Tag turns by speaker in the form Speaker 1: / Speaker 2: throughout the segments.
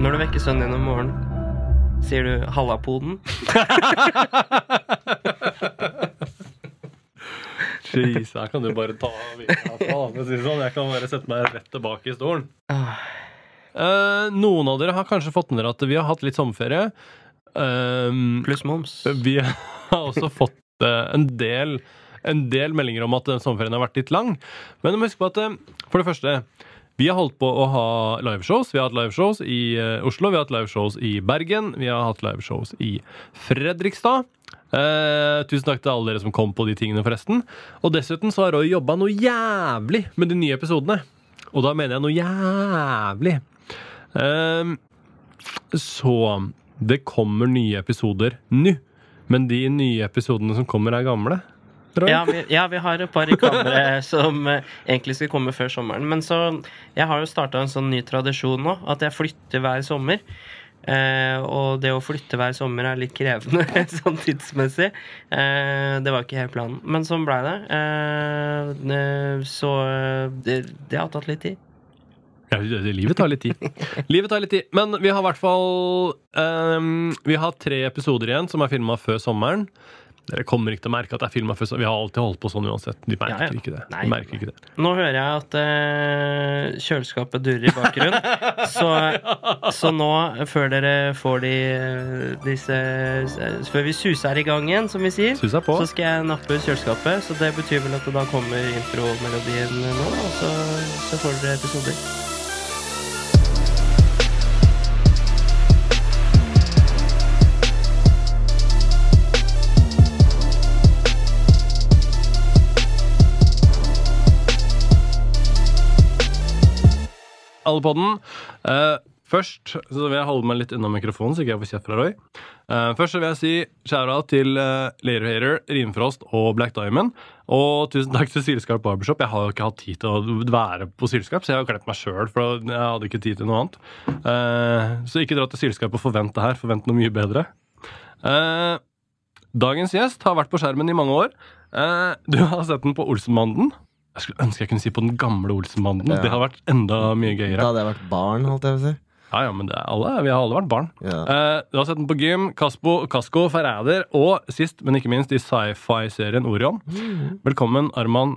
Speaker 1: Når du vekker sønnen din om morgenen, sier du 'halla, poden'?
Speaker 2: Jeez, her kan du bare ta av vinduet, faen, for å si det sånn. Jeg kan bare sette meg rett tilbake i stolen.
Speaker 1: Ah.
Speaker 2: Eh, noen av dere har kanskje fått med dere at vi har hatt litt sommerferie. Um,
Speaker 1: Pluss moms.
Speaker 2: vi har også fått eh, en del en del meldinger om at eh, sommerferien har vært litt lang. Men du må huske på at eh, for det første vi har holdt på å ha liveshows. Vi har hatt liveshows i eh, Oslo, vi har hatt liveshows i Bergen, vi har hatt liveshows i Fredrikstad. Eh, tusen takk til alle dere som kom på de tingene, forresten. Og dessuten så har Roy jobba noe jævlig med de nye episodene. Og da mener jeg noe jævlig. Eh, så det kommer nye episoder nå. Men de nye episodene som kommer, er gamle. Roy?
Speaker 1: Ja vi, ja, vi har et par reklamer som eh, egentlig skulle komme før sommeren. Men så Jeg har jo starta en sånn ny tradisjon nå, at jeg flytter hver sommer. Eh, og det å flytte hver sommer er litt krevende sånn tidsmessig. Eh, det var ikke helt planen, men sånn blei det. Eh, eh, så eh, det, det har tatt litt tid.
Speaker 2: Ja, det- det- livet tar litt tid. Livet tar litt tid. Men vi har i hvert fall ehm, Vi har tre episoder igjen som er filma før sommeren. Dere kommer ikke til å merke at det er filma før sommeren. Vi har alltid holdt på sånn uansett. De merker
Speaker 1: Ja, ja.
Speaker 2: ikke det.
Speaker 1: Nei.
Speaker 2: De merker ikke det.
Speaker 1: Nå hører jeg at eh, kjøleskapet durrer i bakgrunnen. så, så nå, før dere får de eh, disse s- Før vi suser i gang igjen, som vi sier,
Speaker 2: Sus er på.
Speaker 1: så skal jeg nappe ut kjøleskapet. Så det betyr vel at det da kommer intromelodien nå, og så, så får dere episoder.
Speaker 2: alle på den. Eh, først så vil jeg holde meg litt unna mikrofonen, så ikke jeg får kjeft fra Roy. Eh, først så vil jeg si skjæra til uh, Later Hater, Rimfrost og Black Diamond. Og tusen takk til Sylskarp Barbershop. Jeg har jo ikke hatt tid til å være på Sylskarp, så jeg har klept meg sjøl, for jeg hadde ikke tid til noe annet. Eh, så ikke dra til Sylskarp og forvent det her. Forvent noe mye bedre. Eh, dagens gjest har vært på skjermen i mange år. Eh, du har sett den på Olsenbanden. Jeg skulle ønske jeg kunne si på den gamle Olsenbanden.
Speaker 3: Ja.
Speaker 2: Det har vært enda mye gøyere.
Speaker 3: Da hadde jeg vært barn, holdt jeg på å si.
Speaker 2: Ja, ja, men det er alle, Vi har alle vært barn.
Speaker 3: Ja.
Speaker 2: Eh, du har sett den på gym, Caspo, Casco, Forræder og sist, men ikke minst, i sci-fi-serien Orion. Velkommen, Arman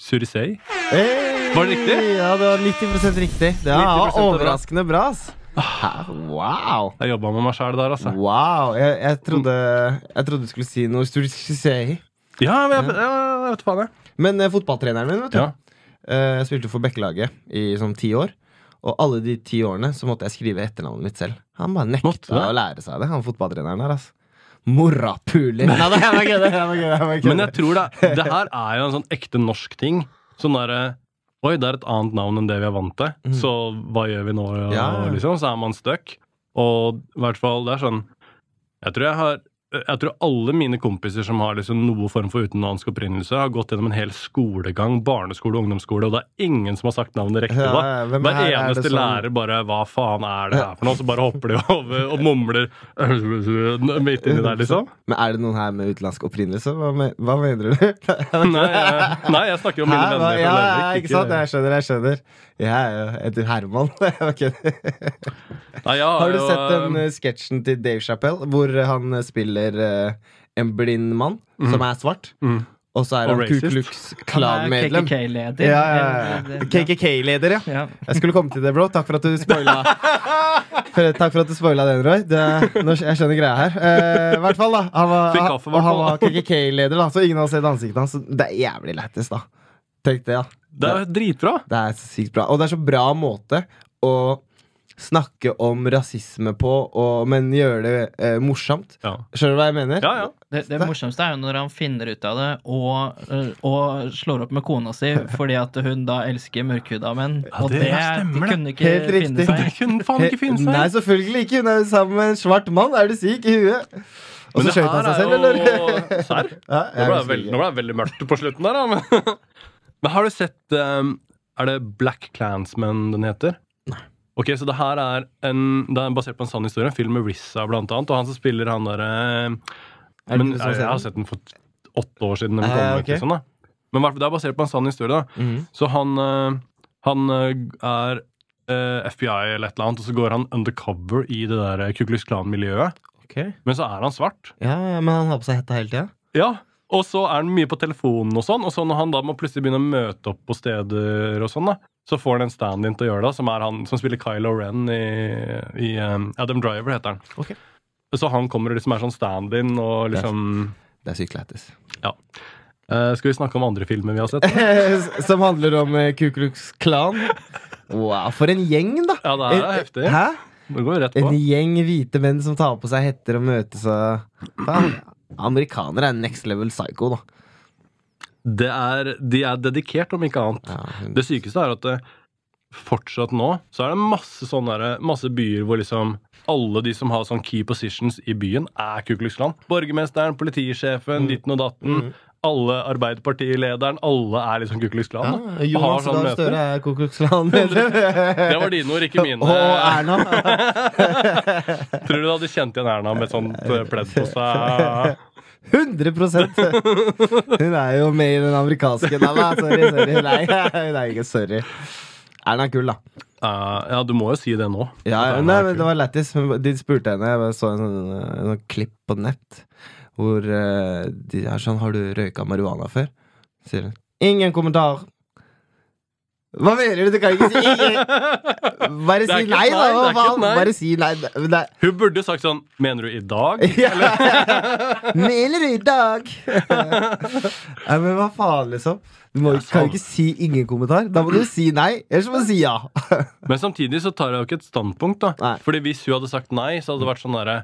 Speaker 2: Surisei.
Speaker 3: Hey!
Speaker 2: Var det riktig?
Speaker 3: Ja, det var 90 riktig. Det var
Speaker 2: 90% bra.
Speaker 3: overraskende bra, ass.
Speaker 2: Ah.
Speaker 3: Hæ? Wow.
Speaker 2: Jeg jobba med meg sjæl der, altså.
Speaker 3: Wow. Jeg, jeg, trodde, jeg trodde du skulle si noe stort.
Speaker 2: Ja, men jeg, ja, jeg vet faen, jeg.
Speaker 3: Men eh, fotballtreneren min, vet du.
Speaker 2: Ja.
Speaker 3: Eh, jeg spilte for Bekkelaget i sånn ti år. Og alle de ti årene så måtte jeg skrive etternavnet mitt selv. Han bare
Speaker 2: Måtte du
Speaker 3: nekta
Speaker 2: det?
Speaker 3: å lære seg det, han fotballtreneren her, ass. Morapuler. Nei, nei, jeg bare kødder, jeg bare kødder, jeg bare kødder.
Speaker 2: Men jeg tror det, det her er jo en sånn ekte norsk ting. Sånn derre Oi, det er et annet navn enn det vi er vant til,
Speaker 3: Mm.
Speaker 2: så hva gjør vi nå? Og,
Speaker 3: Ja.
Speaker 2: liksom, så er man stuck. Og i hvert fall, det er sånn Jeg tror jeg har jeg tror alle mine kompiser som har liksom noe form for utenlandsk opprinnelse, har gått gjennom en hel skolegang, barneskole og ungdomsskole, og det er ingen som har sagt navnet riktig.
Speaker 3: Ja,
Speaker 2: da.
Speaker 3: ja, hvem
Speaker 2: Hver
Speaker 3: her er det sånn-
Speaker 2: eneste
Speaker 3: som-
Speaker 2: lærer bare 'hva faen er det her for noe?' Så bare hopper de over og mumler midt inni der, liksom.
Speaker 3: Men er det noen her med utenlandsk opprinnelse? Hva, me hva mener du? Hæ,
Speaker 2: Nei, jeg- nei, jeg snakker jo om mine venner
Speaker 3: hva?
Speaker 2: fra
Speaker 3: Ja, ja,
Speaker 2: Larvik.
Speaker 3: ikke sant? Jeg skjønner, jeg skjønner. Jeg er jo et Herman. Jeg kødder.
Speaker 2: Nei, jeg
Speaker 3: Har du
Speaker 2: jo,
Speaker 3: sett den
Speaker 2: eh,
Speaker 3: eh, sketsjen til Dave Chappelle hvor eh, han eh, spiller eh, en blind mann som er svart?
Speaker 2: Mhm.
Speaker 3: Og så er
Speaker 2: Og
Speaker 3: han Ku
Speaker 2: racist.
Speaker 3: Klux
Speaker 1: Han er
Speaker 3: Klan-medlem.
Speaker 1: KKK-leder.
Speaker 3: Ja, ja, ja. KKK-leder, ja.
Speaker 1: Ja.
Speaker 3: Jeg skulle komme til det, bro. Takk for at du spoila for, Takk for at du spoila den, Roy. Det, nå, skj- jeg skjønner greia her. Eh, I hvert fall, da. Han var,
Speaker 2: Fikk
Speaker 3: han,
Speaker 2: kaffe, i hvert
Speaker 3: og han var
Speaker 2: fall.
Speaker 3: KKK-leder, da, så ingen har sett ansiktet hans. Det er jævlig lættis, da. Tenk det, da.
Speaker 2: Det er jo dritbra!
Speaker 3: Det er sykt bra. Og det er så bra måte å snakke om rasisme på, og, men gjøre det eh, morsomt.
Speaker 2: Ja,
Speaker 3: Skjønner du hva jeg mener?
Speaker 2: ja. ja.
Speaker 4: Det, det morsomste er jo når han finner ut av det og, øh, og slår opp med kona si fordi at hun da elsker mørkhuda menn.
Speaker 2: Ja,
Speaker 4: og
Speaker 2: det-
Speaker 4: det,
Speaker 2: ja, stemmer det.
Speaker 4: kunne ikke
Speaker 3: Helt riktig.
Speaker 4: finne
Speaker 2: Det
Speaker 4: seg i.
Speaker 2: kunne faen ikke finne
Speaker 3: Nei,
Speaker 2: seg!
Speaker 3: selvfølgelig ikke. Hun er jo sammen med en svart mann. Er du syk i huet? Og
Speaker 2: Men
Speaker 3: så
Speaker 2: det
Speaker 3: skjøt
Speaker 2: her
Speaker 3: han seg selv,
Speaker 2: er
Speaker 3: eller?
Speaker 2: jo- Serr? Nå ble
Speaker 3: Ja, jeg
Speaker 2: det
Speaker 3: husker
Speaker 2: veldig,
Speaker 3: ikke.
Speaker 2: nå ble det veldig mørkt på slutten der, da. Men, men har du sett ehm, Er det Black Clansman den heter? Ok, så det her er, en, det er basert på en sann historie. En film med Rissa, blant annet. Og han som spiller han derre
Speaker 3: Er det
Speaker 2: Men
Speaker 3: du som
Speaker 2: jeg, jeg
Speaker 3: ser
Speaker 2: har
Speaker 3: den?
Speaker 2: sett den for åtte år siden. Den
Speaker 3: Eh,
Speaker 2: kom, ut,
Speaker 3: ok.
Speaker 2: liksom, da. Men i hvert fall, det er basert på en sann historie. da
Speaker 3: Mhm.
Speaker 2: Så han, eh, han eh, er eh, FBI eller et eller annet, og så går han undercover i det der Kuklus Klan-miljøet. Men så er han svart.
Speaker 3: Ja, ja, Men han har på seg hetta hele tida?
Speaker 2: Ja, Og så er han mye på telefonen, og sånn, og så når han da må plutselig begynne å møte opp på steder, og sånn da, så får han en stand-in til å gjøre det, som er han som spiller Kylo Ren i, i eh, Adam Driver, heter han.
Speaker 3: Ok.
Speaker 2: Så han kommer og liksom er sånn stand-in og liksom
Speaker 3: Det er sykt lættis.
Speaker 2: Eh, Skal vi snakke om andre filmer vi har sett?
Speaker 3: Som handler om eh, Ku Klux Klan. Wow, for en gjeng, da!
Speaker 2: Ja, det er heftig.
Speaker 3: Hæ?
Speaker 2: Det går vi rett på.
Speaker 3: En gjeng hvite menn som tar på seg hetter og møtes og Faen, Amerikanere er next level psycho, da.
Speaker 2: Det er, de er dedikert, om ikke annet.
Speaker 3: Ja,
Speaker 2: Det sykeste er at det, fortsatt nå så er det masse, sånne, der- eh, masse byer hvor liksom alle de som har sånn key positions i byen, er Ku Klux Klan. Borgermesteren, politisjefen,
Speaker 3: Mm.
Speaker 2: ditten og datten. Alle Arbeiderpartilederen. Alle er liksom Ku Klux Klan. da. Og har
Speaker 3: Jonas
Speaker 2: sånn
Speaker 3: Gahr
Speaker 2: møter.
Speaker 3: Støre er Ku Klux Klan. Det
Speaker 2: Det var dine ord, ikke eh. mine.
Speaker 3: Og Erna.
Speaker 2: Tror du du hadde kjent igjen Erna med et sånt eh, pledd på seg?
Speaker 3: 100 Hun er jo med i den amerikanske Nei, nei, sorry. sorry Nei, hun er ikke sorry. Erna er kul, da.
Speaker 2: Eh, ja, du må jo si det nå.
Speaker 3: Ja,
Speaker 2: At Erna
Speaker 3: nei,
Speaker 2: er
Speaker 3: men
Speaker 2: kul.
Speaker 3: Det var lættis. men De spurte henne. Jeg bare så en sånn, en sånn klipp på nett hvor eh, de er sånn 'Har du røyka marihuana før?' sier hun. Ingen kommentar. Hva mener du? Du kan ikke si ingen. Bare
Speaker 2: Det er
Speaker 3: si
Speaker 2: ikke et nei, det
Speaker 3: nei, da! Hva
Speaker 2: er ikke et
Speaker 3: faen?
Speaker 2: nei.
Speaker 3: Bare si nei. Det, det,
Speaker 2: Hun burde sagt sånn Mener du i dag?
Speaker 3: Ja. Mener du i dag? Nei, men hva faen, liksom? Du må,
Speaker 2: Ja,
Speaker 3: kan
Speaker 2: faen.
Speaker 3: jo ikke si ingen kommentar. Da må du si nei, ellers må du si ja.
Speaker 2: Men samtidig så tar jeg jo ikke et standpunkt, da.
Speaker 3: Nei.
Speaker 2: Fordi hvis hun hadde sagt nei, så hadde det vært sånn derre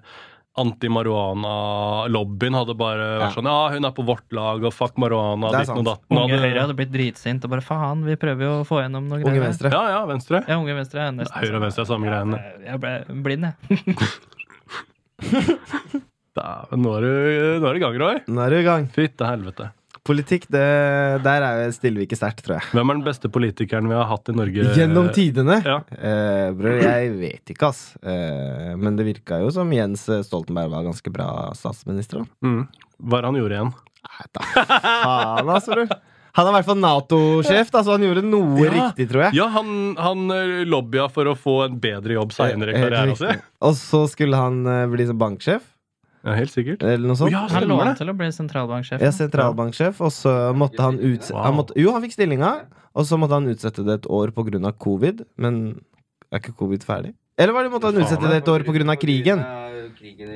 Speaker 2: Anti-marihuana-lobbyen hadde bare vært
Speaker 3: Ja.
Speaker 2: sånn Ja, hun er på vårt lag, og fuck marihuana,
Speaker 3: Det er
Speaker 2: ditten og
Speaker 3: sant.
Speaker 2: datten.
Speaker 4: Unge
Speaker 2: Hadde-
Speaker 4: Høyre hadde blitt dritsint og bare faen, vi prøver jo å få gjennom noe
Speaker 3: Unge
Speaker 4: greier.
Speaker 3: Venstre.
Speaker 2: Ja, ja, venstre.
Speaker 4: Ja, Unge Venstre er nesten
Speaker 2: Høyre og venstre er samme greiene.
Speaker 4: Jeg ble blind, jeg.
Speaker 2: Dæven, nå er du- nå er det i gang, Roy.
Speaker 3: Nå er du i gang.
Speaker 2: Fytte helvete.
Speaker 3: Politikk, det, der er jo stiller vi ikke sterkt, tror jeg.
Speaker 2: Hvem er den beste politikeren vi har hatt i Norge?
Speaker 3: Gjennom tidene.
Speaker 2: Ja.
Speaker 3: Eh, bror, jeg vet ikke, ass. Eh, men det virka jo som Jens Stoltenberg var ganske bra statsminister. da.
Speaker 2: Mm. Hva er det han gjorde igjen?
Speaker 3: Nei, da
Speaker 2: Ah.
Speaker 3: faen, ass, bror. Han er i hvert fall Nato-sjef, da, så han gjorde noe
Speaker 2: Ja.
Speaker 3: riktig, tror jeg.
Speaker 2: Ja, han, han eh, lobbya for å få en bedre jobb seinere i
Speaker 3: Eh, helt
Speaker 2: karrieren sin.
Speaker 3: riktig. Og så skulle han eh, bli som banksjef,
Speaker 2: Ja, helt sikkert.
Speaker 3: eller noe sånt.
Speaker 2: Ja,
Speaker 4: Han lå
Speaker 2: stemmer
Speaker 4: an
Speaker 2: det.
Speaker 4: til å bli sentralbanksjef.
Speaker 3: Ja, sentralbanksjef, og så måtte han ut
Speaker 2: Wow.
Speaker 3: han måtte, Jo, han fikk stillinga, og så måtte han utsette det et år pga. covid. Men er ikke covid ferdig? Eller var det måtte han utsette det et år pga. krigen?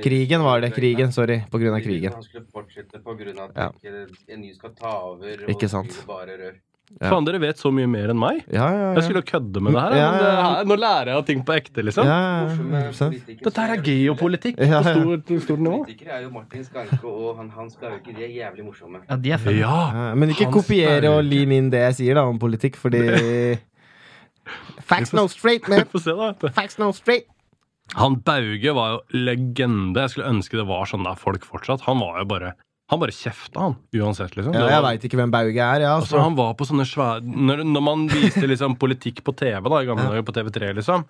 Speaker 3: Krigen var det. Krigen, sorry. Pga. krigen.
Speaker 5: Han skulle fortsette på grunn av at
Speaker 3: Ja.
Speaker 5: ikke en ny skal ta over. og
Speaker 3: Ikke
Speaker 5: så blir
Speaker 3: sant.
Speaker 5: det Bare rør.
Speaker 3: Ja.
Speaker 2: Faen, dere vet så mye mer enn meg.
Speaker 3: Ja, ja,
Speaker 2: Jeg
Speaker 3: ja.
Speaker 2: skulle jo kødde med det her.
Speaker 3: Ja,
Speaker 2: men
Speaker 3: ja,
Speaker 2: det
Speaker 3: ja.
Speaker 2: her nå lærer jeg ting på ekte,
Speaker 3: ja,
Speaker 2: liksom.
Speaker 3: ja, 100
Speaker 5: Morsomme politikere
Speaker 2: Dette her
Speaker 5: som
Speaker 2: er
Speaker 5: gjør
Speaker 2: geopolitikk
Speaker 3: Ja, ja.
Speaker 2: på stort, stort nivå.
Speaker 5: Politikere er jo Martin Skanke og han Hans Gauke. De er jævlig morsomme.
Speaker 4: Ja, de er fem.
Speaker 2: Ja.
Speaker 3: Ja, Men ikke
Speaker 2: Hans
Speaker 3: kopiere og
Speaker 2: Berge.
Speaker 3: lim inn det jeg sier da om politikk, fordi Facts no straight, man.
Speaker 2: Få se, da. vet du.
Speaker 3: Facts no straight.
Speaker 2: Han Bauge var jo legende. Jeg skulle ønske det var sånn der folk fortsatt. Han var jo bare Han bare kjefta, han. Uansett, liksom.
Speaker 3: Ja,
Speaker 2: Det
Speaker 3: jeg
Speaker 2: var-
Speaker 3: veit ikke hvem Bauge er, ja.
Speaker 2: Altså,
Speaker 3: Så.
Speaker 2: han var på sånne svære Når, når man viste liksom politikk på TV da, i gamle dager, på TV3, liksom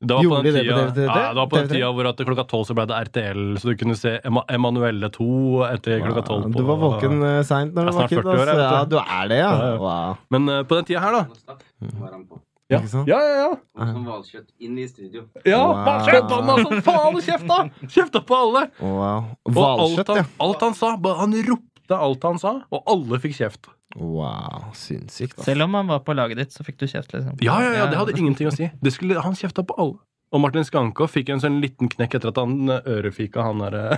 Speaker 2: det var, på
Speaker 3: Gjorde de
Speaker 2: den
Speaker 3: det
Speaker 2: tida,
Speaker 3: på TV3?
Speaker 2: ja, det var på den
Speaker 3: TV3?
Speaker 2: tida hvor at klokka tolv så ble det RTL, så du kunne se Emma Emanuelle 2 etter klokka tolv.
Speaker 3: Du var våken eh, seint når
Speaker 2: Jeg er
Speaker 3: du var
Speaker 2: snart
Speaker 3: kid.
Speaker 2: 40 år, jeg,
Speaker 3: altså. Ja,
Speaker 2: vet
Speaker 3: du er det, ja.
Speaker 2: Ja, ja.
Speaker 3: Wow.
Speaker 2: Men eh, på den tida her, da
Speaker 5: Staff var han på.
Speaker 2: Ja,
Speaker 3: Ikke sant?
Speaker 2: ja, ja. ja.
Speaker 5: Og Som hvalkjøtt inn i studio.
Speaker 2: Ja,
Speaker 3: Wow.
Speaker 2: bare kjefta han, altså! Faen, kjefta! Kjefta på alle!
Speaker 3: Wow.
Speaker 2: Og alt
Speaker 3: Hvalkjøtt,
Speaker 2: han,
Speaker 3: ja.
Speaker 2: alt han sa, bare han ropte alt han sa, og alle fikk kjeft.
Speaker 3: Wow, sinnssykt. ass.
Speaker 4: Selv om han var på laget ditt, så fikk du kjeft, liksom.
Speaker 2: Ja, ja, ja, det hadde ingenting å si. Det skulle, han kjefta på alle. Og Martin Skanke fikk en sånn liten knekk etter at han eh, ørefika han derre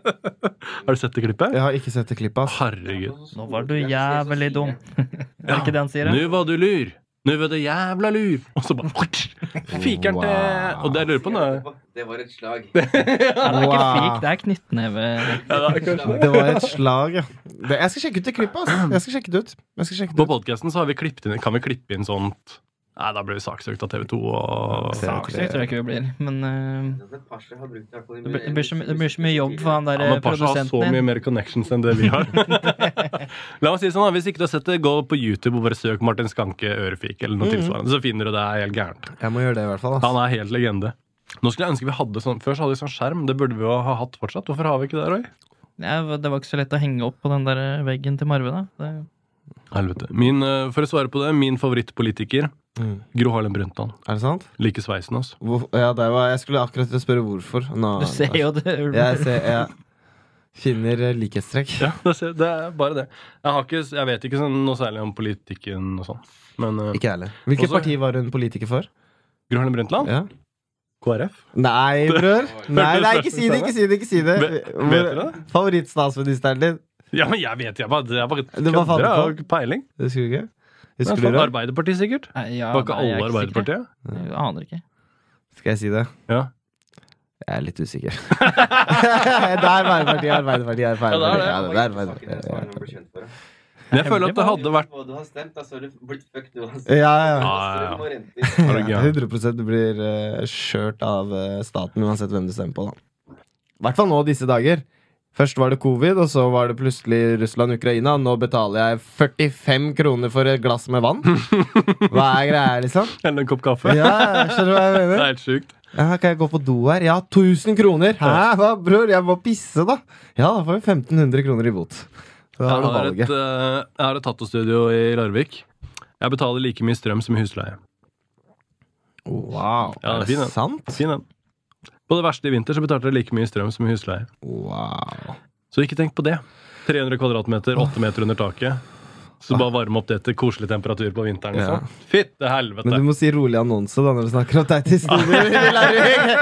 Speaker 2: Har du sett det klippet?
Speaker 3: Jeg har ikke sett det klippet. ass.
Speaker 2: Herregud.
Speaker 4: Nå var du jævlig dum. Er det ikke det han sier? da?
Speaker 2: Nå var du lur. Nå var du jævla lur. Og så bare Fiker han til Og det jeg lurer på nå er-
Speaker 5: Det var et slag.
Speaker 4: Ja, det er ikke
Speaker 3: Wow.
Speaker 4: fik, det er knyttneve.
Speaker 2: ja, det er kanskje-
Speaker 3: Det var et slag, ja. Det, jeg skal sjekke ut det klippet. ass. Jeg skal sjekke det ut. Jeg skal
Speaker 2: På
Speaker 3: sjekke det ut.
Speaker 2: podkasten så har vi klippet inn Kan vi klippe inn sånt Nei, da ble vi saksøkt av TV 2 og
Speaker 3: Ja,
Speaker 4: Saksøk tror jeg ikke vi blir, men eh,
Speaker 5: Pasha har brukt i hvert fall i
Speaker 4: det,
Speaker 5: min
Speaker 4: blir, det, blir så, my-
Speaker 5: egen-
Speaker 4: det blir så mye jobb for han der eh,
Speaker 2: Ja, men Pasha har så
Speaker 4: produsenten
Speaker 2: mye
Speaker 4: din.
Speaker 2: mer connections enn det vi har. La oss si det sånn da, Hvis ikke du har sett det, gå på YouTube og bare søk Martin Skanke ørefik, eller noe
Speaker 4: Mm.
Speaker 2: tilsvarende, så finner du det er helt gærent.
Speaker 3: Jeg må gjøre det, i hvert fall.
Speaker 2: Han
Speaker 3: Ass.
Speaker 2: er helt legende. Nå skulle jeg ønske vi hadde sånn, Før så hadde vi sånn skjerm. Det burde vi jo ha hatt fortsatt. Hvorfor har vi ikke det, Roy?
Speaker 4: eh, Ja, det var ikke så lett å henge opp på den der veggen til Marve, da. Det,
Speaker 2: Helvete. Min, eh, for å svare på det, min favorittpolitiker,
Speaker 3: Mm.
Speaker 2: Gro Harlem Brundtland.
Speaker 3: Er det sant?
Speaker 2: Liker sveisen hans.
Speaker 3: Hvor, ja, det var, jeg skulle akkurat til å spørre hvorfor. Nå- altså.
Speaker 4: Du ser jo det.
Speaker 3: Jeg, ser, jeg finner eh, likhetstrekk.
Speaker 2: Ja, det ser- det er bare det. Jeg, har ikke, jeg vet ikke sånn noe særlig om politikken og sånn. Men eh,
Speaker 3: Ikke jeg heller. Hvilket
Speaker 2: Også-
Speaker 3: parti var hun politiker for?
Speaker 2: Gro Harlem Brundtland?
Speaker 3: Ja.
Speaker 2: KrF?
Speaker 3: Nei, bror! Nei, nei, ikke si det! ikke si det, ikke si det
Speaker 2: Vet- vet dere det?
Speaker 3: Favorittstatsministeren din.
Speaker 2: Ja, men jeg vet jeg bare, det er bare
Speaker 3: Du bare fant
Speaker 2: kødder. Jeg har
Speaker 3: det
Speaker 2: ikke peiling.
Speaker 3: Husker du ikke?
Speaker 2: Men
Speaker 3: Husker du
Speaker 2: faen,
Speaker 3: det?
Speaker 2: Arbeiderpartiet, sikkert?
Speaker 4: Nei, ja,
Speaker 2: Var ikke
Speaker 4: nei, jeg er
Speaker 2: alle
Speaker 4: ikke sikker.
Speaker 2: Arbeiderpartiet?
Speaker 4: Jeg aner ikke.
Speaker 3: Skal jeg si det?
Speaker 2: Ja.
Speaker 3: Jeg er litt usikker. det er Arbeiderpartiet, Arbeiderpartiet, Arbeiderpartiet. Ja, det er Arbeiderpartiet. Ja,
Speaker 2: Men jeg føler at det hadde vært
Speaker 5: Hva du har stemt, da, så har du blitt fucked uansett.
Speaker 3: Ja, ja.
Speaker 2: Ja,
Speaker 5: Strøm og renter.
Speaker 2: Er du
Speaker 3: Ja,
Speaker 2: gæren?
Speaker 3: 100 du blir eh, skjørt av eh, staten uansett hvem du stemmer på. da I hvert fall nå disse dager. Først var det covid, og så var det plutselig Russland-Ukraina. Nå betaler jeg 45 kroner for et glass med vann. Hva er greia, liksom?
Speaker 2: Eller en kopp kaffe?
Speaker 3: Ja, skjønner du hva jeg
Speaker 2: Det er
Speaker 3: mener?
Speaker 2: helt sjukt.
Speaker 3: Ja, kan jeg gå på do her? Ja, 1000 kroner! Hæ, hva, bror? Jeg må pisse, da! Ja, da får vi 1500 kroner i bot. Da
Speaker 2: Jeg
Speaker 3: har du
Speaker 2: har, et,
Speaker 3: valget.
Speaker 2: eh, jeg har et tattostudio i Larvik. Jeg betaler like mye strøm som i husleie.
Speaker 3: Wow.
Speaker 2: Ja, fin,
Speaker 3: Er
Speaker 2: den.
Speaker 3: det sant?
Speaker 2: Fin den. På det verste i vinter så betalte jeg like mye strøm som i husleie.
Speaker 3: Wow.
Speaker 2: Så ikke tenk på det. 300 kvadratmeter, 8 meter under taket. Så bare varme opp det til koselig temperatur på vinteren.
Speaker 3: Ja.
Speaker 2: Liksom. Fytte helvete!
Speaker 3: Men du må si rolig annonse da når du snakker om deg til studio.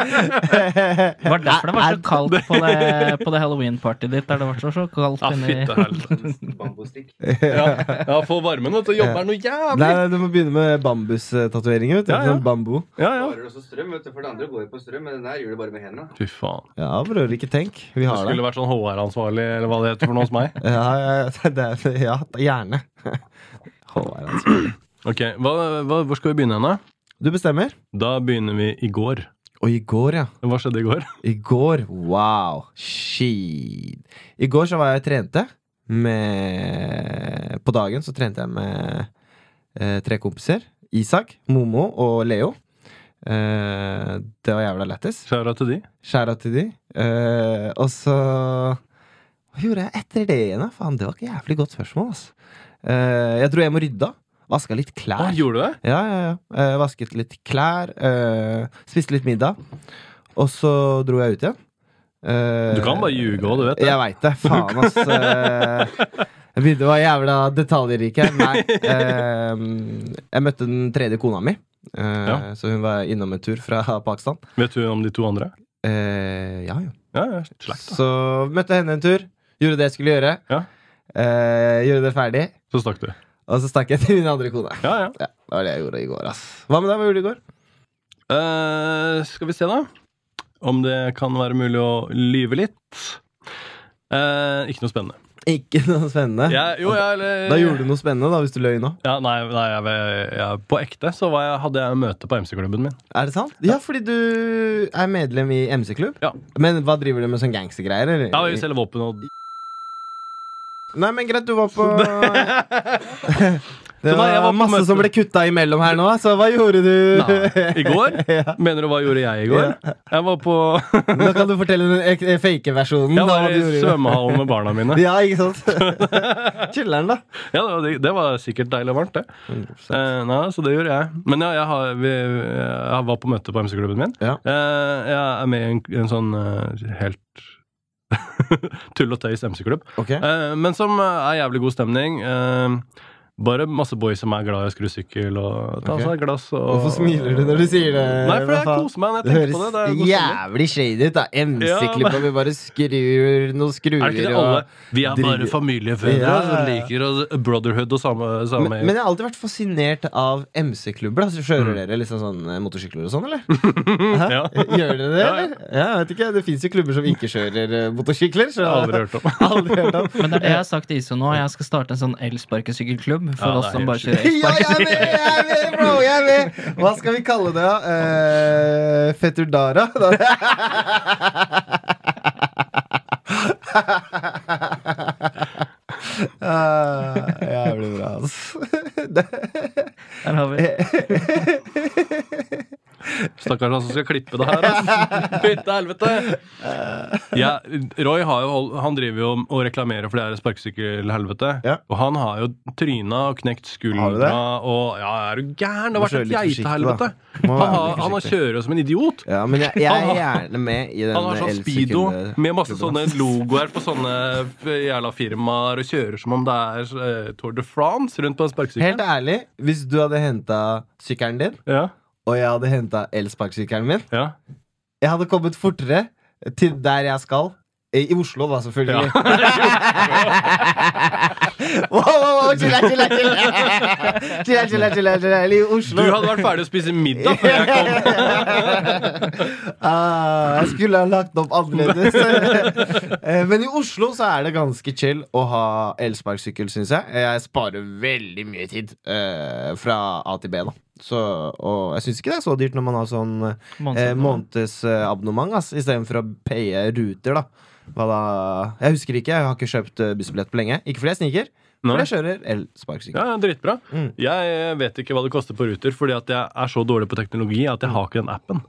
Speaker 4: Det var derfor det var så
Speaker 3: Nei,
Speaker 4: kaldt på det, på det halloween-partyet ditt. Der det var så, så kaldt
Speaker 2: Ja,
Speaker 4: inni
Speaker 2: fytte helvete.
Speaker 5: Bambustikk.
Speaker 2: Ja, ja få varmen, vet du. Jobber noe
Speaker 3: Nei,
Speaker 2: jævlig!
Speaker 3: nei, du må begynne med bambustatoveringer. vet du,
Speaker 2: Ja, ja.
Speaker 3: Sånn bambu.
Speaker 2: Ja, ja.
Speaker 5: Sparer også strøm, vet du, for det andre går jo på strøm, men den der gjør du bare med hendene.
Speaker 2: Fy faen.
Speaker 3: Ja, bror, ikke tenk. Vi
Speaker 2: Du
Speaker 3: har det.
Speaker 2: skulle vært sånn HR-ansvarlig, eller hva det heter for noe hos meg.
Speaker 3: Ja, ja, ja, det er, ja gjerne. Håvard, altså.
Speaker 2: Ok, hva, hva, Hvor skal vi begynne henne?
Speaker 3: Du bestemmer.
Speaker 2: Da begynner vi i går.
Speaker 3: Og i går, ja.
Speaker 2: Hva skjedde i går?
Speaker 3: I går, wow. Shit. I går så var jeg og trente med På dagen så trente jeg med eh, tre kompiser. Isak, Momo og Leo. Eh, det var jævla lættis.
Speaker 2: Skjæra til de.
Speaker 3: Skjæra til de. Eh, og så Hva gjorde jeg etter det igjen? da? Faen, det var et jævlig godt spørsmål. ass. Eh, jeg dro hjem og rydda. Vaska litt klær.
Speaker 2: Å, gjorde du det?
Speaker 3: Ja, ja, ja. Eh, vasket litt klær. eh, spiste litt middag. Og så dro jeg ut igjen. Eh,
Speaker 2: Du kan bare ljuge òg, du vet det.
Speaker 3: Jeg veit det. Faen, ass. Eh, Jeg begynte å være jævla detaljrik her. Nei. eh, jeg møtte den tredje kona mi. eh,
Speaker 2: Ja.
Speaker 3: Så hun var innom en tur fra Pakistan.
Speaker 2: Vet du om de to andre?
Speaker 3: Eh, ja, jo.
Speaker 2: Ja, ja, slakt, da.
Speaker 3: Så møtte henne en tur. Gjorde det jeg skulle gjøre.
Speaker 2: Ja.
Speaker 3: Eh, gjorde det ferdig.
Speaker 2: Så stakk du.
Speaker 3: Og så stakk jeg til min andre kone.
Speaker 2: Ja, ja.
Speaker 3: Ja, det var det jeg gjorde i går, ass. Hva med deg? Hva gjorde du i går?
Speaker 2: Eh, skal vi se, da. Om det kan være mulig å lyve litt. Eh, ikke noe spennende.
Speaker 3: Ikke noe spennende.
Speaker 2: Jeg, jo, jeg, eller,
Speaker 3: Da gjorde du noe spennende, da, hvis du løy nå.
Speaker 2: ja, Nei, nei jeg, jeg, på ekte så var jeg, hadde jeg møte på MC-klubben min.
Speaker 3: Er det sant? Ja, fordi du er medlem i MC-klubb.
Speaker 2: Ja.
Speaker 3: Men hva driver du med sånn gangstergreier? eller?
Speaker 2: Ja, Vi selger våpen og
Speaker 3: Nei, men greit, du var på Det
Speaker 2: Så nei, jeg
Speaker 3: var
Speaker 2: var på
Speaker 3: masse
Speaker 2: møte.
Speaker 3: som ble kutta imellom her nå, så hva gjorde du?
Speaker 2: Nei, I går?
Speaker 3: Ja.
Speaker 2: Mener du hva gjorde jeg i går? Jeg var på
Speaker 3: Nå kan du fortelle den ek- fake versjonen.
Speaker 2: Jeg
Speaker 3: da,
Speaker 2: var
Speaker 3: hva
Speaker 2: i
Speaker 3: du gjorde.
Speaker 2: svømmehallen med barna mine.
Speaker 3: Ja, ikke sant? Chiller'n, da.
Speaker 2: Ja, det, var, det var sikkert deilig og varmt, det. Eh, nei, så det gjorde jeg. Men ja, jeg, har, vi, jeg var på møte på MC-klubben min.
Speaker 3: Ja.
Speaker 2: Eh, jeg er med i en, en sånn eh, helt tull og tøys MC-klubb.
Speaker 3: Ok.
Speaker 2: Eh, men som eh, er jævlig god stemning. Eh, bare masse boys som er glad i å skru sykkel og ta
Speaker 3: Ok.
Speaker 2: seg et glass. Og,
Speaker 3: Hvorfor smiler du når du sier det?
Speaker 2: Nei, for jeg
Speaker 3: Rafa?
Speaker 2: koser meg når
Speaker 3: Det
Speaker 2: jeg tenker
Speaker 3: høres
Speaker 2: på det. Det er, god stemning.
Speaker 3: jævlig shady ut, da. MC-klipp, og vi bare skrur noen skruer
Speaker 2: er det ikke det alle?
Speaker 3: og
Speaker 2: Vi er bare
Speaker 3: driver.
Speaker 2: familiefedre
Speaker 3: Ja, ja,
Speaker 2: som
Speaker 3: ja.
Speaker 2: liker å- brotherhood og samme,
Speaker 3: men,
Speaker 2: samme
Speaker 3: men jeg har alltid vært fascinert av MC-klubber. da. Så Kjører dere liksom sånn eh, motorsykler og sånn, eller? Hæ?
Speaker 2: Mm. Ja.
Speaker 3: Gjør dere
Speaker 2: Ja,
Speaker 3: det,
Speaker 2: ja.
Speaker 3: eller? Ja, jeg vet ikke. Det fins jo klubber som ikke kjører eh, motorsykler.
Speaker 2: Jeg
Speaker 3: Så
Speaker 2: har aldri hørt om.
Speaker 3: aldri hørt om.
Speaker 4: Men det er det jeg har sagt til Iso nå. Jeg skal starte en sånn elsparkesykkelklubb for
Speaker 2: Ja, det er
Speaker 4: oss som
Speaker 2: helt
Speaker 4: bare kjører
Speaker 3: Ja, jeg er med!
Speaker 4: elsparkesykkel.
Speaker 3: Jeg er med, bro! Jeg er med! Hva skal vi kalle det, da? Eh, Feturdara? Ah, Jævlig bra, altså.
Speaker 4: Eh, Der har vi.
Speaker 2: Stakkars han som skal klippe det her, ass. Fytte helvete! Ja, Roy har jo, hold- han driver jo og reklamerer for det her sparkesykkelhelvete.
Speaker 3: Ja.
Speaker 2: Og han har jo tryna og knekt
Speaker 3: Har du det?
Speaker 2: skuldra og Ja, er du gæren? Det har
Speaker 3: Må
Speaker 2: vært
Speaker 3: kjøre
Speaker 2: et
Speaker 3: litt forsiktig,
Speaker 2: geitehelvete!
Speaker 3: da. Må
Speaker 2: Han,
Speaker 3: være
Speaker 2: har-
Speaker 3: litt
Speaker 2: han har
Speaker 3: forsiktig.
Speaker 2: kjører som en idiot!
Speaker 3: Ja, men jeg, jeg
Speaker 2: Han
Speaker 3: er
Speaker 2: har-
Speaker 3: gjerne med i den
Speaker 2: Han har sånn speedo med masse sånne logoer på sånne jævla firmaer og kjører som om det er eh, Tour de France rundt på en
Speaker 3: Helt
Speaker 2: sparkesykkel.
Speaker 3: ærlig, hvis du hadde henta sykkelen din,
Speaker 2: Ja,
Speaker 3: og jeg hadde henta elsparkesykkelen min
Speaker 2: ja.
Speaker 3: Jeg hadde kommet fortere til der jeg skal. Eh, I i Oslo, da, selvfølgelig. wow, wow, wow, chilla, chilla, chilla. Chilla, chilla, chilla, chilla. I
Speaker 2: Du
Speaker 3: Oslo.
Speaker 2: hadde vært ferdig å spise middag før jeg kom.
Speaker 3: ah, jeg skulle ha lagt det opp annerledes. Eh, Men i Oslo så er det ganske chill å ha elsparkesykkel, syns jeg. Jeg sparer veldig mye tid eh, fra A til B, da. Så, og jeg syns ikke det er så dyrt når man har sånn eh, månedsabonnement ass, istedenfor å paye ruter, da. Hva da? Jeg husker ikke, jeg har ikke kjøpt eh, bussbillett på lenge. Ikke fordi jeg sniker,
Speaker 2: Nei.
Speaker 3: for jeg kjører elsparkesykkel.
Speaker 2: Ja, ja, dritbra.
Speaker 3: Mm.
Speaker 2: Jeg eh, vet ikke hva det koster på Ruter, fordi at jeg er så dårlig på teknologi at jeg har ikke den appen.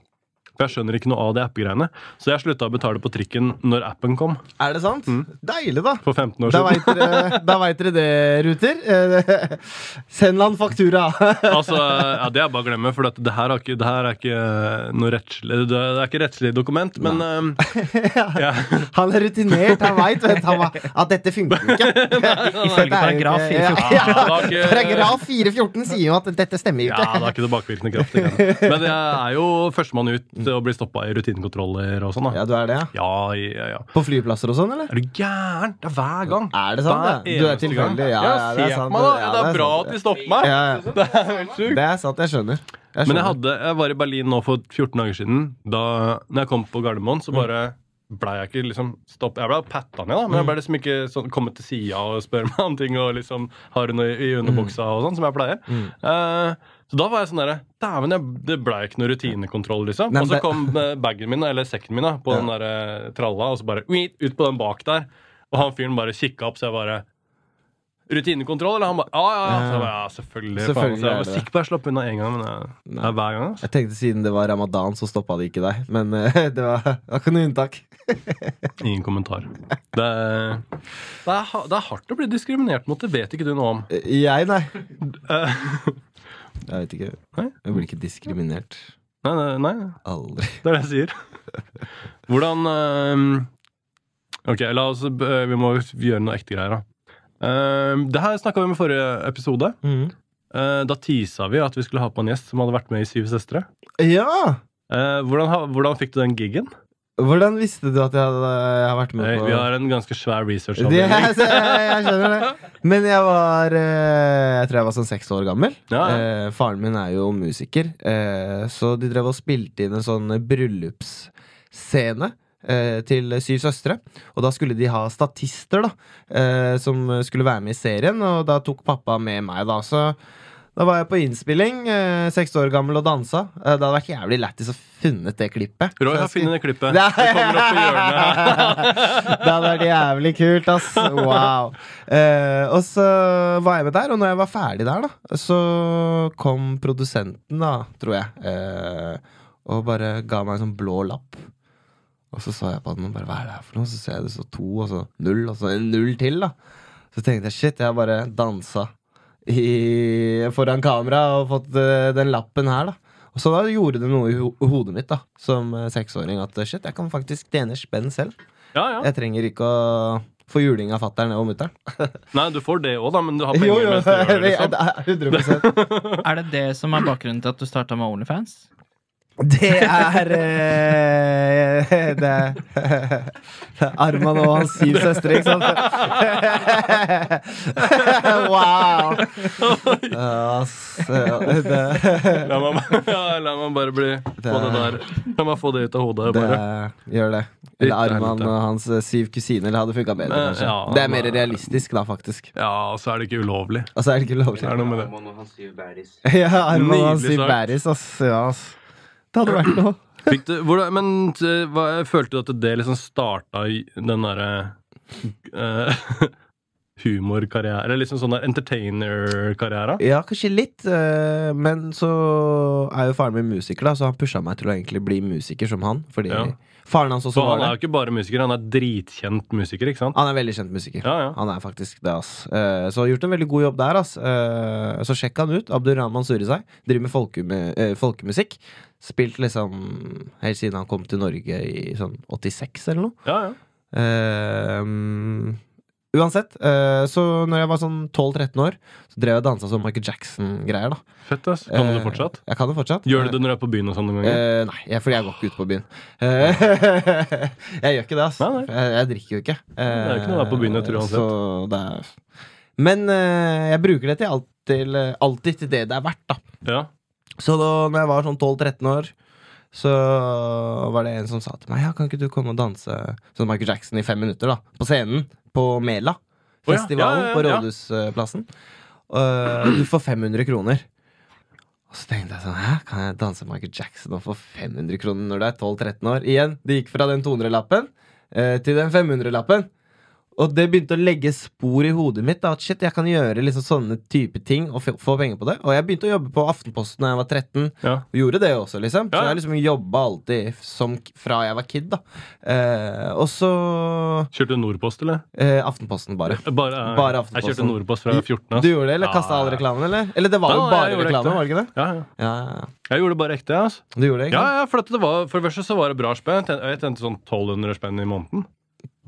Speaker 2: For jeg skjønner ikke noe av de app-greiene. Så jeg slutta å betale på trikken når appen kom,
Speaker 3: Er det sant?
Speaker 2: Mm.
Speaker 3: Deilig, da.
Speaker 2: for 15 år
Speaker 3: Da
Speaker 2: siden.
Speaker 3: veit dere, da vet dere det, Ruter. Eh, Send han faktura.
Speaker 2: Altså, ja, Det er bare å glemme, for at det her, har ikke, det her er ikke eh, noe rettslig Det er ikke rettslig dokument, men eh, ja.
Speaker 3: Han er rutinert, han veit at dette funker ikke.
Speaker 4: Ifølge eh, paragraf 414.
Speaker 3: Ja,
Speaker 2: Ja, ah, det var ikke-
Speaker 3: Paragraf 414 sier jo at dette stemmer jo
Speaker 2: Ja,
Speaker 3: ikke.
Speaker 2: det er ikke tilbakevirkende kraft. det greiene. Men jeg er jo førstemann ut til å bli stoppa i rutinekontroller og sånn. da.
Speaker 3: Ja, du er det, ja?
Speaker 2: Mm. Ja, ja, ja.
Speaker 3: På flyplasser og sånn, eller?
Speaker 2: Er du gæren? Det er hver gang.
Speaker 3: Er det sant? det? Du
Speaker 2: eneste
Speaker 3: er
Speaker 2: gang.
Speaker 3: tilfeldig? Ja, ja, det er
Speaker 2: se på
Speaker 3: sant.
Speaker 2: meg, da. Ja, det
Speaker 3: Ja,
Speaker 2: er bra
Speaker 3: sant,
Speaker 2: at de stopper meg.
Speaker 3: Ja, ja.
Speaker 2: Det er helt sjukt.
Speaker 3: Det er sant, jeg skjønner. Jeg
Speaker 2: Men jeg,
Speaker 3: skjønner.
Speaker 2: hadde, jeg var i Berlin nå for 14 dager siden. Da når jeg kom på Gardermoen,
Speaker 3: Mm.
Speaker 2: så bare blei jeg ikke liksom stopp. Jeg blei patta ned, da,
Speaker 3: Mm.
Speaker 2: men jeg blei liksom ikke sånn kommet til sida og spør meg om ting og liksom har noe i
Speaker 3: Mm.
Speaker 2: underbuksa og sånn, som jeg pleier. Eh, så da var jeg sånn derre Dæven, jeg- det blei ikke noe rutinekontroll, liksom.
Speaker 3: Nei,
Speaker 2: og så
Speaker 3: men-
Speaker 2: kom eh, bagen min, da, eller sekken min, da, på
Speaker 3: Ja.
Speaker 2: den derre tralla, og så bare uit ut på den bak der. Og han fyren bare kikka opp, så jeg bare Rutinekontroll, eller? Han bare Ja, ja, ja. Så jeg bare, ja selvfølgelig. faen.
Speaker 3: Selvfølgelig
Speaker 2: Så jeg
Speaker 3: er
Speaker 2: var
Speaker 3: det det.
Speaker 2: sikker på at jeg slapp unna én gang, men eh, jeg, det
Speaker 3: Nei.
Speaker 2: er hver gang. altså. ass.
Speaker 3: Jeg tenkte siden det var ramadan, så stoppa det ikke deg. Men eh, det var, det var ikke noe unntak.
Speaker 2: Ingen kommentar. Det er, det, er, ha- det er hardt å bli diskriminert mot, det vet ikke du noe om.
Speaker 3: Eh, Jeg, nei.
Speaker 2: Eh,
Speaker 3: Jeg vet ikke.
Speaker 2: Nei?
Speaker 3: Jeg blir ikke diskriminert.
Speaker 2: nei, nei, nei,
Speaker 3: Aldri.
Speaker 2: det er det jeg sier. Hvordan eh, Ok, la oss, eh, vi må gjøre noe ekte greier, da. Eh, det her snakka vi om i forrige episode. Eh, da tisa vi at vi skulle ha på en gjest som hadde vært med i Syv søstre.
Speaker 3: Ja!
Speaker 2: Eh, hvordan, ha- hvordan fikk du den gigen?
Speaker 3: Hvordan visste du at jeg, hadde, jeg har vært med
Speaker 2: Eh,
Speaker 3: på
Speaker 2: vi har en ganske svær
Speaker 3: det, jeg,
Speaker 2: researchavdeling.
Speaker 3: jeg skjønner det. Men jeg var eh, Jeg tror jeg var sånn seks år gammel.
Speaker 2: Ja, ja.
Speaker 3: Eh, faren min er jo musiker, eh, så de drev og spilte inn en sånn bryllupsscene. eh, Til Syv søstre. Og da skulle de ha statister da eh, som skulle være med i serien. Og da tok pappa med meg, da. Så da var jeg på innspilling, eh, seks år gammel, og dansa. Eh, det hadde vært jævlig lættis å funnet det klippet.
Speaker 2: Roy
Speaker 3: Så
Speaker 2: har
Speaker 3: jeg skulle-
Speaker 2: funnet det klippet. Det kommer opp på hjørnet.
Speaker 3: det hadde vært jævlig kult, ass. Wow. Eh, og så var jeg med der, og når jeg var ferdig der, da, så kom produsenten, da, tror jeg, eh, og bare ga meg en sånn blå lapp. Og så sa jeg på den, og bare, hva er det her for noe? Så ser jeg det så to, og så null, og så en null til, da. Så tenkte jeg, shit, jeg har bare dansa i, foran kamera og fått eh, den lappen her, da. Og så da gjorde det noe i ho hodet mitt da som eh, seksåring at eh, shit, jeg kan faktisk tjene spenn selv.
Speaker 2: Ja, ja.
Speaker 3: Jeg trenger ikke å få juling av fatter'n og mutter'n.
Speaker 2: Nei, du får det òg, da, men du har penger mens du gjør det. Liksom.
Speaker 4: Er det det som er bakgrunnen til at du starta med Onlyfans?
Speaker 3: Det er eh, Det er Arman og hans syv søstre, ikke sant? Wow! Ass, det,
Speaker 2: La meg, ja, la meg bare bli få det der. La meg få det ut av hodet.
Speaker 3: det
Speaker 2: Bare.
Speaker 3: gjør det. Eller Arman og hans eh, syv kusiner. Det hadde funka bedre,
Speaker 2: Eh,
Speaker 3: kanskje.
Speaker 2: ja,
Speaker 3: Det er
Speaker 2: men-
Speaker 3: mer realistisk, da, faktisk.
Speaker 2: Ja, og så er det ikke ulovlig.
Speaker 3: Altså, er det ikke lovlig?
Speaker 2: Det er noe med det.
Speaker 5: Ramon og hans syv bæris.
Speaker 3: Ja, Arman og hans
Speaker 2: Nydelig
Speaker 3: syv
Speaker 2: sagt.
Speaker 3: bæris, ass. Ja, ass. Det hadde vært noe.
Speaker 2: Fikk du, hvordan, men eh, hva, følte du at det liksom starta i den derre eh, humorkarriere? Eller liksom sånn entertainer-karriere?
Speaker 3: Ja, kanskje litt. eh, Men så er jo faren min musiker, da, så han pusha meg til å egentlig bli musiker som han. Fordi
Speaker 2: Ja.
Speaker 3: faren hans også
Speaker 2: Så han
Speaker 3: var
Speaker 2: er jo
Speaker 3: det.
Speaker 2: ikke bare musiker, han er dritkjent musiker, ikke sant?
Speaker 3: Han er veldig kjent musiker.
Speaker 2: Ja, ja.
Speaker 3: Han er faktisk det, ass. Eh, Så har gjort en veldig god jobb der, ass. Eh, Så sjekk han ut. Abdurrahman Surisai. Driver med folkemu eh, folkemusikk. Spilt liksom helt siden han kom til Norge i sånn 86 eller noe.
Speaker 2: ja, ja.
Speaker 3: Eh, mm, uansett, eh, så når jeg var sånn 12-13 år, så drev jeg og dansa sånn Michael Jackson-greier, da.
Speaker 2: Fett, ass. Kan du det
Speaker 3: Eh,
Speaker 2: fortsatt?
Speaker 3: Jeg kan det fortsatt.
Speaker 2: Gjør du det når du er på byen og sånn noen ganger?
Speaker 3: Eh, nei, jeg, fordi jeg går ikke ut på byen. Eh, jeg gjør ikke det, ass.
Speaker 2: Nei, nei.
Speaker 3: Jeg, jeg drikker jo ikke. Eh,
Speaker 2: er jo ikke noe å være på byen etter uansett.
Speaker 3: så det er... Men eh, jeg bruker det til alt, til eh, alltid til det det er verdt, da.
Speaker 2: Ja.
Speaker 3: Så da når jeg var sånn 12-13 år, så var det en som sa til meg Ja, kan ikke du komme og danse som Michael Jackson i fem minutter, da? På scenen på Mela.
Speaker 2: Å ja,
Speaker 3: Festivalen
Speaker 2: ja, ja,
Speaker 3: på
Speaker 2: ja.
Speaker 3: Rådhusplassen. Eh, du får 500 kroner. Og så tenkte jeg sånn Hæ, kan jeg danse Michael Jackson og få 500 kroner når du er 12-13 år? Igjen, det gikk fra den 200-lappen eh, til den 500-lappen. Og det begynte å legge spor i hodet mitt. Da, at shit, jeg kan gjøre liksom sånne type ting og f få penger på det. Og jeg begynte å jobbe på Aftenposten da jeg var 13.
Speaker 2: ja.
Speaker 3: Og Gjorde det også, liksom.
Speaker 2: Ja,
Speaker 3: Så
Speaker 2: ja.
Speaker 3: jeg liksom jobba alltid som, fra jeg var kid, da. Eh, og så
Speaker 2: Kjørte du Nordpost, eller?
Speaker 3: eh, Aftenposten, bare.
Speaker 2: Bare,
Speaker 3: Bare
Speaker 2: Jeg
Speaker 3: Aftenposten.
Speaker 2: kjørte Nordpost fra 14, ass.
Speaker 3: Du gjorde det, eller
Speaker 2: Ja,
Speaker 3: kasta all
Speaker 2: ja.
Speaker 3: reklamen, eller? Eller det var jo
Speaker 2: Nei, jeg
Speaker 3: bare
Speaker 2: gjorde
Speaker 3: reklame,
Speaker 2: ikke
Speaker 3: var det ikke det?
Speaker 2: Ja, ja.
Speaker 3: Ja, ja, ja.
Speaker 2: Jeg gjorde bare ekte, ass.
Speaker 3: Du gjorde det,
Speaker 2: Ja,
Speaker 3: ikke sant?
Speaker 2: ja, for, at det var, for det første så var det bra spenn. Jeg tjente- Jeg tjente sånn 1200 spenn i måneden.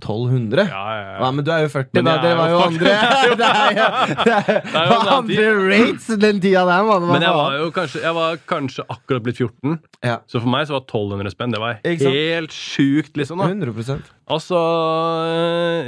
Speaker 3: 1200?
Speaker 2: Ja, ja,
Speaker 3: Ja,
Speaker 2: ja.
Speaker 3: men du er jo 40,
Speaker 2: Men
Speaker 3: da.
Speaker 2: jeg
Speaker 3: Det
Speaker 2: er
Speaker 3: var
Speaker 2: jo
Speaker 3: jo
Speaker 2: fuck- er jo
Speaker 3: andre Det er jo, det er, jo
Speaker 2: en annen
Speaker 3: andre rates den tida der, mann. Hva
Speaker 2: Men jeg var
Speaker 3: faen?
Speaker 2: jo kanskje, jeg var kanskje akkurat blitt 14,
Speaker 3: Ja.
Speaker 2: så for meg så var 1200 spenn det var
Speaker 3: Ikke sant?
Speaker 2: helt sjukt. liksom da
Speaker 3: 100
Speaker 2: Altså,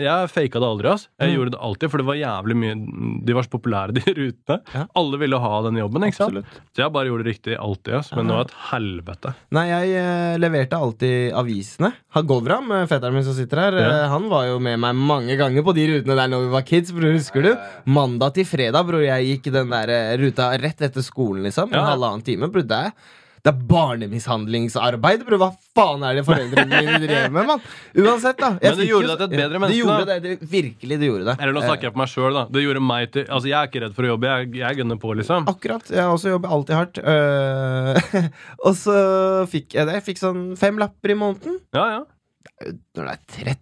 Speaker 2: Jeg faka det aldri. ass Jeg
Speaker 3: Mm.
Speaker 2: gjorde det alltid, for det var jævlig mye De var så populære, de rutene.
Speaker 3: Ja.
Speaker 2: Alle ville ha den jobben. ikke sant?
Speaker 3: Absolutt.
Speaker 2: Så jeg bare gjorde det riktig alltid. ass Men det var et helvete.
Speaker 3: Nei, jeg eh, leverte alltid avisene. Han Govram, eh, fetteren min som sitter her,
Speaker 2: Ja.
Speaker 3: eh, han var jo med meg mange ganger på de rutene der når vi var kids, bror. Husker du? Mandag til fredag, bror, jeg gikk den der eh, ruta rett etter skolen, liksom. En
Speaker 2: Ja.
Speaker 3: halvannen time. Bror, det er det er barnemishandlingsarbeid, bror! Hva faen er det foreldrene mine drev med, mann? Uansett, da.
Speaker 2: Men
Speaker 3: jeg
Speaker 2: det
Speaker 3: fikk jo
Speaker 2: gjorde
Speaker 3: så-
Speaker 2: deg til et bedre
Speaker 3: Det
Speaker 2: menneske,
Speaker 3: gjorde
Speaker 2: da.
Speaker 3: det, det, virkelig, det gjorde det.
Speaker 2: Eller nå snakker jeg på meg sjøl, da. Det gjorde meg til Altså, Jeg er ikke redd for å jobbe. Jeg, jeg gunner på, liksom.
Speaker 3: Eh, Akkurat. Jeg har også jobber alltid hardt. Eh, og så fikk jeg det. Jeg fikk sånn fem lapper i måneden.
Speaker 2: Ja, ja.
Speaker 3: når du er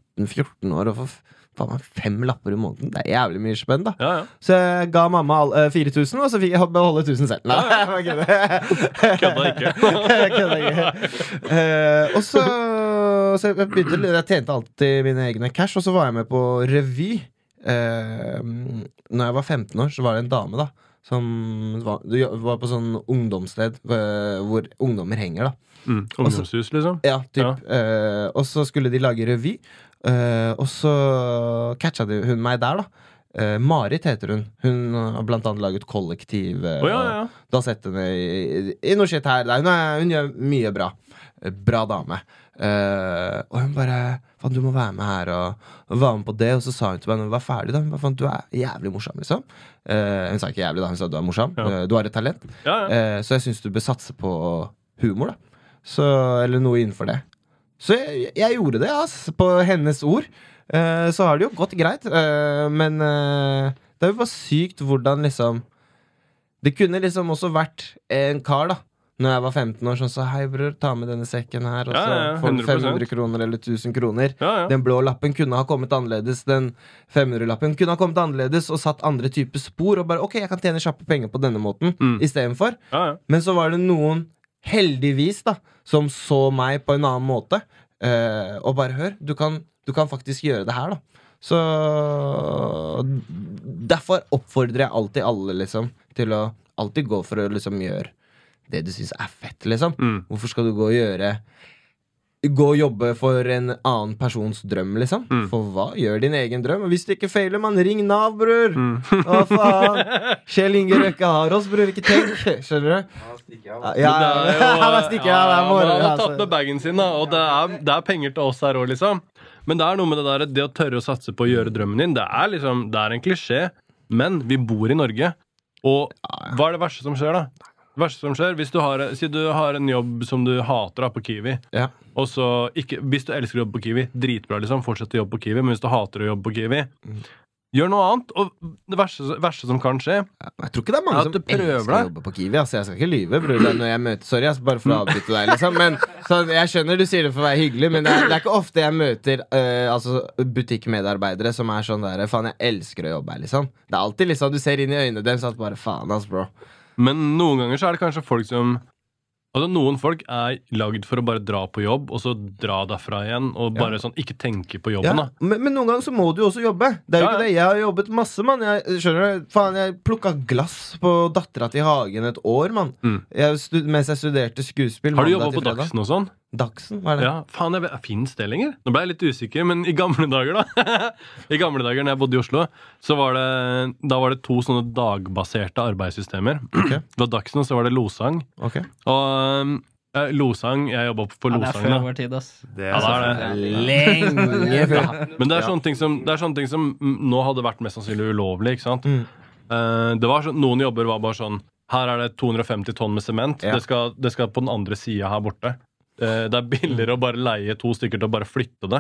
Speaker 3: 13-14 år og får f- faen meg fem lapper i måneden, det er jævlig mye spenn, da.
Speaker 2: ja, ja.
Speaker 3: Så jeg ga mamma all- eh, 4000, og så fikk jeg beholde 1000 selv. Nei, jeg kødder.
Speaker 2: Kødda ikke.
Speaker 3: Jeg kødder ikke. Eh, og så, så jeg, begynte, jeg tjente alltid mine egne cash, og så var jeg med på revy. Uh, når jeg var 15 år, så var det en dame da som var, du jo- var på sånn ungdomssted eh, hvor ungdommer henger. da
Speaker 2: Mm,
Speaker 3: Altså-
Speaker 2: ungdomshus, liksom.
Speaker 3: ja, typ. Eh, og så skulle de lage revy, eh, og så catcha de, hun meg der, da. Eh, Marit heter hun. Hun har blant annet laget Kollektiv. eh,
Speaker 2: Å, ja, ja, ja.
Speaker 3: Da setter hun i, i, i noe shit her. der. Hun, er, hun gjør mye bra. Eh, Bra dame. Eh, og hun bare Faen, du må være med her og, og være med på det. Og så sa hun til meg når vi var ferdig, da. Hun bare, faen, du er jævlig morsom, liksom. Eh, hun sa ikke jævlig, da. Hun sa du er morsom.
Speaker 2: Ja.
Speaker 3: Eh, du har et talent.
Speaker 2: ja, ja.
Speaker 3: Eh, så jeg syns du bør satse på humor, da. Så, eller noe innenfor det. Så jeg, jeg gjorde det, ass. På hennes ord. Eh, så har det jo gått greit, eh, men eh, det er jo bare sykt hvordan liksom Det kunne liksom også vært en kar, da. Når jeg var 15 år, sånn så Hei, bror, ta med denne sekken her, og
Speaker 2: Ja,
Speaker 3: så
Speaker 2: ja, ja,
Speaker 3: får du
Speaker 2: 100%.
Speaker 3: 500 kroner eller 1000 kroner.
Speaker 2: ja, ja.
Speaker 3: Den blå lappen kunne ha kommet annerledes. Den 500-lappen kunne ha kommet annerledes og satt andre typer spor. Og bare, ok, jeg kan tjene kjappe penger på denne måten
Speaker 2: Mm.
Speaker 3: istedenfor.
Speaker 2: ja, ja.
Speaker 3: Men så var det noen, heldigvis, da som så meg på en annen måte. Eh, og bare hør, du kan, du kan faktisk gjøre det her, da. Så Derfor oppfordrer jeg alltid alle, liksom, til å alltid gå for å liksom gjøre det du syns er fett, liksom.
Speaker 2: Mm.
Speaker 3: Hvorfor skal du gå og gjøre Gå og jobbe for en annen persons drøm, liksom?
Speaker 2: Mm.
Speaker 3: For hva? Gjør din egen drøm. Og hvis du ikke feiler, mann, ring Nav, bror!
Speaker 2: Mm.
Speaker 3: Hva faen? Kjell Inge Røkke har oss, bror. Ikke tenk. Skjønner du?
Speaker 5: Ja, stikker av.
Speaker 3: Ja,
Speaker 2: Men
Speaker 3: ja,
Speaker 5: altså.
Speaker 2: det er jo-
Speaker 3: ja, da stikker jeg av. Det er
Speaker 2: Ja,
Speaker 3: moro,
Speaker 2: Man har
Speaker 3: altså.
Speaker 2: tatt med bagen sin, da, og det er, det er penger til oss her òg, liksom. Men det er noe med det der, det å tørre å satse på å gjøre drømmen din. Det er liksom, det er en klisjé, men vi bor i Norge. Og hva er det verste som skjer, da? Det verste som skjer, hvis du har, Si du har en jobb som du hater da, på Kiwi.
Speaker 3: Ja.
Speaker 2: Og
Speaker 3: Mm.
Speaker 2: så ikke, Hvis du elsker å jobbe på Kiwi, dritbra, liksom, fortsett å jobbe på Kiwi. Men hvis du hater å jobbe på Kiwi, Gjør noe annet. Og det verste, verste som kan skje
Speaker 3: Ja, men jeg tror ikke det er mange
Speaker 2: Ja,
Speaker 3: som
Speaker 2: du prøver
Speaker 3: elsker å
Speaker 2: deg.
Speaker 3: jobbe på Kiwi. Altså, jeg skal ikke lyve, bror. Når jeg møter, sorry, altså, bare for å avbryte deg, liksom. Men, så jeg skjønner du sier det for å være hyggelig, men det er, det er ikke ofte jeg møter eh, altså, butikkmedarbeidere som er sånn der Faen, jeg elsker å jobbe her, liksom. Det er alltid liksom Du ser inn i øynene deres at bare faen, ass, bro.
Speaker 2: Men noen ganger så er det kanskje folk som Altså Noen folk er lagd for å bare dra på jobb, og så dra derfra igjen. Og
Speaker 3: Ja.
Speaker 2: bare sånn ikke tenke på
Speaker 3: Ja,
Speaker 2: jobben. da
Speaker 3: men, men noen ganger så må du jo også jobbe. Det er
Speaker 2: Ja,
Speaker 3: jo ikke
Speaker 2: ja.
Speaker 3: det. Jeg har jobbet masse, mann. Jeg, skjønner du? Faen, jeg plukka glass på dattera til Hagen et år, mann.
Speaker 2: Mm.
Speaker 3: Jeg stu- Mens jeg studerte skuespill.
Speaker 2: Har du
Speaker 3: mandag
Speaker 2: jobba
Speaker 3: til
Speaker 2: på
Speaker 3: fredag.
Speaker 2: Dagsen og sånn?
Speaker 3: Dagsen? Hva er det?
Speaker 2: Ja, faen, jeg vet- Fins det lenger? Nå ble jeg litt usikker, men i gamle dager, da I gamle dager når jeg bodde i Oslo, så var det, da var det to sånne dagbaserte arbeidssystemer.
Speaker 3: Ok.
Speaker 2: Det var Dagsen, og så var det Losang.
Speaker 3: Ok.
Speaker 2: Og um, eh, Losang Jeg jobba på
Speaker 4: Ja, det er
Speaker 2: Losang,
Speaker 4: før
Speaker 2: da.
Speaker 4: vår tid, ass.
Speaker 3: Det
Speaker 2: Ja, det
Speaker 4: er
Speaker 3: lenge før.
Speaker 2: Men det er sånne ting som, det er sånne ting som mm, nå hadde vært mest sannsynlig ulovlig. ikke sant?
Speaker 3: Mm.
Speaker 2: Eh, det var sånn, Noen jobber var bare sånn Her er det 250 tonn med sement.
Speaker 3: Ja.
Speaker 2: Det, skal, det skal på den andre sida her borte. Eh, det er billigere å bare leie to stykker til å bare flytte det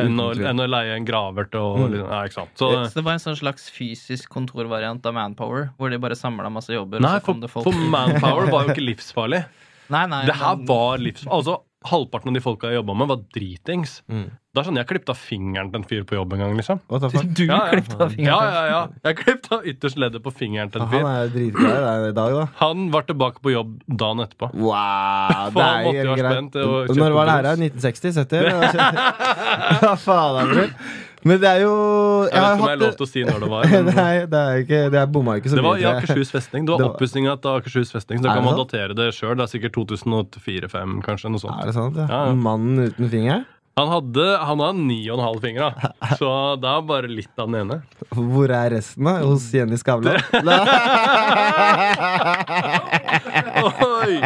Speaker 2: enn å,
Speaker 3: Uten tvil.
Speaker 2: enn å leie en graver til å
Speaker 3: Mm.
Speaker 2: liksom, Nei, ikke sant. Så,
Speaker 4: Så det var en sånn slags fysisk kontorvariant av Manpower, hvor de bare samla masse jobber.
Speaker 2: nei,
Speaker 4: og så kom
Speaker 2: for,
Speaker 4: det folk
Speaker 2: for
Speaker 4: ut.
Speaker 2: manpower var jo ikke livsfarlig.
Speaker 4: Nei, nei,
Speaker 2: Det her
Speaker 4: men-
Speaker 2: var livs... Altså, halvparten av de folka jeg jobba med, var dritings.
Speaker 3: Mm.
Speaker 2: Det er sånn jeg klippet av fingeren til en fyr på jobb en gang, liksom.
Speaker 3: What the fuck?
Speaker 4: Du
Speaker 2: Ja, ja.
Speaker 4: klippet av
Speaker 2: Ja,
Speaker 4: fingeren.
Speaker 2: ja, ja. Jeg klippet av ytterst leddet på fingeren til en
Speaker 3: Han
Speaker 2: fyr.
Speaker 3: er jo dritglad i deg i dag, da.
Speaker 2: Han var tilbake på jobb dagen etterpå.
Speaker 3: Wow, det
Speaker 2: Faen,
Speaker 3: er
Speaker 2: måtte jo
Speaker 3: jo
Speaker 2: være
Speaker 3: greit.
Speaker 2: spent til å kjøpe
Speaker 3: Når var det her?
Speaker 2: brus.
Speaker 3: da? 1960? 70? Hva faen, André? Men det er jo
Speaker 2: Jeg vet ikke om jeg
Speaker 3: hatt
Speaker 2: har lov
Speaker 3: det-
Speaker 2: til å si når det var. men-
Speaker 3: Nei, det er ikke Det er bomma ikke så
Speaker 2: Det var i
Speaker 3: mye. tror jeg.
Speaker 2: Akershus festning. Det var
Speaker 3: Det var-
Speaker 2: oppussingen til Akershus festning. Så
Speaker 3: Er
Speaker 2: da
Speaker 3: det
Speaker 2: kan man
Speaker 3: sant?
Speaker 2: datere det sjøl. Det er sikkert 2004-2005, kanskje. noe
Speaker 3: Er
Speaker 2: sånt.
Speaker 3: det sant? Ja?
Speaker 2: Ja, ja.
Speaker 3: Mannen uten finger?
Speaker 2: Han hadde, han hadde ni og en halv finger, da. Så det er bare litt av den ene.
Speaker 3: Hvor er resten, da? Hos Jenny Skavlan?
Speaker 2: Oi!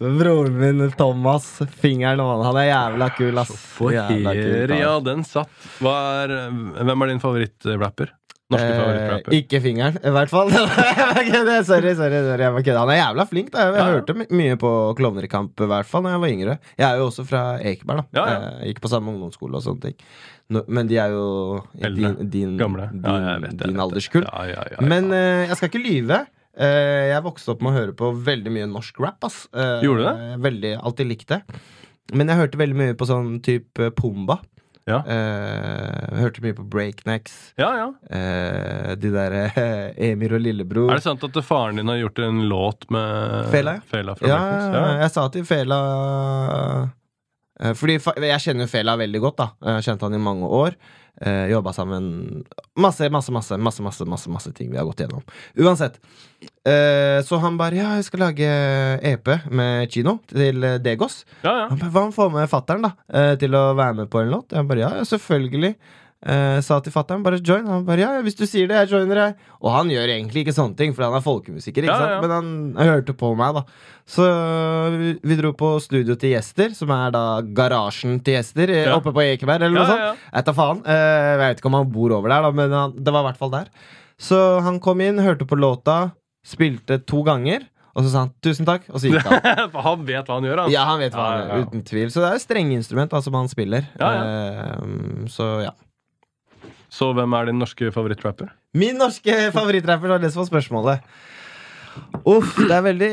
Speaker 3: Broren min Thomas, fingeren og han. Han er jævla kul, ass. Jævla kul,
Speaker 2: Her,
Speaker 3: ass.
Speaker 2: ja, den satt. Hva er, hvem er din favorittrapper? Norske favorittrapper?
Speaker 3: Eh, ikke fingeren, i hvert fall. Jeg kødder, sorry, sorry, sorry. Jeg bare kødder. Han er jævla flink. da Jeg, jeg
Speaker 2: Ja, ja.
Speaker 3: hørte my- mye på Klovnekamp, i hvert fall da jeg var yngre. Jeg er jo også fra Ekeberg. da
Speaker 2: Ja, ja.
Speaker 3: Eh, Gikk på samme ungdomsskole og sånne ting. Nå- men de er jo i
Speaker 2: Eldre.
Speaker 3: din, din,
Speaker 2: Gamle.
Speaker 3: din,
Speaker 2: Ja, jeg vet det, jeg
Speaker 3: din
Speaker 2: vet
Speaker 3: alderskull.
Speaker 2: Ja, ja, ja, ja.
Speaker 3: Men eh, jeg skal ikke lyve. Eh, jeg vokste opp med å høre på veldig mye norsk rap. Ass. Eh,
Speaker 2: Gjorde du
Speaker 3: eh, Veldig, Alltid likte det. Men jeg hørte veldig mye på sånn type Pumba.
Speaker 2: Ja.
Speaker 3: Eh, hørte mye på Breaknecks.
Speaker 2: ja, ja.
Speaker 3: Eh, de derre Emir og lillebror.
Speaker 2: Er det sant at faren din har gjort en låt med
Speaker 3: Fela, ja.
Speaker 2: fra
Speaker 3: ja,
Speaker 2: Breakings?
Speaker 3: jeg sa til Fela eh, Fordi fa jeg kjenner jo Fela veldig godt, da. Jeg har kjent han i mange år. Eh, Jobba sammen masse, masse, masse, masse, masse, masse, masse ting vi har gått gjennom. Uansett. Eh, så han bare Ja, jeg skal lage EP med Kino til eh, Degos.
Speaker 2: ja, ja.
Speaker 3: Han bare, Hva om får med fattern da eh, til å være med på en låt? Jeg bare ja, ja, selvfølgelig. Eh, sa til fattern bare join. Han bare ja, ja, hvis du sier det, jeg joiner deg. Og han gjør egentlig ikke sånne ting, for han er folkemusiker, ikke
Speaker 2: Ja, ja,
Speaker 3: sant?
Speaker 2: ja.
Speaker 3: men han, han hørte på meg, da. Så vi, vi dro på studio til Gjester, som er da garasjen til Gjester eh,
Speaker 2: Ja.
Speaker 3: oppe på Ekeberg, eller
Speaker 2: Ja,
Speaker 3: noe sånt.
Speaker 2: ja, ja.
Speaker 3: Jeg tar faen. Eh, jeg vet ikke om han bor over der, da, men han, det var i hvert fall der. Så han kom inn, hørte på låta, spilte to ganger, og så sa han tusen takk, og så gikk han.
Speaker 2: For Han vet hva han gjør, han.
Speaker 3: Ja, han vet hva han
Speaker 2: Ja,
Speaker 3: er,
Speaker 2: ja, ja.
Speaker 3: uten tvil. Så det er jo strengeinstrument da, som han altså, spiller.
Speaker 2: Ja,
Speaker 3: Ehm, så ja.
Speaker 2: Så hvem er din norske favorittrapper?
Speaker 3: Min norske favorittrapper var det som var spørsmålet. Uff, det er veldig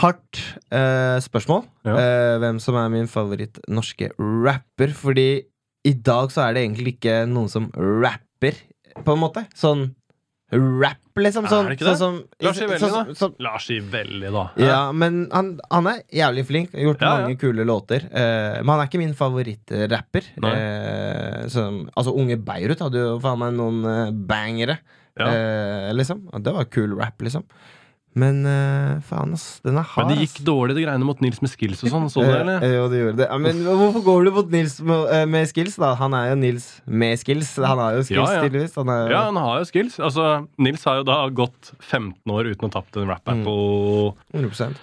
Speaker 3: hardt eh, spørsmål.
Speaker 2: Ja.
Speaker 3: Eh, hvem som er min favoritt norske rapper. Fordi i dag så er det egentlig ikke noen som rapper, på en måte. Sånn rap, liksom.
Speaker 2: Er
Speaker 3: Sånn,
Speaker 2: det ikke
Speaker 3: sånn
Speaker 2: det?
Speaker 3: som
Speaker 2: Lars Ivelli,
Speaker 3: sånn-
Speaker 2: da?
Speaker 3: sånn-
Speaker 2: Lars Ivelli, da.
Speaker 3: Ja, men han, han er jævlig flink. Har gjort
Speaker 2: Ja, ja.
Speaker 3: mange kule låter. Eh, men han er ikke min favorittrapper.
Speaker 2: Nei.
Speaker 3: Eh, som- altså, Unge Beirut hadde jo faen meg noen eh, bangere,
Speaker 2: Ja.
Speaker 3: eh, liksom. Og det var kul rap, liksom. Men eh, faen, ass. Den er hard.
Speaker 2: Men det gikk
Speaker 3: ass.
Speaker 2: dårlig, de greiene mot Nils med skills og sånn. Så du det, eller?
Speaker 3: Eh, jo, det gjorde det. Ja, men hvorfor går du mot Nils med, eh, med skills, da? Han er jo Nils med skills. Han har jo skills,
Speaker 2: Ja, ja.
Speaker 3: tydeligvis. Han er,
Speaker 2: Ja, han har jo skills. Altså, Nils har jo da gått 15 år uten å ha tapt en rap
Speaker 3: Mm.
Speaker 2: på
Speaker 3: 100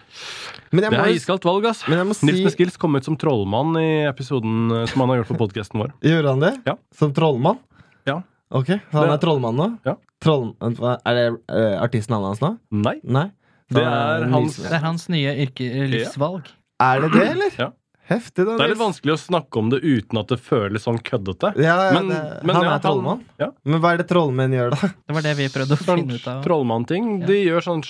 Speaker 3: Men jeg
Speaker 2: Det
Speaker 3: må,
Speaker 2: er
Speaker 3: jo-
Speaker 2: iskaldt valg, ass.
Speaker 3: men jeg må si
Speaker 2: Nils med skills kom ut som trollmann i episoden eh, som han har gjort på podkasten vår.
Speaker 3: Gjorde han det?
Speaker 2: Ja.
Speaker 3: Som trollmann?
Speaker 2: Ja.
Speaker 3: Ok, så han
Speaker 2: Det-
Speaker 3: er trollmann nå?
Speaker 2: Ja.
Speaker 3: Troll, hva- er det eh, artistnavnet hans nå?
Speaker 2: Nei.
Speaker 3: Nei?
Speaker 2: Det
Speaker 3: Han
Speaker 2: er hans-
Speaker 4: Det er hans nye yrke, livsvalg.
Speaker 3: Er det det, eller?
Speaker 2: Ja.
Speaker 3: Heftig, da.
Speaker 2: Det er litt
Speaker 3: Nils.
Speaker 2: vanskelig å snakke om det uten at det føles sånn køddete.
Speaker 3: Ja, ja,
Speaker 2: Men-
Speaker 3: det,
Speaker 2: men
Speaker 3: han
Speaker 2: ja,
Speaker 3: er trollmann.
Speaker 2: ja.
Speaker 3: Men hva er det trollmenn gjør, da?
Speaker 4: Det var det vi prøvde å
Speaker 2: Sånn
Speaker 4: finne ut av.
Speaker 2: trollmannting. De gjør sånn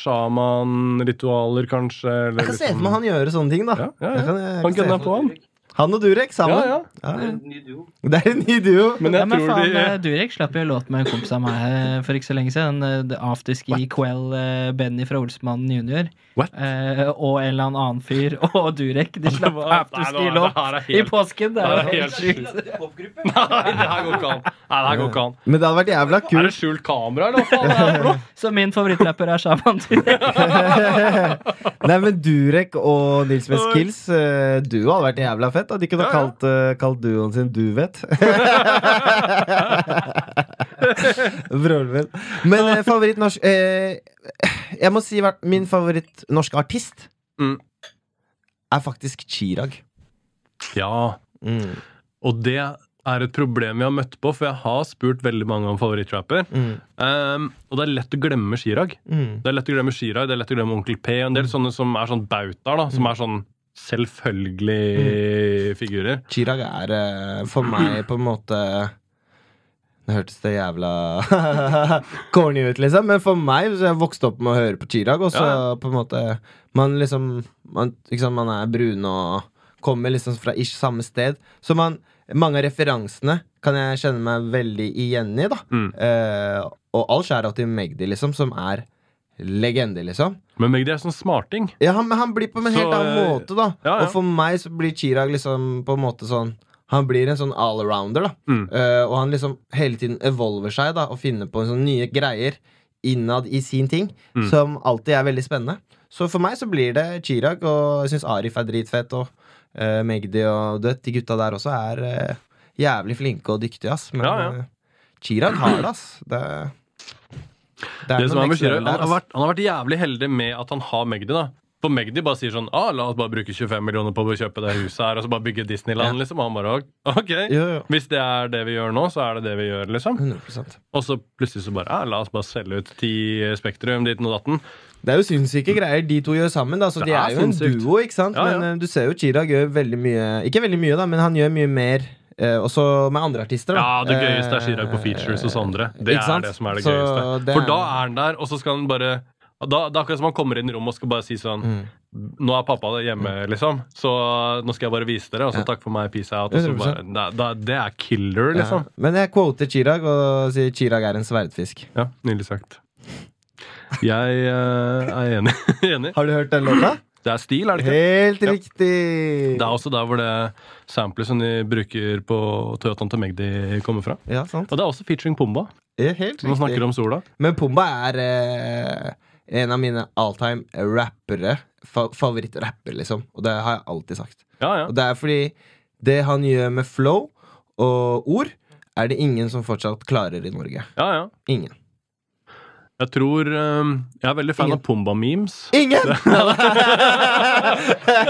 Speaker 2: sjamanritualer, kanskje. eller
Speaker 3: Jeg kan se
Speaker 2: liksom-
Speaker 3: for meg han gjøre sånne ting, da.
Speaker 2: Ja, ja,
Speaker 3: Jeg
Speaker 2: ja.
Speaker 3: kan, eh, jeg,
Speaker 2: Han
Speaker 3: kan se
Speaker 2: gønner
Speaker 3: for-
Speaker 2: på han.
Speaker 3: han og Durek
Speaker 2: Ja,
Speaker 3: sammen.
Speaker 2: ja.
Speaker 3: Ja,
Speaker 5: Det er
Speaker 3: ja.
Speaker 5: en ny duo.
Speaker 3: Det er en ny duo.
Speaker 2: Men
Speaker 4: Ja,
Speaker 2: jeg
Speaker 4: men
Speaker 2: tror
Speaker 4: faen,
Speaker 2: de
Speaker 4: eh, Durek slapp jo en låt med en kompis av meg eh, for ikke så lenge siden. eh, The Afterski Quell, eh, Benny fra Olsmannen jr.
Speaker 2: What?
Speaker 4: Eh, og en eller annen fyr og Durek. De slapp
Speaker 2: var- nei, det var-
Speaker 4: afterski-låt
Speaker 2: det her er
Speaker 4: i
Speaker 2: helt-
Speaker 4: påsken! Det
Speaker 2: det
Speaker 4: er
Speaker 2: er
Speaker 4: jo helt
Speaker 2: helt
Speaker 4: sjukt.
Speaker 5: Det er popgruppe.
Speaker 2: Nei, det her går ikke an. Nei, det her går ikke an.
Speaker 3: Men det hadde vært jævla
Speaker 2: Er
Speaker 3: kult.
Speaker 2: det skjult kamera, eller hva faen er det her for noe?
Speaker 4: Så min favorittrapper er Shaman Durek.
Speaker 3: Nei, men Durek og Nils med skills, eh, duo hadde vært jævla fett. Da. De kunne
Speaker 2: Ja,
Speaker 3: ha
Speaker 2: ja.
Speaker 3: kalt, eh, kalt duoen sin Duvet. Broren min. Men eh, favoritt norsk eh, Jeg må si hvert- min favoritt norske artist
Speaker 2: Mm.
Speaker 3: er faktisk Chirag.
Speaker 2: Ja,
Speaker 3: Mm,
Speaker 2: og det er et problem jeg har møtt på, for jeg har spurt veldig mange om favorittrapper.
Speaker 3: mm,
Speaker 2: Um, og det er lett å glemme Chirag.
Speaker 3: mm.
Speaker 2: Det er lett å glemme Chirag, det er lett å glemme Onkel P, og en del sånne som er sånn bautaer, da, som er sånn selvfølgelig figurer.
Speaker 3: Chirag er eh, for meg på en måte Nå hørtes det jævla corny ut, liksom, men for meg så jeg vokste opp med å høre på Chirag, og så
Speaker 2: Ja.
Speaker 3: på en måte Man liksom man, ikke sant, man er brun og kommer liksom fra ish samme sted. Så man, mange av referansene kan jeg kjenne meg veldig igjen i, da.
Speaker 2: Mm.
Speaker 3: Eh, og all skjæra til Magdi, liksom, som er legende, liksom.
Speaker 2: Men Magdi er sånn smarting.
Speaker 3: Ja, han, men han blir på en
Speaker 2: Så,
Speaker 3: helt annen
Speaker 2: eh,
Speaker 3: måte, da.
Speaker 2: ja, ja.
Speaker 3: Og for meg så blir Chirag liksom på en måte sånn Han blir en sånn allrounder, da.
Speaker 2: Mm.
Speaker 3: Eh, og han liksom hele tiden evolver seg da og finner på sånne nye greier innad i sin ting,
Speaker 2: Mm.
Speaker 3: som alltid er veldig spennende. Så for meg så blir det Chirag, og jeg syns Arif er dritfett, og eh, Magdi og Dødt, de gutta der også, er eh, jævlig flinke og dyktige, ass. Men
Speaker 2: Ja, ja.
Speaker 3: eh, Chirag har det, ass. Det, det
Speaker 2: Det som
Speaker 3: noe
Speaker 2: er med
Speaker 3: next
Speaker 2: Chirag,
Speaker 3: level der,
Speaker 2: han, har
Speaker 3: ass.
Speaker 2: vært, han har vært jævlig heldig med at han har Magdi. da For Magdi bare sier sånn ah, 'La oss bare bruke 25 millioner på å kjøpe det huset her', og så bare bygge Disneyland. liksom Og han bare OK.
Speaker 3: Jo, jo.
Speaker 2: Hvis det er det vi gjør nå, så er det det vi gjør, liksom.
Speaker 3: 100
Speaker 2: Og så plutselig så bare ja, La oss bare selge ut ti eh, Spektrum, dit og datten.
Speaker 3: Det er jo sinnssyke greier de to gjør sammen. Da. Så
Speaker 2: Det
Speaker 3: de
Speaker 2: er
Speaker 3: er jo en
Speaker 2: sinnssykt.
Speaker 3: duo, ikke sant?
Speaker 2: Ja, ja.
Speaker 3: Men eh, du ser jo Chirag gjør veldig mye Ikke veldig mye, da, men han gjør mye mer eh, også med andre artister. Da.
Speaker 2: Ja, det gøyeste er Chirag på
Speaker 3: Eh,
Speaker 2: features hos andre. Det
Speaker 3: ikke
Speaker 2: er
Speaker 3: sant?
Speaker 2: det som er det
Speaker 3: Så
Speaker 2: gøyeste.
Speaker 3: det
Speaker 2: For
Speaker 3: er-
Speaker 2: da er han der, og så skal han bare da, det er akkurat som han kommer inn i rommet og skal bare si sånn
Speaker 3: Mm.
Speaker 2: Nå er pappa hjemme, liksom. Så nå skal jeg bare vise dere, og så
Speaker 3: Ja.
Speaker 2: takk for meg, peace out. Og så
Speaker 3: 100%.
Speaker 2: bare, da, da, det er killer, liksom.
Speaker 3: Ja. Men jeg quoter Chirag og sier Chirag er en sverdfisk.
Speaker 2: Ja, nydelig sagt. Jeg eh, er enig. enig.
Speaker 3: Har du hørt den låta?
Speaker 2: Det er stil, er det ikke?
Speaker 3: Helt
Speaker 2: Ja.
Speaker 3: riktig!
Speaker 2: Det er også der hvor det samplet som de bruker på Toyotaen til Magdi, kommer fra.
Speaker 3: Ja, sant?
Speaker 2: Og det er også featuring Pumba.
Speaker 3: Ja, Helt
Speaker 2: Man snakker
Speaker 3: riktig.
Speaker 2: om sola.
Speaker 3: Men Pumba er eh, en av mine alltime rappere. Fa Favorittrapper, liksom. Og det har jeg alltid sagt.
Speaker 2: Ja, ja.
Speaker 3: Og det er fordi det han gjør med flow og ord, er det ingen som fortsatt klarer i Norge.
Speaker 2: ja, ja.
Speaker 3: Ingen.
Speaker 2: Jeg tror eh, Jeg er veldig fan av Pumba-memes.
Speaker 3: Ingen!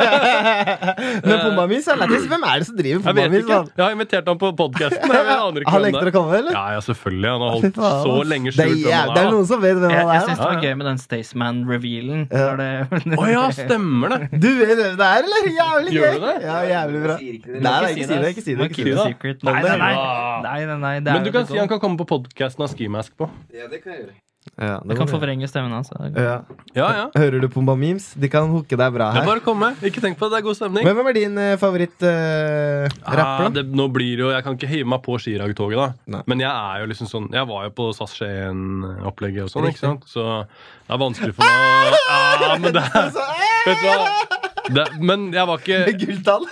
Speaker 3: Men Pumba Mis er lættis. Hvem er det som driver
Speaker 2: Jeg
Speaker 3: Pumba
Speaker 2: vet
Speaker 3: Mis?
Speaker 2: ikke. Jeg har invitert ham på podkasten. Jeg aner ikke hvem
Speaker 3: Han
Speaker 2: det
Speaker 3: nekter
Speaker 2: er.
Speaker 3: å komme, eller?
Speaker 2: Ja, ja, selvfølgelig. Han har
Speaker 3: Fy
Speaker 2: holdt
Speaker 3: faen,
Speaker 2: så
Speaker 3: ass.
Speaker 2: lenge
Speaker 3: det, er
Speaker 2: skjult hvem han
Speaker 3: jæv- det er
Speaker 2: er. da.
Speaker 3: noen som vet hvem
Speaker 4: Jeg, jeg
Speaker 3: han er.
Speaker 4: syns det
Speaker 3: da.
Speaker 4: var
Speaker 2: Ja, ja.
Speaker 4: gøy med den Staysman-revealen.
Speaker 3: Ja.
Speaker 2: Å ja, stemmer det!
Speaker 3: Du vet hvem det er, eller? Jævlig
Speaker 2: Gjør du
Speaker 3: gøy!
Speaker 2: det?
Speaker 3: Ja, jævlig bra.
Speaker 5: Jeg sier ikke det.
Speaker 3: Nei, nei,
Speaker 4: si
Speaker 3: ikke si det. Ikke si det.
Speaker 4: Må
Speaker 3: Ikke
Speaker 4: keep
Speaker 3: si
Speaker 4: it
Speaker 3: det.
Speaker 4: secret. Nei, nei, nei. nei, nei, nei det er
Speaker 2: Men du
Speaker 4: jo
Speaker 2: kan
Speaker 4: det
Speaker 2: si
Speaker 3: sånn.
Speaker 2: han kan komme på podkasten av Skimask på.
Speaker 5: Ja, det kan jeg gjøre.
Speaker 3: Ja,
Speaker 4: Du
Speaker 3: det
Speaker 4: kan
Speaker 3: må vi-
Speaker 4: forvrenge stemmen hans.
Speaker 3: ja.
Speaker 2: Ja, ja.
Speaker 3: Hører du Pumba Memes? De kan hooke deg bra
Speaker 2: Det er
Speaker 3: her.
Speaker 2: bare å komme. Ikke tenk på det. Det er god stemning.
Speaker 3: Men hvem er din eh,
Speaker 2: Ah,
Speaker 3: favoritt-rapper, da?
Speaker 2: det, nå blir det jo, Jeg kan ikke hive meg på Chirag-toget, da.
Speaker 3: Nei.
Speaker 2: Men jeg er jo liksom sånn Jeg var jo på SAS Skien-opplegget og sånn, ikke sant? Så det er vanskelig for meg å ja, men det, er-
Speaker 3: Så,
Speaker 2: Vet du hva? Det, men jeg var
Speaker 3: eh,
Speaker 2: ikke
Speaker 3: Gulltall!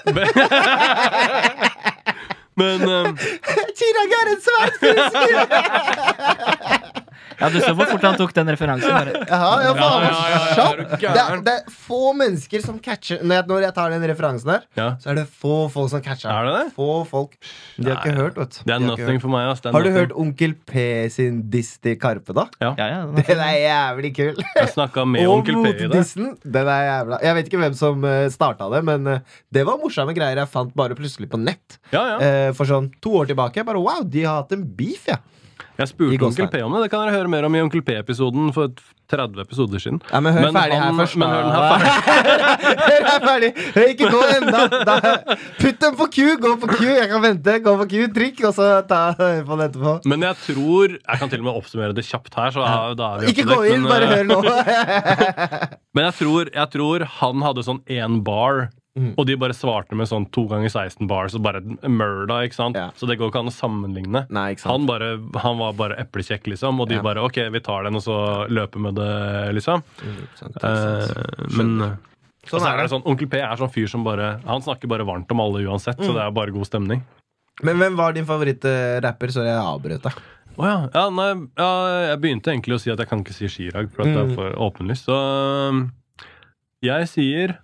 Speaker 2: Men um,
Speaker 3: Chirag er en sverdfisk!
Speaker 4: Ja, du så hvor fort han tok den referansen. Bare.
Speaker 3: Ja, ja,
Speaker 2: ja,
Speaker 3: faen.
Speaker 2: ja, ja, ja, er du
Speaker 3: Det, er,
Speaker 2: gæren?
Speaker 3: det er få mennesker som catcher Når jeg, når jeg tar den referansen der,
Speaker 2: Ja.
Speaker 3: så er det få folk som catcher.
Speaker 2: Er det det?
Speaker 3: Få folk. De har ikke
Speaker 2: Nei.
Speaker 3: hørt, vet du.
Speaker 2: Det
Speaker 3: De
Speaker 2: er
Speaker 3: har ikke
Speaker 2: nothing
Speaker 3: hørt.
Speaker 2: for meg. ass. Det er
Speaker 3: Har du
Speaker 2: nothing.
Speaker 3: hørt Onkel P sin diss til Karpe, da?
Speaker 4: Ja, ja, den er
Speaker 3: Den
Speaker 4: fin.
Speaker 3: er jævlig kul.
Speaker 2: Jeg snakka med
Speaker 3: Og
Speaker 2: onkel P i det.
Speaker 3: motedissen. Den er jævla Jeg vet ikke hvem som eh, starta det, men eh, det var morsomme greier jeg fant bare plutselig på nett.
Speaker 2: Ja, ja.
Speaker 3: Eh, For sånn to år tilbake. Jeg Bare wow, de har hatt en beef, ja.
Speaker 2: Jeg spurte
Speaker 3: I
Speaker 2: Onkel
Speaker 3: gåstegn.
Speaker 2: P om det. Det kan dere høre mer om i Onkel P-episoden for 30 episoder siden.
Speaker 3: Ja, men hør
Speaker 2: Men
Speaker 3: ferdig
Speaker 2: han-
Speaker 3: her først.
Speaker 2: men hør den her
Speaker 3: ferdig. hør her ferdig. Hør, ikke gå ennå. Da- Putt den på Q, gå på Q. Jeg kan vente. Gå på Q, trykk, og så ta hør på den etterpå.
Speaker 2: Men jeg tror Jeg kan til og med oppsummere det kjapt her. Så da, da er vi up
Speaker 3: Ikke
Speaker 2: to
Speaker 3: gå
Speaker 2: date,
Speaker 3: inn,
Speaker 2: men,
Speaker 3: bare
Speaker 2: eh,
Speaker 3: hør nå.
Speaker 2: Men jeg tror, jeg tror han hadde sånn én bar,
Speaker 3: Mm.
Speaker 2: og de bare svarte med sånn to ganger 16 bars og bare murda, ikke sant?
Speaker 3: Ja.
Speaker 2: Så det går ikke an å sammenligne.
Speaker 3: Nei, ikke sant.
Speaker 2: Han, bare, han var bare eplekjekk, liksom, og de
Speaker 3: Ja.
Speaker 2: bare OK, vi tar den, og så løper med det, liksom. Eh, men
Speaker 3: Skjønner.
Speaker 2: og så er det sånn, Onkel P er sånn fyr som bare Han snakker bare varmt om alle uansett, så det er bare god stemning. sånn.
Speaker 3: Men hvem var din favorittrapper? Sorry, jeg avbrøt deg.
Speaker 2: Å ja. Ja, nei, ja. Jeg begynte egentlig å si at jeg kan ikke si Chirag, for at det er
Speaker 3: Mm.
Speaker 2: for åpenlyst. Så um, jeg sier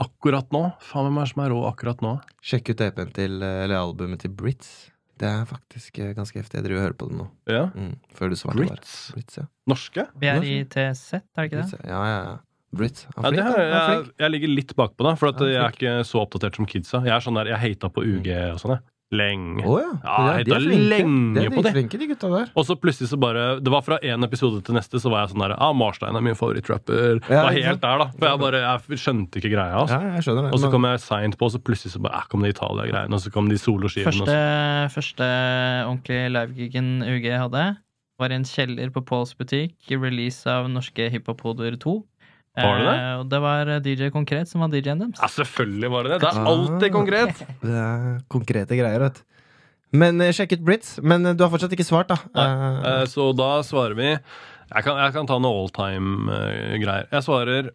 Speaker 2: akkurat nå Faen, hvem er det som er rå akkurat nå?
Speaker 3: Sjekk ut EP-en til, eh, eller albumet til Brits. Det er faktisk eh, ganske heftig. Jeg driver og hører på det nå.
Speaker 2: Ja.
Speaker 3: Mm. Før du svarte. bare.
Speaker 2: Brits?
Speaker 3: Brits, ja.
Speaker 2: Norske?
Speaker 4: BRITZ, er det ikke
Speaker 3: Brits,
Speaker 4: det?
Speaker 3: ja. ja, ja, ja. Brits. Han
Speaker 2: Ja,
Speaker 3: er
Speaker 2: det
Speaker 3: flink.
Speaker 2: har,
Speaker 3: da. Han er
Speaker 2: jeg,
Speaker 3: flink.
Speaker 2: jeg ligger litt bakpå, da, for at
Speaker 3: Ja,
Speaker 2: jeg er ikke så oppdatert som kidsa. Jeg er sånn der, jeg hata på UG og sånn, jeg. Lenge.
Speaker 3: Å ja.
Speaker 2: Ja,
Speaker 3: Ja,
Speaker 2: jeg
Speaker 3: de er
Speaker 2: heter
Speaker 3: flinke.
Speaker 2: lenge
Speaker 3: De
Speaker 2: på det.
Speaker 3: er dritflinke, de gutta der.
Speaker 2: Og så plutselig så bare Det var fra én episode til neste, så var jeg sånn der Ah, Marstein er min favorittrapper. Det
Speaker 3: Ja,
Speaker 2: var
Speaker 3: ikke
Speaker 2: helt
Speaker 3: sant?
Speaker 2: der, da. For jeg bare Jeg skjønte ikke greia. Altså.
Speaker 3: Ja, jeg skjønner det.
Speaker 2: Og så
Speaker 3: men-
Speaker 2: kom jeg seint på, og så plutselig så bare eh, kom det Italia-greiene, og så kom de soloskivene. og
Speaker 4: Første, første ordentlige livegigen UG hadde, var i en kjeller på Pauls butikk, i release av norske hiphop-hoder 2.
Speaker 2: Var det det?
Speaker 4: Eh, og det var DJ Konkret som var DJ-en deres.
Speaker 2: så- Ja, selvfølgelig var det det! Det er
Speaker 3: Ah.
Speaker 2: alltid konkret!
Speaker 3: Det er konkrete greier, vet du. Men eh, sjekk ut Brits. Men eh, du har fortsatt ikke svart, da. Eh,
Speaker 2: Eh, Så da svarer vi Jeg kan, jeg kan ta noe alltime-greier. Jeg svarer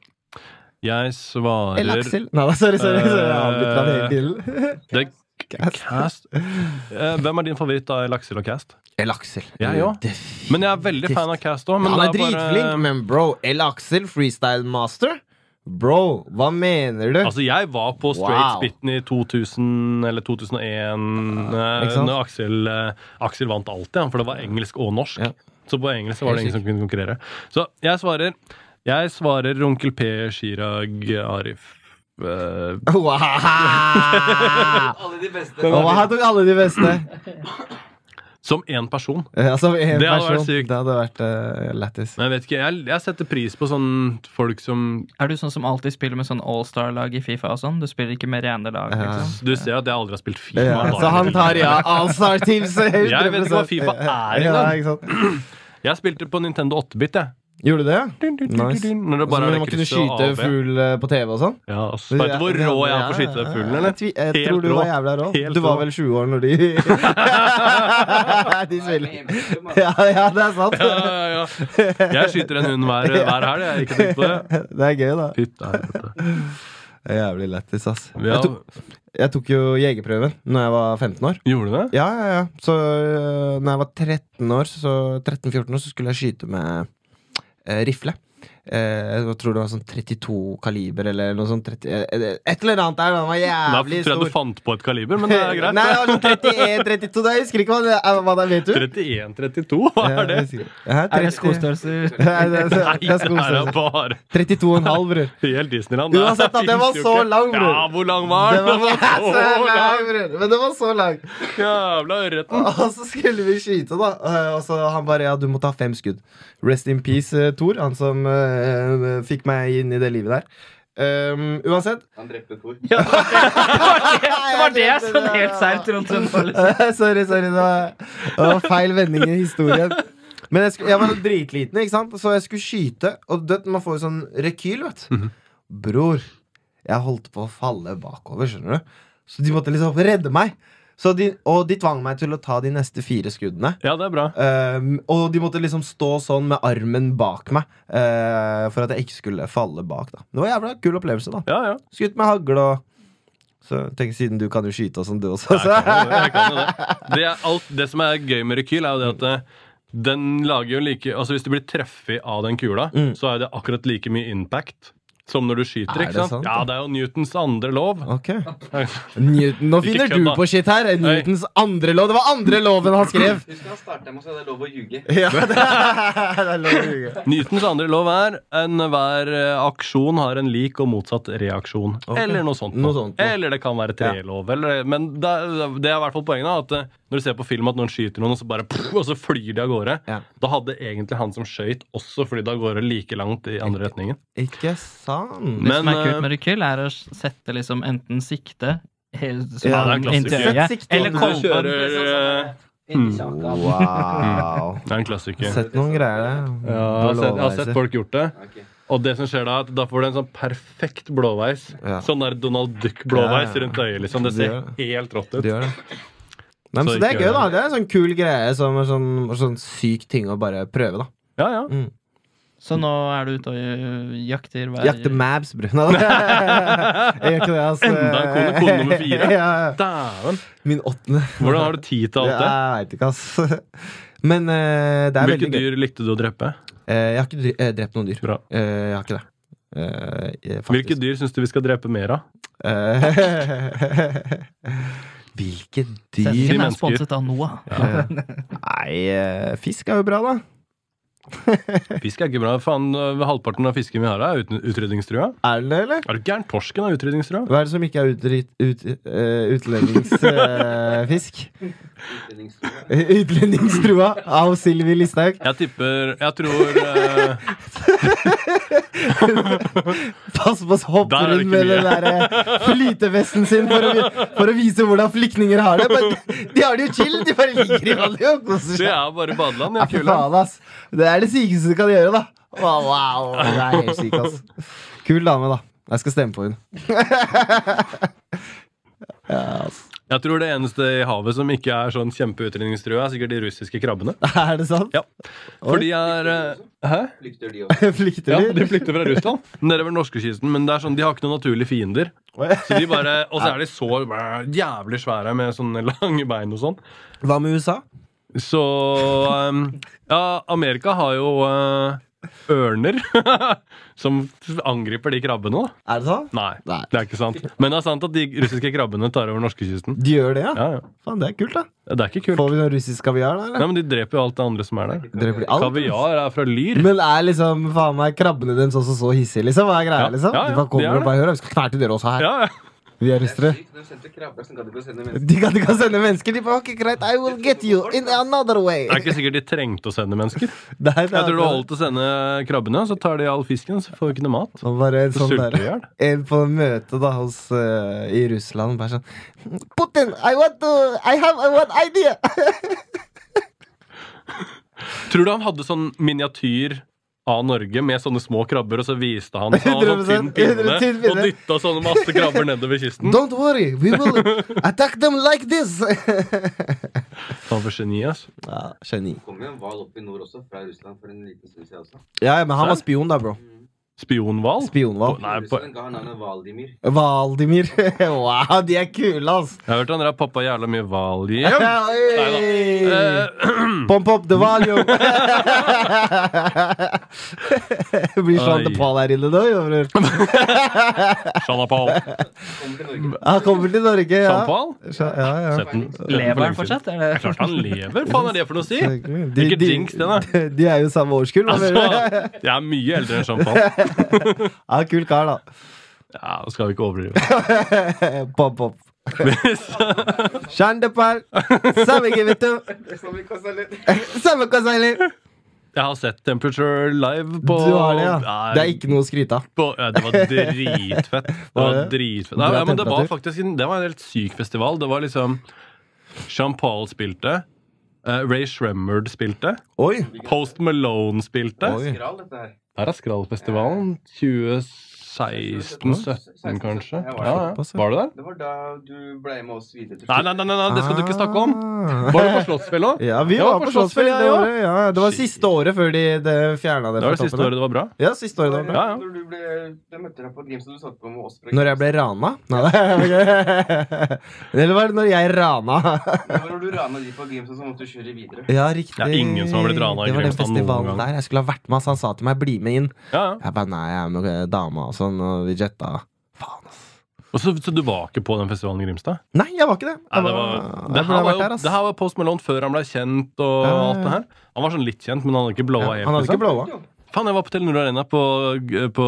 Speaker 2: Jeg
Speaker 3: eller
Speaker 2: svarer
Speaker 3: Aksel. Nei da, sorry, sorry. sorry. Jeg avbryter deg hele tiden.
Speaker 2: det,
Speaker 3: Cast.
Speaker 2: Cast. Eh, Hvem er din favoritt da i Laksil og Cast?
Speaker 3: El Aksel.
Speaker 2: Jeg òg. Men jeg er veldig fan av Cast òg.
Speaker 3: Eh, Han er dritflink, men bro, El Aksel, freestyle master? Bro, hva mener du?
Speaker 2: Altså, jeg var på Straight
Speaker 3: Wow.
Speaker 2: Spitten i 2000 eller 2001,
Speaker 3: Ja, ikke
Speaker 2: eh,
Speaker 3: sant?
Speaker 2: når Aksel, eh, Aksel vant alltid, han, for det var engelsk og norsk.
Speaker 3: Ja.
Speaker 2: Så på engelsk så var det ingen
Speaker 3: Helt
Speaker 2: som kunne konkurrere. Så jeg svarer Jeg svarer onkel P, Chirag, Arif eh,
Speaker 3: Wow!
Speaker 5: Alle de beste.
Speaker 3: Og han tok alle de beste.
Speaker 2: Som én person.
Speaker 3: Eh, Altså, en
Speaker 2: Det hadde vært
Speaker 3: person.
Speaker 2: sykt.
Speaker 3: Det hadde vært eh, lættis.
Speaker 2: Men jeg vet ikke, jeg, jeg setter pris på sånn folk som
Speaker 4: Er du sånn som alltid spiller med sånn allstar-lag i Fifa og sånn? Du spiller ikke med rene lag?
Speaker 3: Ja.
Speaker 4: Liksom?
Speaker 2: Du ser at jeg aldri har spilt Fifa.
Speaker 3: Ja,
Speaker 2: bare
Speaker 3: så han
Speaker 2: til-
Speaker 3: tar ja, Allstar-teams.
Speaker 2: Jeg vet ikke hva FIFA er
Speaker 3: Ja,
Speaker 2: engang.
Speaker 3: ikke sant?
Speaker 2: Jeg spilte på Nintendo 8-bit, jeg.
Speaker 3: Gjorde du det? Nice.
Speaker 2: Når det
Speaker 3: Som
Speaker 2: bare er
Speaker 3: om Altså, man
Speaker 2: det
Speaker 3: kunne
Speaker 2: krysset og
Speaker 3: skyte
Speaker 2: AB.
Speaker 3: fugl eh, på TV og sånn?
Speaker 2: Ja, altså, Vet du hvor rå jeg er på å skyte fuglen, eller?
Speaker 3: Jeg, tvi- jeg
Speaker 2: Helt
Speaker 3: tror du
Speaker 2: rå.
Speaker 3: var jævla rå.
Speaker 2: Helt
Speaker 3: Du var
Speaker 2: rå.
Speaker 3: vel 20 år når de De spiller. Ja, ja, det er sant.
Speaker 2: Ja, ja, ja. Jeg skyter en hund hver, hver helg, jeg har ikke tenkt på det.
Speaker 3: Det er gøy, da.
Speaker 2: Fytta helvete.
Speaker 3: Det er Jævlig lættis, ass.
Speaker 2: Ja,
Speaker 3: Jeg, tok, jeg tok jo jegerprøven Når jeg var 15 år.
Speaker 2: gjorde du det?
Speaker 3: Ja, ja, ja. Så øh, når jeg var 13 år, så 13-14 år, så skulle jeg skyte med eh, rifle. Eh, jeg tror det var sånn 32 kaliber eller noe sånt. 30, eh, et eller annet der. da. Den var
Speaker 2: Da
Speaker 3: jævlig
Speaker 2: tror jeg du
Speaker 3: stor.
Speaker 2: fant på et kaliber, men det er greit.
Speaker 3: Nei, det var sånn 31-32. da. Jeg husker ikke hva det er. Hva det er, vet du?
Speaker 2: 31-32, hva
Speaker 3: Ja,
Speaker 2: er det?
Speaker 3: jeg husker ikke. Hæ,
Speaker 4: Er det
Speaker 3: 30
Speaker 4: skostørrelser?
Speaker 3: Nei, det er,
Speaker 2: Nei,
Speaker 3: det er
Speaker 2: det her er
Speaker 3: skostørrelse.
Speaker 2: bare
Speaker 3: 32,5, bror.
Speaker 2: helt Disneyland.
Speaker 3: Uansett, da,
Speaker 2: Det
Speaker 3: den var
Speaker 2: finnes jo
Speaker 3: så
Speaker 2: ikke.
Speaker 3: lang, bror.
Speaker 2: Ja, hvor lang var
Speaker 3: Den
Speaker 2: den?
Speaker 3: var så
Speaker 2: så
Speaker 3: lang,
Speaker 2: lang!
Speaker 3: bror. Men den var så lang.
Speaker 2: Jævla ørreten.
Speaker 3: Og så skulle vi skyte, da. Eh, Og så han bare ja, du må ta fem skudd. Rest in peace, eh, Thor. Han som eh, fikk meg inn i det livet der. Um, uansett
Speaker 5: Han drepte Thor.
Speaker 4: Ja, det var det jeg sånn helt seigt rundt den følelsen.
Speaker 3: sorry, sorry. Det var, det var feil vending i historien. Men jeg, skulle, jeg var dritliten, ikke sant? så jeg skulle skyte. Og det, man får jo sånn rekyl, vet du. Bror, jeg holdt på å falle bakover, skjønner du. Så de måtte liksom redde meg. Så de, og de tvang meg til å ta de neste fire skuddene.
Speaker 2: Ja, det er bra.
Speaker 3: Um, og de måtte liksom stå sånn med armen bak meg eh, for at jeg ikke skulle falle bak. da Det var en jævla kul opplevelse. da
Speaker 2: Ja, ja.
Speaker 3: Skutt med hagle og Så tenk siden du kan jo skyte og sånn, du også.
Speaker 2: Jeg kan jo det, jeg kan jo det. Det, er alt, det som er gøy med rekyl, er jo det at eh, den lager jo like Altså Hvis du blir treffet av den kula,
Speaker 3: Mm.
Speaker 2: så er det akkurat like mye impact som når du skyter.
Speaker 3: Er
Speaker 2: ikke
Speaker 3: det
Speaker 2: sant?
Speaker 3: sant,
Speaker 2: ja,
Speaker 3: da?
Speaker 2: det er jo Newtons andre lov.
Speaker 3: Ok Newton, Nå
Speaker 2: Ikke
Speaker 3: finner
Speaker 2: kødd,
Speaker 3: du
Speaker 2: da.
Speaker 3: på shit her. Newtons andre lov. Det var andre loven han skrev!
Speaker 5: Husk han starta med å si det er lov å ljuge.
Speaker 3: Ja, det er lov å ljuge.
Speaker 2: Newtons andre lov er enhver eh, aksjon har en lik og motsatt reaksjon.
Speaker 3: Ok.
Speaker 2: Eller noe sånt.
Speaker 3: Noe sånt, ja.
Speaker 2: Eller det kan være trelov. Eller, men det, er- det er i hvert fall poenget. da, At eh, Når du ser på film at noen skyter noen, og så bare pff, og så flyr de av gårde.
Speaker 3: Ja.
Speaker 2: Da hadde egentlig han som skøyt, også flydd av gårde like langt i andre retningen.
Speaker 3: Ikke sant?
Speaker 4: Det som
Speaker 2: Men,
Speaker 4: er kult
Speaker 2: eh,
Speaker 4: med rekyl, er å sette liksom enten sikte helt som
Speaker 3: Ja,
Speaker 2: det er
Speaker 4: han
Speaker 2: klassisk.
Speaker 4: inntil øyet,
Speaker 3: Sett sikte,
Speaker 4: Eller
Speaker 3: du
Speaker 2: Du
Speaker 4: kolben.
Speaker 2: kjører
Speaker 3: sånn
Speaker 5: sånn
Speaker 2: eh,
Speaker 5: Inni saka.
Speaker 3: mm. Wow.
Speaker 2: Det er en klassiker.
Speaker 3: Sett noen greier der.
Speaker 2: Ja, jeg, har sett, jeg har sett folk gjort det.
Speaker 5: Ok.
Speaker 2: Og det som skjer da, er at da får du en sånn perfekt blåveis.
Speaker 3: Ja.
Speaker 2: Sånn der Donald Duck-blåveis
Speaker 3: Ja, ja.
Speaker 2: rundt øyet. liksom Det
Speaker 3: Det
Speaker 2: ser
Speaker 3: gjør
Speaker 2: helt rått
Speaker 3: Du
Speaker 2: ut.
Speaker 3: gjør det. Nei, men
Speaker 2: Så
Speaker 3: så det er
Speaker 2: ikke
Speaker 3: gøy,
Speaker 2: gjør
Speaker 3: da.
Speaker 2: det.
Speaker 3: Det er en sånn kul greie som er sånn, sånn syk ting å bare prøve, da.
Speaker 2: Ja, ja.
Speaker 3: Mm.
Speaker 4: Så nå er du ute og øh, jakter hver
Speaker 3: Jakte mabs, bror. Nei, da. Jeg gjør ikke det, altså.
Speaker 2: Enda en kone, kone nummer fire.
Speaker 3: Ja, ja.
Speaker 2: Dæven!
Speaker 3: Min åttende.
Speaker 2: Hvordan har du tid til alt det?
Speaker 3: Jeg veit ikke, ass. Men eh, det er
Speaker 2: Hvilke
Speaker 3: veldig gøy.
Speaker 2: dyr likte du å drepe?
Speaker 3: Eh, jeg har ikke dri- eh, drept noen dyr.
Speaker 2: Bra.
Speaker 3: Eh, jeg har ikke det. Eh, jeg- faktisk.
Speaker 2: Hvilke dyr syns du vi skal drepe mer av?
Speaker 3: Eh, Hvilke dyr
Speaker 4: Sendingen
Speaker 2: mennesker.
Speaker 4: er sponset av Noah.
Speaker 3: Eh, Nei, eh, fisk er jo bra, da.
Speaker 2: Fisk er ikke bra. Faen, øh, Halvparten av fisken vi har, er uten- utrydningstrua.
Speaker 3: Er den det, eller?
Speaker 2: Er du gæren? Torsken er utrydningstrua.
Speaker 3: Hva er det som ikke er utdri- ut, eh, utlendingsfisk?
Speaker 5: Utlendingslov.
Speaker 3: utlendingstrua av Sylvi Listhaug.
Speaker 2: Jeg tipper Jeg tror øh,
Speaker 3: Pass på å hoppe
Speaker 2: Der er det
Speaker 3: rundt
Speaker 2: ikke
Speaker 3: med
Speaker 2: mye.
Speaker 3: den der eh, flytevesten sin for å, vi- for å vise hvordan flyktninger har det. Men de har det jo chill. De bare ligger i vannet og koser
Speaker 2: Det
Speaker 3: seg.
Speaker 2: er bare badeland.
Speaker 3: Ja,
Speaker 2: Jeg
Speaker 3: fy
Speaker 2: kuler.
Speaker 3: faen, ass. Det er det sykeste du kan gjøre, da. Wow, wow. Det er helt sykt, ass. Kul dame, da. Jeg skal stemme på henne. ja, ass.
Speaker 2: Jeg tror det eneste i havet som ikke er sånn kjempeutrydningstrua, er sikkert de russiske krabbene.
Speaker 3: Er det sant?
Speaker 2: Ja. For de er øh, Hæ?
Speaker 5: Flykter de også?
Speaker 3: Flykter
Speaker 2: Ja,
Speaker 3: de?
Speaker 2: de flykter fra Russland. Nedover norskekysten. Men det er sånn, de har ikke noen naturlige fiender. Så de bare, Og så er de så bæ, jævlig svære med sånne lange bein og sånn.
Speaker 3: Hva med USA?
Speaker 2: Så ehm, Ja, Amerika har jo eh, ørner som angriper de krabbene. da.
Speaker 3: Er det sant?
Speaker 2: Nei,
Speaker 3: Nei.
Speaker 2: det er ikke sant. Men det er sant at de russiske krabbene tar over norskekysten.
Speaker 3: De gjør det, ja?
Speaker 2: Ja, ja.
Speaker 3: Faen, det er kult, da.
Speaker 2: Det er ikke kult.
Speaker 3: Får vi noe russisk kaviar, da?
Speaker 2: Nei,
Speaker 3: eller?
Speaker 2: men De dreper jo alt det andre som er der.
Speaker 3: Dreper de alt?
Speaker 2: Kaviar er fra lyr.
Speaker 3: Men er liksom faen meg krabbene deres også så hissige, liksom? Hva er greia,
Speaker 2: Ja,
Speaker 3: liksom?
Speaker 2: ja, ja, de
Speaker 3: de bare
Speaker 2: er
Speaker 3: kommer
Speaker 2: det.
Speaker 3: og bare hører, vi skal knerte dere også her.
Speaker 2: Ja, ja.
Speaker 3: Vi er
Speaker 5: Det er
Speaker 3: russere.
Speaker 5: sykt. De sendte krabber som gadd ikke å sende mennesker.
Speaker 3: De kan, de kan sende mennesker. De bare, ok, greit, I will get you in another way.
Speaker 2: Det er ikke sikkert de trengte å sende mennesker.
Speaker 3: Nei, det er
Speaker 2: Jeg tror det
Speaker 3: akkurat
Speaker 2: holdt å sende krabbene, så tar de all fisken, så får vi ikke noe mat.
Speaker 3: Og bare en
Speaker 2: Så
Speaker 3: sånn
Speaker 2: sulter de i
Speaker 3: der
Speaker 2: hjel.
Speaker 3: En på møte da hos eh, i Russland bare sånn Putin, I want to I have one idea!
Speaker 2: Tror du han hadde sånn miniatyr av Norge med sånne små krabber, og så viste han så hadde han sånn tynn
Speaker 3: 100%,
Speaker 2: pinne
Speaker 3: 100% tynn pinne.
Speaker 2: og dytta sånne masse krabber nedover kysten?
Speaker 3: Don't worry, we will attack them like this!
Speaker 2: Han var geni, ass.
Speaker 3: ja, geni.
Speaker 5: Det kom jo en hval opp i nord også, fra Russland for en liten stund siden også.
Speaker 3: Ja, men han var spion, da, bro.
Speaker 2: Spionhval?
Speaker 3: Spionhval.
Speaker 2: Oh. Nei, på,
Speaker 5: Russland ga han navnet Valdimir.
Speaker 3: Valdimir. wow, de er kule, ass!
Speaker 2: jeg har hørt han der pappa jævla mye hval hjem.
Speaker 3: Hey.
Speaker 2: Eh,
Speaker 3: Pump up the volume! Det blir sånn
Speaker 2: Oi.
Speaker 3: til Paul her inne nå, jo, bror.
Speaker 2: Jean Paul.
Speaker 5: Kom til Norge.
Speaker 3: Han kommer til Norge,
Speaker 2: Jean
Speaker 3: ja.
Speaker 2: Paul?
Speaker 3: Ja, ja.
Speaker 2: Sett den- sett den for
Speaker 4: Lever
Speaker 2: lenge
Speaker 4: han fortsatt? Er
Speaker 2: siden.
Speaker 4: det?
Speaker 2: Det er klart han lever. Faen er det for noe å si?
Speaker 3: Selvfølgelig.
Speaker 2: Ikke jinx det, da.
Speaker 3: De, de er jo samme årskull. hva
Speaker 2: Altså,
Speaker 3: mener du?
Speaker 2: jeg er mye eldre enn Jean Paul.
Speaker 3: Ja, Ah, kul kar, da.
Speaker 2: Ja, skal vi ikke overdrive.
Speaker 3: Pop, pop. Kjendepar. Samme gevito. Samme konseiler.
Speaker 2: Jeg har sett Temperature live på
Speaker 3: Du har det, ja.
Speaker 2: Nei,
Speaker 3: Det er ikke noe å skryte av.
Speaker 2: på, ja, det var dritfett. Det
Speaker 3: Var
Speaker 2: var
Speaker 3: det?
Speaker 2: dritfett.
Speaker 3: Bra
Speaker 2: Nei, ja, men det var
Speaker 3: temperatur.
Speaker 2: faktisk en, det var en helt syk festival. Det var liksom Jean Paul spilte. eh, Ray Shremmerd spilte.
Speaker 3: Oi.
Speaker 2: Post Malone spilte.
Speaker 3: Oi.
Speaker 5: Skral, dette her.
Speaker 2: Her er Skrallfestivalen. 2016-17, kanskje.
Speaker 5: Jeg var
Speaker 2: Ja, ja.
Speaker 3: såpass, ja.
Speaker 2: Var du der?
Speaker 5: Det var da du ble med oss videre til
Speaker 2: Nei, nei, nei, nei, nei, det skal du ikke snakke om!
Speaker 3: Ah.
Speaker 2: Var du på Slottsfjell òg?
Speaker 3: Ja, vi
Speaker 2: Jeg
Speaker 3: var på Slottsfjell.
Speaker 2: jeg
Speaker 3: det
Speaker 2: også.
Speaker 3: året, Ja, det var
Speaker 2: Shit.
Speaker 3: siste året før de, de fjerna det.
Speaker 2: Det var det
Speaker 3: fra
Speaker 2: siste
Speaker 3: toppen.
Speaker 2: året det var bra.
Speaker 3: Ja, siste året. det var bra.
Speaker 2: Ja, ja.
Speaker 5: Når du ble, jeg møtte deg på Grimstad, du satt på med oss. fra
Speaker 3: Når jeg ble rana? Nei, det er ok. Eller var det når jeg rana?
Speaker 5: Det var når du rana de på Grimstad, så måtte du kjøre videre.
Speaker 3: Ja, riktig.
Speaker 2: Det er ingen som har blitt rana i
Speaker 3: Det var den
Speaker 2: Grimstad noen
Speaker 3: festivalen
Speaker 2: gang.
Speaker 3: der. Jeg skulle ha vært med, ass. han sa til meg 'bli med inn'.
Speaker 2: Ja, ja.
Speaker 3: Jeg bare nei, jeg er med dama og sånn, og vi jetta. Faen, ass.
Speaker 2: Og så, så du var ikke på den festivalen i Grimstad?
Speaker 3: Nei, jeg var ikke det.
Speaker 2: Nei,
Speaker 3: Jeg
Speaker 2: det, var,
Speaker 3: var-
Speaker 2: det,
Speaker 3: jeg burde
Speaker 2: her
Speaker 3: ha
Speaker 2: var
Speaker 3: vært
Speaker 2: jo,
Speaker 3: der, ass.
Speaker 2: det her var Post Malone før han ble kjent og
Speaker 3: Ja, ja, ja.
Speaker 2: alt det her. Han var sånn litt kjent, men han hadde ikke
Speaker 3: Ja,
Speaker 2: blåa
Speaker 3: han hadde ikke blåa.
Speaker 2: Faen, jeg var på Telenor Arena på, på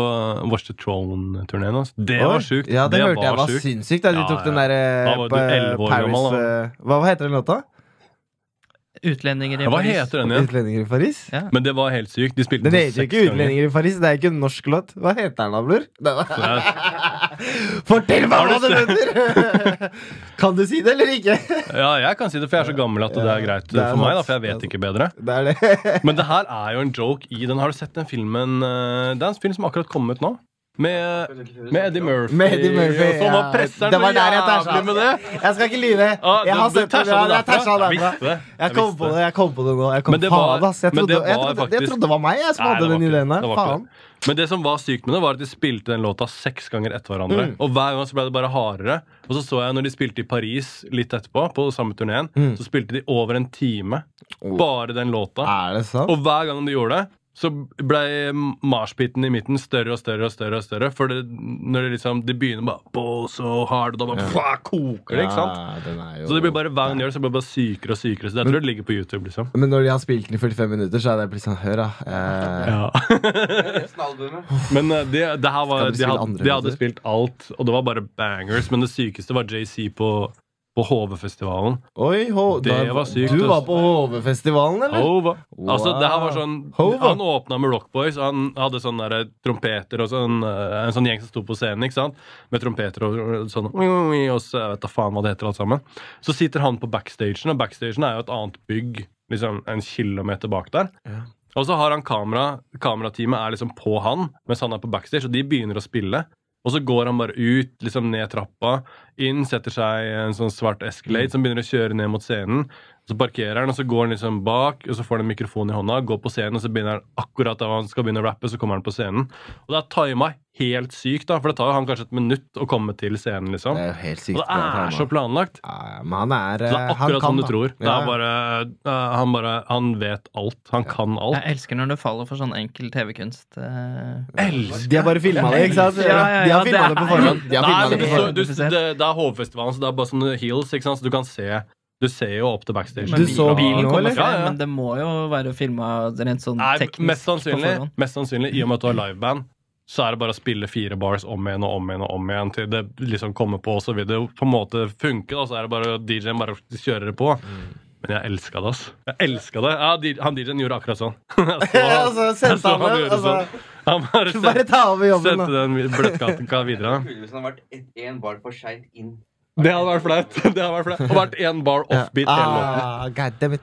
Speaker 2: Watch the Throne-turneen hans. Det
Speaker 3: Oi.
Speaker 2: var sjukt.
Speaker 3: Ja, det, hørte jeg
Speaker 2: var
Speaker 3: var
Speaker 2: sjukt.
Speaker 3: sinnssykt. Da.
Speaker 2: Ja,
Speaker 3: De tok
Speaker 2: ja.
Speaker 3: den derre
Speaker 2: Da var du 11 år
Speaker 3: eh, Paris
Speaker 2: gammel, da.
Speaker 3: eh, Hva hva heter den låta?
Speaker 4: Utlendinger i
Speaker 2: Hva
Speaker 4: Paris.
Speaker 2: heter den igjen?
Speaker 3: Utlendinger i Paris?
Speaker 4: Ja.
Speaker 2: Men det var helt sykt. De spilte
Speaker 3: Den
Speaker 2: den
Speaker 3: heter jo
Speaker 2: seks
Speaker 3: ikke
Speaker 2: ganger.
Speaker 3: Utlendinger i Paris. Det er ikke en norsk låt. Hva heter den, da, Blur? Det var-
Speaker 2: Nei,
Speaker 3: Fortell meg
Speaker 2: Har du
Speaker 3: hva den heter! Kan du si det eller ikke?
Speaker 2: Ja, jeg kan si det, for jeg er så gammel at det er greit
Speaker 3: Det er
Speaker 2: for meg. da,
Speaker 3: sant.
Speaker 2: For jeg vet ikke bedre.
Speaker 3: Det er det.
Speaker 2: Men det her er jo en joke i den. Har du sett den filmen? eh, Det er en film som akkurat kom ut nå. Med, med Eddie Murphy.
Speaker 3: Med Eddie Murphy.
Speaker 2: og Sånn, og presser
Speaker 3: Det
Speaker 2: den
Speaker 3: var
Speaker 2: så
Speaker 3: der jeg
Speaker 2: jævlig
Speaker 3: tæsja.
Speaker 2: med det.
Speaker 3: Jeg skal ikke lyve.
Speaker 2: Ah,
Speaker 3: Jeg har
Speaker 2: du- du
Speaker 3: sett det.
Speaker 2: tæsja
Speaker 3: Jeg
Speaker 2: derfra.
Speaker 3: tæsja
Speaker 2: Jeg
Speaker 3: derfra.
Speaker 2: visste det.
Speaker 3: Jeg kom på
Speaker 2: visste
Speaker 3: det jeg kom på det nå. Jeg kom,
Speaker 2: Men det var-
Speaker 3: faen, ass. Jeg
Speaker 2: men
Speaker 3: trodde,
Speaker 2: det
Speaker 3: jeg,
Speaker 2: var
Speaker 3: trodde, jeg
Speaker 2: faktisk-
Speaker 3: trodde det var meg jeg som
Speaker 2: Nei, det
Speaker 3: hadde
Speaker 2: var
Speaker 3: den
Speaker 2: ikke det.
Speaker 3: ideen her.
Speaker 2: Det var ikke
Speaker 3: Faen.
Speaker 2: det. Men det som var sykt med det, var at de spilte den låta seks ganger etter hverandre.
Speaker 3: Mm.
Speaker 2: Og hver gang så ble det bare hardere. Og så så jeg når de spilte i Paris litt etterpå, på samme turneen,
Speaker 3: Mm.
Speaker 2: så spilte de over en time
Speaker 3: Oh.
Speaker 2: bare den låta.
Speaker 3: Er det sant?
Speaker 2: Og hver gang de gjorde det, så ble marspiten i midten større og større og større. og større For det, når det liksom, de begynner bare Ball so hard, og da bare pah, koker det, ikke sant?
Speaker 3: Ja, den er jo-
Speaker 2: Så det blir bare hver gang de gjør det, så blir det bare sykere og sykere. Så jeg tror det ligger på YouTube, liksom.
Speaker 3: Men når de har spilt den i 45 minutter, så er det blitt sånn Hør, da. Eh,
Speaker 2: Ja.
Speaker 5: Resten av albumet.
Speaker 2: Men eh, det, det her var,
Speaker 3: Skal dere
Speaker 2: de,
Speaker 3: spille
Speaker 2: hadde,
Speaker 3: andre
Speaker 2: de hadde
Speaker 3: låter?
Speaker 2: spilt alt, og det var bare bangers. Men det sykeste var JC på, på HV-festivalen.
Speaker 3: oi, ho,
Speaker 2: Det
Speaker 3: da,
Speaker 2: var sykt,
Speaker 3: Du
Speaker 2: ass.
Speaker 3: var på HV-festivalen, eller?
Speaker 2: Hova.
Speaker 3: Wow.
Speaker 2: Altså, det her var sånn
Speaker 3: Hova.
Speaker 2: Han åpna med Rock Boys, og han hadde sånne der, eh, trompeter og sånn, eh, en sånn gjeng som sto på scenen ikke sant? med trompeter og, og sånn Og så jeg vet da faen hva det heter, alt sammen. Så sitter han på backstagen, og backstagen er jo et annet bygg liksom en kilometer bak der.
Speaker 3: Ja.
Speaker 2: Og så har han kamera, kamerateamet er liksom på han mens han er på backstage, og de begynner å spille. Og så går han bare ut, liksom ned trappa, inn, setter seg i en sånn svart Escalade
Speaker 3: Mm.
Speaker 2: som begynner å kjøre ned mot scenen. Så parkerer han, og så går han liksom bak, og så får han en mikrofon i hånda, går på scenen, og så begynner han akkurat da han skal begynne å rappe, så kommer han på scenen. Og det er tima helt sykt, da, for det tar jo han kanskje et minutt å komme til scenen,
Speaker 3: Det
Speaker 2: liksom.
Speaker 3: er jo helt sykt.
Speaker 2: Og det
Speaker 3: bra
Speaker 2: er
Speaker 3: timet.
Speaker 2: så planlagt.
Speaker 3: Ja, men han er,
Speaker 2: Så det er
Speaker 3: eh, han
Speaker 2: akkurat som
Speaker 3: kan,
Speaker 2: du
Speaker 3: da.
Speaker 2: tror. Det
Speaker 3: Ja.
Speaker 2: er bare, eh, han bare Han vet alt. Han kan alt.
Speaker 4: Jeg elsker når det faller for sånn enkel TV-kunst. eh.
Speaker 2: Elsker
Speaker 3: De har bare filma det, ikke sant?
Speaker 4: Ja, ja, ja,
Speaker 3: De har
Speaker 4: det
Speaker 3: filma det
Speaker 4: er-
Speaker 3: på forhånd. De har
Speaker 2: Nei, men
Speaker 3: filmet det
Speaker 2: du,
Speaker 3: på
Speaker 4: så-
Speaker 3: forhånd.
Speaker 2: du, det, det er hovedfestivalen, så det er bare sånne hills, ikke sant? så du kan se Du ser jo opp til backstage.
Speaker 4: Men
Speaker 3: Du så bilen nå,
Speaker 4: kommer
Speaker 3: eller?
Speaker 4: fra,
Speaker 2: Ja, ja.
Speaker 4: Men det må jo være filma rent sånn
Speaker 2: Nei,
Speaker 4: teknisk
Speaker 2: mest
Speaker 4: på
Speaker 2: sannsynlig,
Speaker 4: forhånd.
Speaker 2: mest sannsynlig, i og med at du har liveband, så er det bare å spille fire bars om igjen og om igjen og om igjen til det liksom kommer på, og så vil det jo på en måte funke. da, Så er det bare DJ-en bare kjører det på.
Speaker 3: Mm.
Speaker 2: Men jeg elska det, ass. Jeg elska det. Ja, di- han DJ-en gjorde akkurat sånn. Jeg så han-
Speaker 3: Og så
Speaker 2: jeg
Speaker 3: sendte
Speaker 2: så
Speaker 3: han
Speaker 2: han
Speaker 3: den,
Speaker 2: gjorde
Speaker 3: og så
Speaker 2: sånn. Han bare
Speaker 3: Bare
Speaker 2: sendte
Speaker 3: ta over
Speaker 2: Sette
Speaker 3: jobben, da.
Speaker 2: den bløtkaka videre.
Speaker 5: Kuleste har sånn vært et- en bar for seint inn.
Speaker 2: Det hadde vært flaut. Det hadde vært flaut. Og vært én bar offbeat. hele låten.
Speaker 3: Ah, God damn it.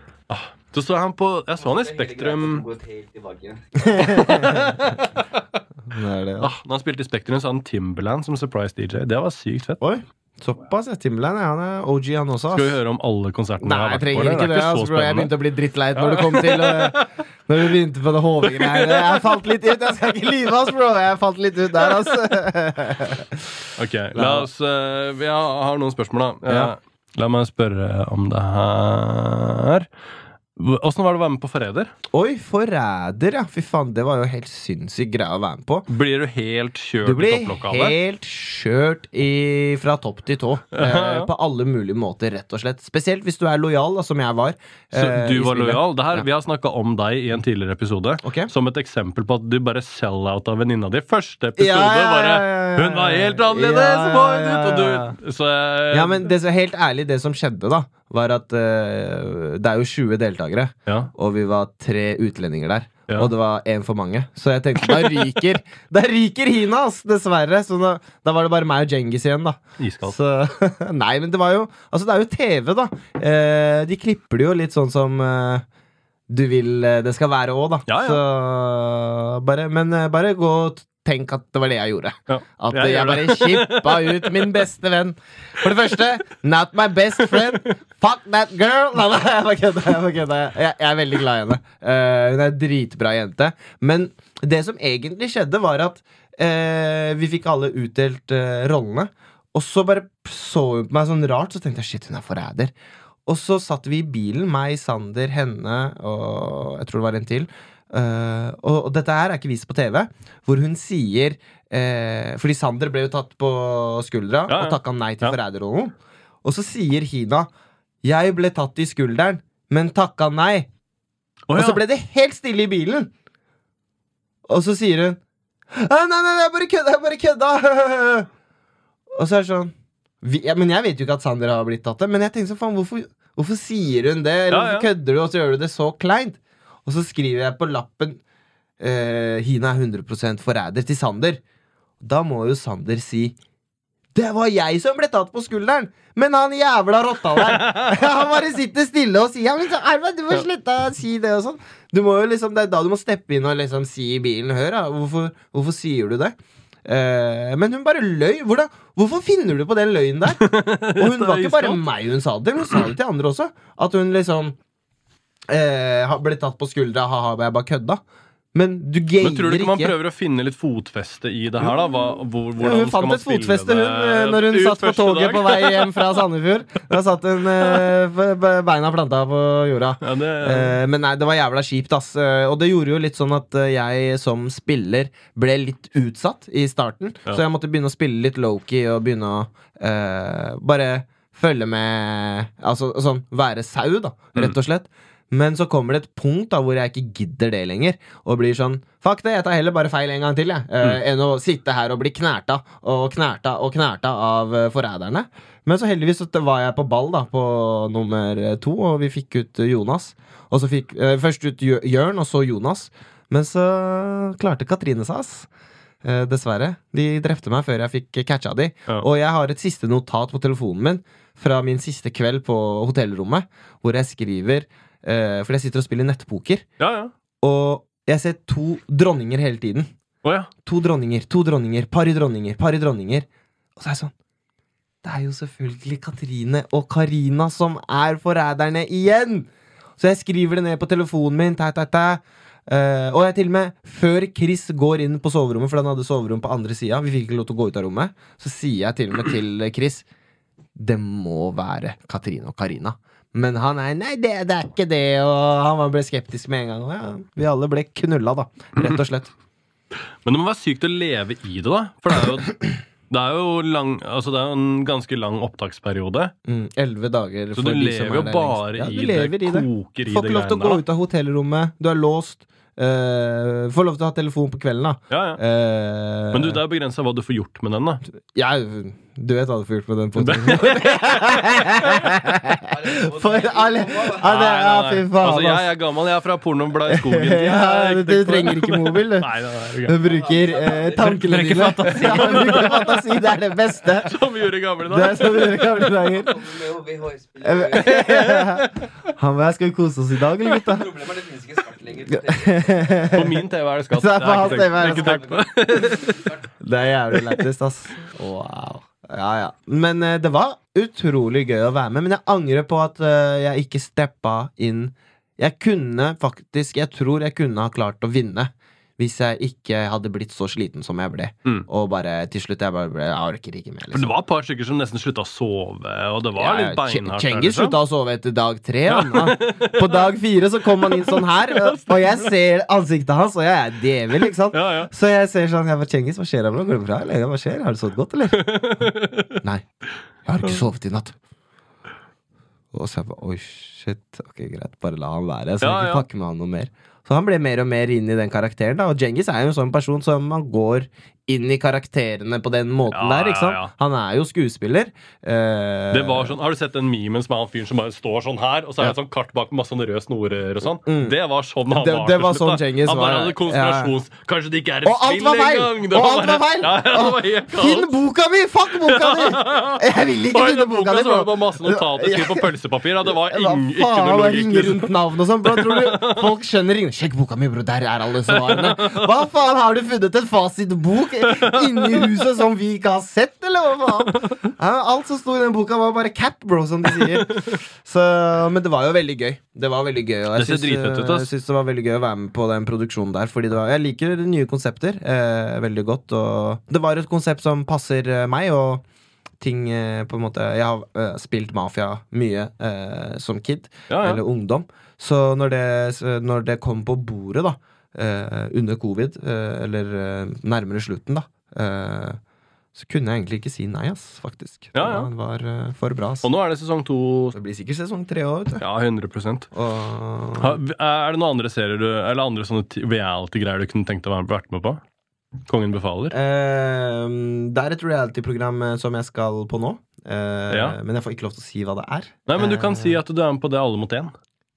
Speaker 2: Så så jeg han på Jeg så han i Spektrum
Speaker 5: Gått helt tilbake.
Speaker 3: Det er det, ja.
Speaker 2: ah, Når han spilte i Spektrum, så hadde han Timberland som surprise DJ. Det var sykt fett.
Speaker 3: Oi, såpass. ja. Timberland ja, han er OG, han også.
Speaker 2: Skal vi
Speaker 3: Ass.
Speaker 2: høre om alle konsertene
Speaker 3: Nei,
Speaker 2: jeg har
Speaker 3: jeg
Speaker 2: vært på?
Speaker 3: trenger ikke
Speaker 2: eller?
Speaker 3: det.
Speaker 2: er
Speaker 3: ass,
Speaker 2: så
Speaker 3: bro. Jeg
Speaker 2: spennende.
Speaker 3: begynte å bli drittleit når det kom til eh, Når vi begynte på det HV-greiene. Jeg falt litt ut. Jeg skal ikke lyve, ass, bro. Jeg falt litt ut der, ass.
Speaker 2: Ok, la oss eh, Vi har, har noen spørsmål, da. Eh,
Speaker 3: Ja.
Speaker 2: La meg spørre om det her Åssen var det å være med på Forræder?
Speaker 3: Oi, forræder, ja. Fy faen, det var jo helt sinnssyk greie å være med på.
Speaker 2: Blir du helt kjørt
Speaker 3: Du
Speaker 2: i
Speaker 3: blir
Speaker 2: topplokalet?
Speaker 3: helt skjørt i, fra topp til tå. Eh, på alle mulige måter, rett og slett. Spesielt hvis du er lojal, da, som jeg var.
Speaker 2: Så
Speaker 3: eh,
Speaker 2: du
Speaker 3: i
Speaker 2: var
Speaker 3: spillet.
Speaker 2: lojal. Det her,
Speaker 3: Ja.
Speaker 2: Vi har snakka om deg i en tidligere episode.
Speaker 3: Ok.
Speaker 2: Som et eksempel på at du bare sell-out av venninna di. Første episode
Speaker 3: Ja, ja, ja, ja, ja,
Speaker 2: bare 'Hun var helt annerledes!'
Speaker 3: Ja, ja,
Speaker 2: var hun
Speaker 3: ja,
Speaker 2: ut»,
Speaker 3: ja.
Speaker 2: Og du, så eh, jeg,
Speaker 3: Ja, men det, så helt ærlig, det som skjedde, da, var at eh, det er jo 20 deltakere,
Speaker 2: ja.
Speaker 3: og vi var tre utlendinger der.
Speaker 2: Ja.
Speaker 3: Og det var én for mange. Så jeg tenkte da ryker Da ryker Hina, ass! Dessverre. Så da, da var det bare meg og Djengis igjen, da.
Speaker 2: Iskaldt.
Speaker 3: Så, nei, men det var jo Altså, det er jo TV, da. Eh, de klipper det jo litt sånn som eh, du vil eh, det skal være òg, da.
Speaker 2: Ja, ja.
Speaker 3: Så bare Men eh, bare gå og tenk at det var det jeg gjorde.
Speaker 2: Ja.
Speaker 3: At
Speaker 2: Jeg
Speaker 3: jeg,
Speaker 2: gjør
Speaker 3: bare kippa ut min beste venn. For det første, not my best friend. Fuck that girl! Nei, nei, jeg bare kødder. Jeg, bare kødder. jeg, jeg er veldig glad i henne. Eh, hun er en dritbra jente. Men det som egentlig skjedde, var at eh, vi fikk alle utdelt eh, rollene. Og så bare så hun på meg sånn rart, så tenkte jeg shit, hun er forræder. Og så satt vi i bilen, meg, Sander, henne og jeg tror det var en til. Eh, og, og dette her er ikke vist på TV, hvor hun sier eh, Fordi Sander ble jo tatt på skuldra
Speaker 2: Ja, ja.
Speaker 3: og takka nei til
Speaker 2: Ja.
Speaker 3: forræderrollen. Og så sier Hina 'Jeg ble tatt i skulderen, men takka nei'.
Speaker 2: Å,
Speaker 3: Og
Speaker 2: ja.
Speaker 3: så ble det helt stille i bilen. Og så sier hun «Ah, Nei, nei, nei, jeg bare kødda! Jeg bare kødda! Og så er det sånn vi, ja, Men jeg vet jo ikke at Sander har blitt tatt det, men jeg tenkte sånn, faen, hvorfor Hvorfor sier hun det? Eller
Speaker 2: Ja,
Speaker 3: hvorfor
Speaker 2: ja.
Speaker 3: kødder du, og så gjør du det så kleint? Og så skriver jeg på lappen eh, Hina er 100 forræder til Sander. Da må jo Sander si det var jeg som ble tatt på skulderen! Men han jævla rotta der! Han bare sitter stille og sier ja, men så, Arve, du må slutte å si det og sånn. Du må jo liksom, Det er da du må steppe inn og liksom si i bilen Hør, da. Hvorfor, hvorfor sier du det? Eh, men hun bare løy. Hvordan, hvorfor finner du på den løgnen der? Og hun var ikke bare meg hun sa det til, hun sa det til andre også. At hun liksom eh, ha- ble tatt på skuldra. Ha-ha, jeg bare kødda. Men du gamer
Speaker 2: Men tror du ikke man
Speaker 3: ikke.
Speaker 2: prøver å finne litt fotfeste i det her, da? Hva, hvor,
Speaker 3: Ja,
Speaker 2: hvordan
Speaker 3: hun
Speaker 2: skal
Speaker 3: fant
Speaker 2: man
Speaker 3: et
Speaker 2: spille
Speaker 3: fotfeste hun, eh,
Speaker 2: det
Speaker 3: når hun
Speaker 2: ut
Speaker 3: satt på
Speaker 2: første
Speaker 3: toget
Speaker 2: dag?
Speaker 3: på vei hjem fra Sandefjord. Da satt hun eh, b- b- beina planta på jorda.
Speaker 2: Ja, det,
Speaker 3: Eh, men nei, det var jævla kjipt, ass. Eh, og det gjorde jo litt sånn at eh, jeg som spiller ble litt utsatt i starten.
Speaker 2: Ja.
Speaker 3: Så jeg måtte begynne å spille litt Loki og begynne å eh, bare følge med Altså sånn være sau, da, rett og slett. Men så kommer det et punkt da hvor jeg ikke gidder det lenger. Og blir sånn Fuck det, jeg tar heller bare feil en gang til, jeg. eh, Enn å sitte her og bli knerta og knerta og knerta av eh, forræderne. Men så heldigvis så var jeg på ball da på nummer to, og vi fikk ut eh, Jonas. Og så fikk eh, Først ut Jø- Jørn, og så Jonas. Men så klarte Katrine seg, ass. Eh, dessverre. De drepte meg før jeg fikk catcha de.
Speaker 2: Ja.
Speaker 3: Og jeg har et siste notat på telefonen min fra min siste kveld på hotellrommet, hvor jeg skriver eh, Fordi jeg sitter og spiller nettpoker,
Speaker 2: ja, ja.
Speaker 3: og jeg ser to dronninger hele tiden.
Speaker 2: Å, ja.
Speaker 3: To dronninger, to dronninger, par i dronninger, par i dronninger. Og så er jeg sånn Det er jo selvfølgelig Katrine og Karina som er forræderne igjen! Så jeg skriver det ned på telefonen min. Tæ, tæ, tæ. Eh, og jeg til og med, før Chris går inn på soverommet, for han hadde soverom på andre sida, vi fikk ikke lov til å gå ut av rommet, så sier jeg til og med til eh, Chris Det må være Katrine og Karina. Men han er Nei, det, det er ikke det. Og han var- ble skeptisk med en gang. Og ja, vi alle ble knulla, da. Rett og slett.
Speaker 2: Men det må være sykt å leve i det, da. For det er jo, det er jo lang, altså det er jo en ganske lang opptaksperiode.
Speaker 3: Mm, 11 dager
Speaker 2: Så du lever jo bare
Speaker 3: lengst.
Speaker 2: i
Speaker 3: du
Speaker 2: det,
Speaker 3: lever i det.
Speaker 2: koker i
Speaker 3: Får
Speaker 2: det
Speaker 3: ikke lov til å
Speaker 2: greiene der. da.
Speaker 3: gå ut av hotellrommet. Du er låst. Eh, får lov til å ha telefon på kvelden, da.
Speaker 2: Ja, ja.
Speaker 3: Eh,
Speaker 2: Men du, det er begrensa hva du får gjort med den, da.
Speaker 3: ja, Du vet hva du får gjort med den poten. For alle ja, det, ja,
Speaker 2: Altså,
Speaker 3: Fy faen,
Speaker 2: jeg
Speaker 3: ass.
Speaker 2: er gammel, jeg er fra pornoblad i skogen. Jeg
Speaker 3: Ja,
Speaker 2: er
Speaker 3: du
Speaker 2: ikke-
Speaker 3: trenger ikke mobil, du.
Speaker 2: Nei, nei, nei, det er gøy.
Speaker 3: Du bruker eh, tankene
Speaker 4: Bruker
Speaker 3: dine. Ja, du bruker fantasi. Det er det beste.
Speaker 2: Som vi gjorde i gamle
Speaker 3: Det er
Speaker 2: dager.
Speaker 3: sånn vi gjør i gamle dager.
Speaker 5: Kommer med VHS-spillere.
Speaker 3: Han og jeg skal vi kose oss i dag, eller, gutta?
Speaker 5: Problemet er det finnes ikke svart lenger.
Speaker 2: På min TV er det skatt.
Speaker 3: Så det er
Speaker 2: Det
Speaker 3: på
Speaker 2: er
Speaker 3: hans
Speaker 2: ikke tenkt-
Speaker 3: TV er det
Speaker 2: ikke tenkt på.
Speaker 3: Det er jævlig lættis, ass. Wow. Ja, ja. Men eh, det var utrolig gøy å være med. Men jeg angrer på at eh, jeg ikke steppa inn. Jeg kunne faktisk Jeg tror jeg kunne ha klart å vinne hvis jeg ikke hadde blitt så sliten som jeg ble.
Speaker 2: Mm.
Speaker 3: Og bare til slutt Jeg bare ble, jeg orker ikke mer.
Speaker 2: For det
Speaker 3: Liksom.
Speaker 2: var et par stykker som nesten slutta å sove, og det var
Speaker 3: Ja,
Speaker 2: litt beinhardt. der,
Speaker 3: Cengiz
Speaker 2: liksom.
Speaker 3: slutta å sove etter dag tre. Han, da. På dag fire så kom han inn sånn her, og jeg ser ansiktet hans, og jeg er djevel. ikke sant?
Speaker 2: Ja, ja.
Speaker 3: Så jeg ser sånn Jeg bare, Cengiz, hva skjer? her nå? Går det bra? Eller hva skjer? Har du sovet godt, eller? Nei. Jeg har ikke sovet i natt. Og så jeg bare Oi, shit. Ok, greit. Bare la han være. Så jeg
Speaker 2: Ja,
Speaker 3: ikke
Speaker 2: ja.
Speaker 3: pakke med han noe mer. Så han ble mer og mer inn i den karakteren. da Og Djengis er jo en sånn person som man går inn i karakterene på den måten
Speaker 2: Ja,
Speaker 3: der. ikke sant?
Speaker 2: ja, ja.
Speaker 3: Han er jo skuespiller. Eh,
Speaker 2: Det var sånn, Har du sett den memen som er han fyren som bare står sånn her, og så er det et
Speaker 3: Ja.
Speaker 2: sånn kart bak med masse sånne røde snorer og sånn?
Speaker 3: Mm.
Speaker 2: Det var sånn han
Speaker 3: Det-
Speaker 2: var.
Speaker 3: det
Speaker 2: til
Speaker 3: var
Speaker 2: slutt,
Speaker 3: sånn
Speaker 2: da.
Speaker 3: Cengiz
Speaker 2: Han
Speaker 3: var,
Speaker 2: bare hadde konspirasjons... Kanskje det ikke er et
Speaker 3: Og alt
Speaker 2: spill
Speaker 3: var feil!
Speaker 2: engang! Det
Speaker 3: Og
Speaker 2: var
Speaker 3: alt var
Speaker 2: bare-
Speaker 3: feil!
Speaker 2: Ja, ja, det var helt
Speaker 3: Finn
Speaker 2: kaos.
Speaker 3: boka mi! Fuck boka di! Jeg vil ikke
Speaker 2: Og i
Speaker 3: finne
Speaker 2: den
Speaker 3: boka
Speaker 2: boka
Speaker 3: di!
Speaker 2: så var det
Speaker 3: bro.
Speaker 2: bare masse notater skrevet på pølsepapir. da. Det var
Speaker 3: Hva
Speaker 2: ing, ikke
Speaker 3: faen
Speaker 2: noe
Speaker 3: hva
Speaker 2: logikk. liksom.
Speaker 3: ringer rundt navn og sånn? Bro, tror du folk skjønner ingen Sjekk boka mi, bro. Der er alle svarene. Hva faen, har du funnet en fasitbok inni huset som vi ikke har sett, eller hva faen? Ja, Alt som sto i den boka, var bare cap, bro, som de sier. Så, men det var jo veldig gøy. Det var veldig gøy, og
Speaker 2: Det ser
Speaker 3: jeg syns,
Speaker 2: dritfett ut,
Speaker 3: eh,
Speaker 2: ass.
Speaker 3: jeg syns det var veldig gøy å være med på den produksjonen der. Fordi det var, jeg liker nye konsepter eh, veldig godt. Og det var et konsept som passer eh, meg, og ting eh, på en måte Jeg har eh, spilt mafia mye eh, som kid
Speaker 2: Ja, ja.
Speaker 3: eller ungdom. Så når det, når det kom på bordet, da, eh, under covid, eh, eller eh, nærmere slutten, da, eh, så kunne jeg egentlig ikke si nei, ass, faktisk.
Speaker 2: Ja, ja.
Speaker 3: Det var eh, for bra, ass.
Speaker 2: Og nå er det sesong to.
Speaker 3: Det blir sikkert sesong tre òg, vet du.
Speaker 2: Ja, 100
Speaker 3: Og
Speaker 2: Ha- Er det noen andre serier du, eller andre sånne ti- reality-greier du kunne tenkt å være- vært med på? Kongen befaler?
Speaker 3: ehm, eh, det er et reality-program eh, som jeg skal på nå. Eh,
Speaker 2: Ja.
Speaker 3: Men jeg får ikke lov til å si hva det er.
Speaker 2: Nei, men du kan si at du er med på det alle mot én.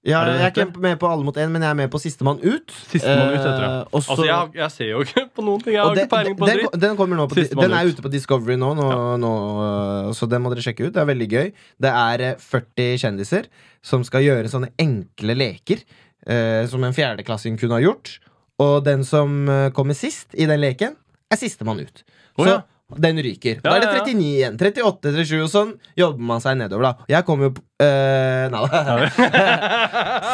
Speaker 3: Ja,
Speaker 2: Er det
Speaker 3: jeg er
Speaker 2: dette?
Speaker 3: ikke med på Alle mot én, men jeg er med på Sistemann ut.
Speaker 2: Sistemann ut heter det, ja.
Speaker 3: Eh, og så-
Speaker 2: Altså, jeg, har- jeg ser jo ikke på noen ting. Jeg
Speaker 3: og
Speaker 2: har
Speaker 3: den,
Speaker 2: ikke peiling på
Speaker 3: den,
Speaker 2: dritt.
Speaker 3: den, kommer nå på,
Speaker 2: Sistemann
Speaker 3: den er
Speaker 2: ut.
Speaker 3: ute på Discovery nå, nå, nå, øh, så den må dere sjekke ut. Det er veldig gøy. Det er eh, 40 kjendiser som skal gjøre sånne enkle leker eh, som en fjerdeklassing kunne ha gjort. Og den som eh, kommer sist i den leken, er sistemann ut.
Speaker 2: Å,
Speaker 3: så
Speaker 2: ja.
Speaker 3: den ryker.
Speaker 2: Ja,
Speaker 3: da er det
Speaker 2: ja, ja.
Speaker 3: 39 igjen. 38, 37 og sånn jobber man seg nedover, da. Jeg kommer jo på eh, Nei da.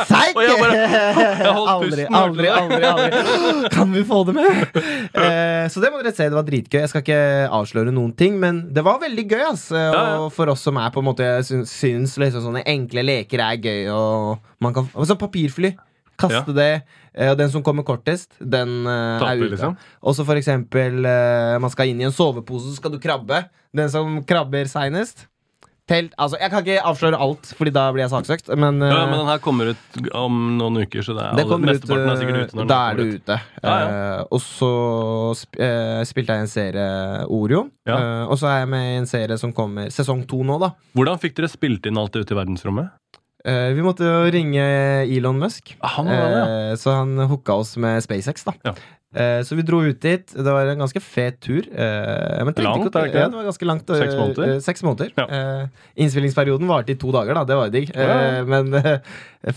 Speaker 3: Seik!
Speaker 2: Og jeg jeg holdt
Speaker 3: aldri,
Speaker 2: pusten,
Speaker 3: aldri,
Speaker 2: hørte
Speaker 3: aldri, aldri. Kan vi få det med? Eh, så det må dere se. Det var dritgøy. Jeg skal ikke avsløre noen ting, men det var veldig gøy. Ass. Eh,
Speaker 2: ja.
Speaker 3: Og for oss som er på en måte jeg syns, syns liksom sånne enkle leker er gøy, og man kan Altså papirfly. Kaste
Speaker 2: Ja.
Speaker 3: det. eh, Og den som kommer kortest, den eh,
Speaker 2: Taper,
Speaker 3: er ute.
Speaker 2: liksom.
Speaker 3: Også for eksempel eh, man skal inn i en sovepose, så skal du krabbe. Den som krabber seinest Telt, altså, jeg kan ikke avsløre alt, Fordi da blir jeg saksøkt. Men,
Speaker 2: Ja,
Speaker 3: eh,
Speaker 2: men den her kommer ut om noen uker, så det er,
Speaker 3: det
Speaker 2: alle-
Speaker 3: kommer ut,
Speaker 2: mesteparten er sikkert ute.
Speaker 3: eh,
Speaker 2: når den
Speaker 3: da er
Speaker 2: kommer
Speaker 3: du
Speaker 2: ut.
Speaker 3: ute.
Speaker 2: Ja,
Speaker 3: Eh, og så sp eh, spilte jeg en serie Orion.
Speaker 2: Ja.
Speaker 3: Eh, og så er jeg med i en serie som kommer sesong to nå, da.
Speaker 2: Hvordan fikk dere spilt inn alt det ute i verdensrommet?
Speaker 3: Eh, vi måtte jo ringe Elon Musk.
Speaker 2: Ah, Han var det, ja.
Speaker 3: Eh, Så han hooka oss med SpaceX, da.
Speaker 2: Ja.
Speaker 3: Eh, Så vi dro ut dit. Det var en ganske fet tur. eh, Men trengte
Speaker 2: Langt,
Speaker 3: ikke å-
Speaker 2: er det ikke det?
Speaker 3: ja, det var ganske langt. eh,
Speaker 2: Seks måneder?
Speaker 3: eh, Seks måneder.
Speaker 2: Ja.
Speaker 3: Eh, Innspillingsperioden varte i to dager, da. Det var jo digg.
Speaker 2: Ja, ja.
Speaker 3: Eh, Men eh,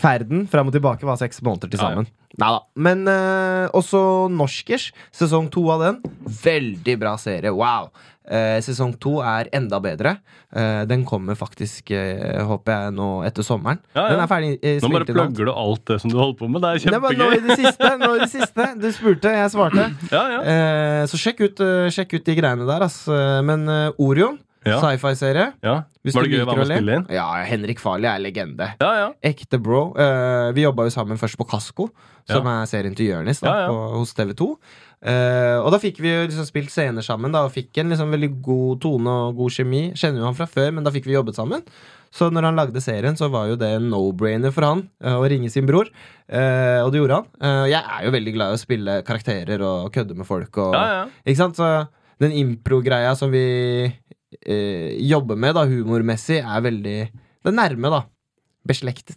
Speaker 3: ferden fram og tilbake var seks måneder til
Speaker 2: Ja, ja.
Speaker 3: sammen. Nei da. Men eh, også Norskers. Sesong to av den. Veldig bra serie. Wow! Eh, sesong to er enda bedre. Eh, den kommer faktisk, eh, håper jeg, nå etter sommeren.
Speaker 2: Ja, ja.
Speaker 3: Den er ferdig eh,
Speaker 2: Nå bare
Speaker 3: spilt inn nå.
Speaker 2: plugger du alt det som du holder på med. Det er
Speaker 3: Nei, men nå i
Speaker 2: kjempegøy.
Speaker 3: det siste. Nå i det siste. Du spurte, jeg svarte.
Speaker 2: Ja, ja.
Speaker 3: Eh, så sjekk ut, eh, sjekk ut de greiene der, ass. Eh, Men eh, Orion,
Speaker 2: Ja.
Speaker 3: sci-fi-serie
Speaker 2: ja.
Speaker 3: hvis
Speaker 2: Var det
Speaker 3: du
Speaker 2: gøy å
Speaker 3: liker
Speaker 2: være med og
Speaker 3: le.
Speaker 2: spille inn?
Speaker 3: Ja, Henrik Farley er legende.
Speaker 2: Ja, ja.
Speaker 3: Ekte bro. Eh, vi jobba jo sammen først på Kasko, som er serien til Jonis da,
Speaker 2: Ja, ja.
Speaker 3: på- hos TV2. Eh, og da fikk vi jo liksom spilt scener sammen da, og fikk en liksom veldig god tone og god kjemi. Kjenner jo han fra før, men da fikk vi jobbet sammen. Så når han lagde serien, så var jo det en no-brainer for han eh, å ringe sin bror. Eh, og det gjorde han. Eh, jeg er jo veldig glad i å spille karakterer og kødde med folk. Og,
Speaker 2: ja, ja.
Speaker 3: ikke sant? Så den impro-greia som vi eh, jobber med da, humormessig, er veldig Det er nærme, da. Beslektet.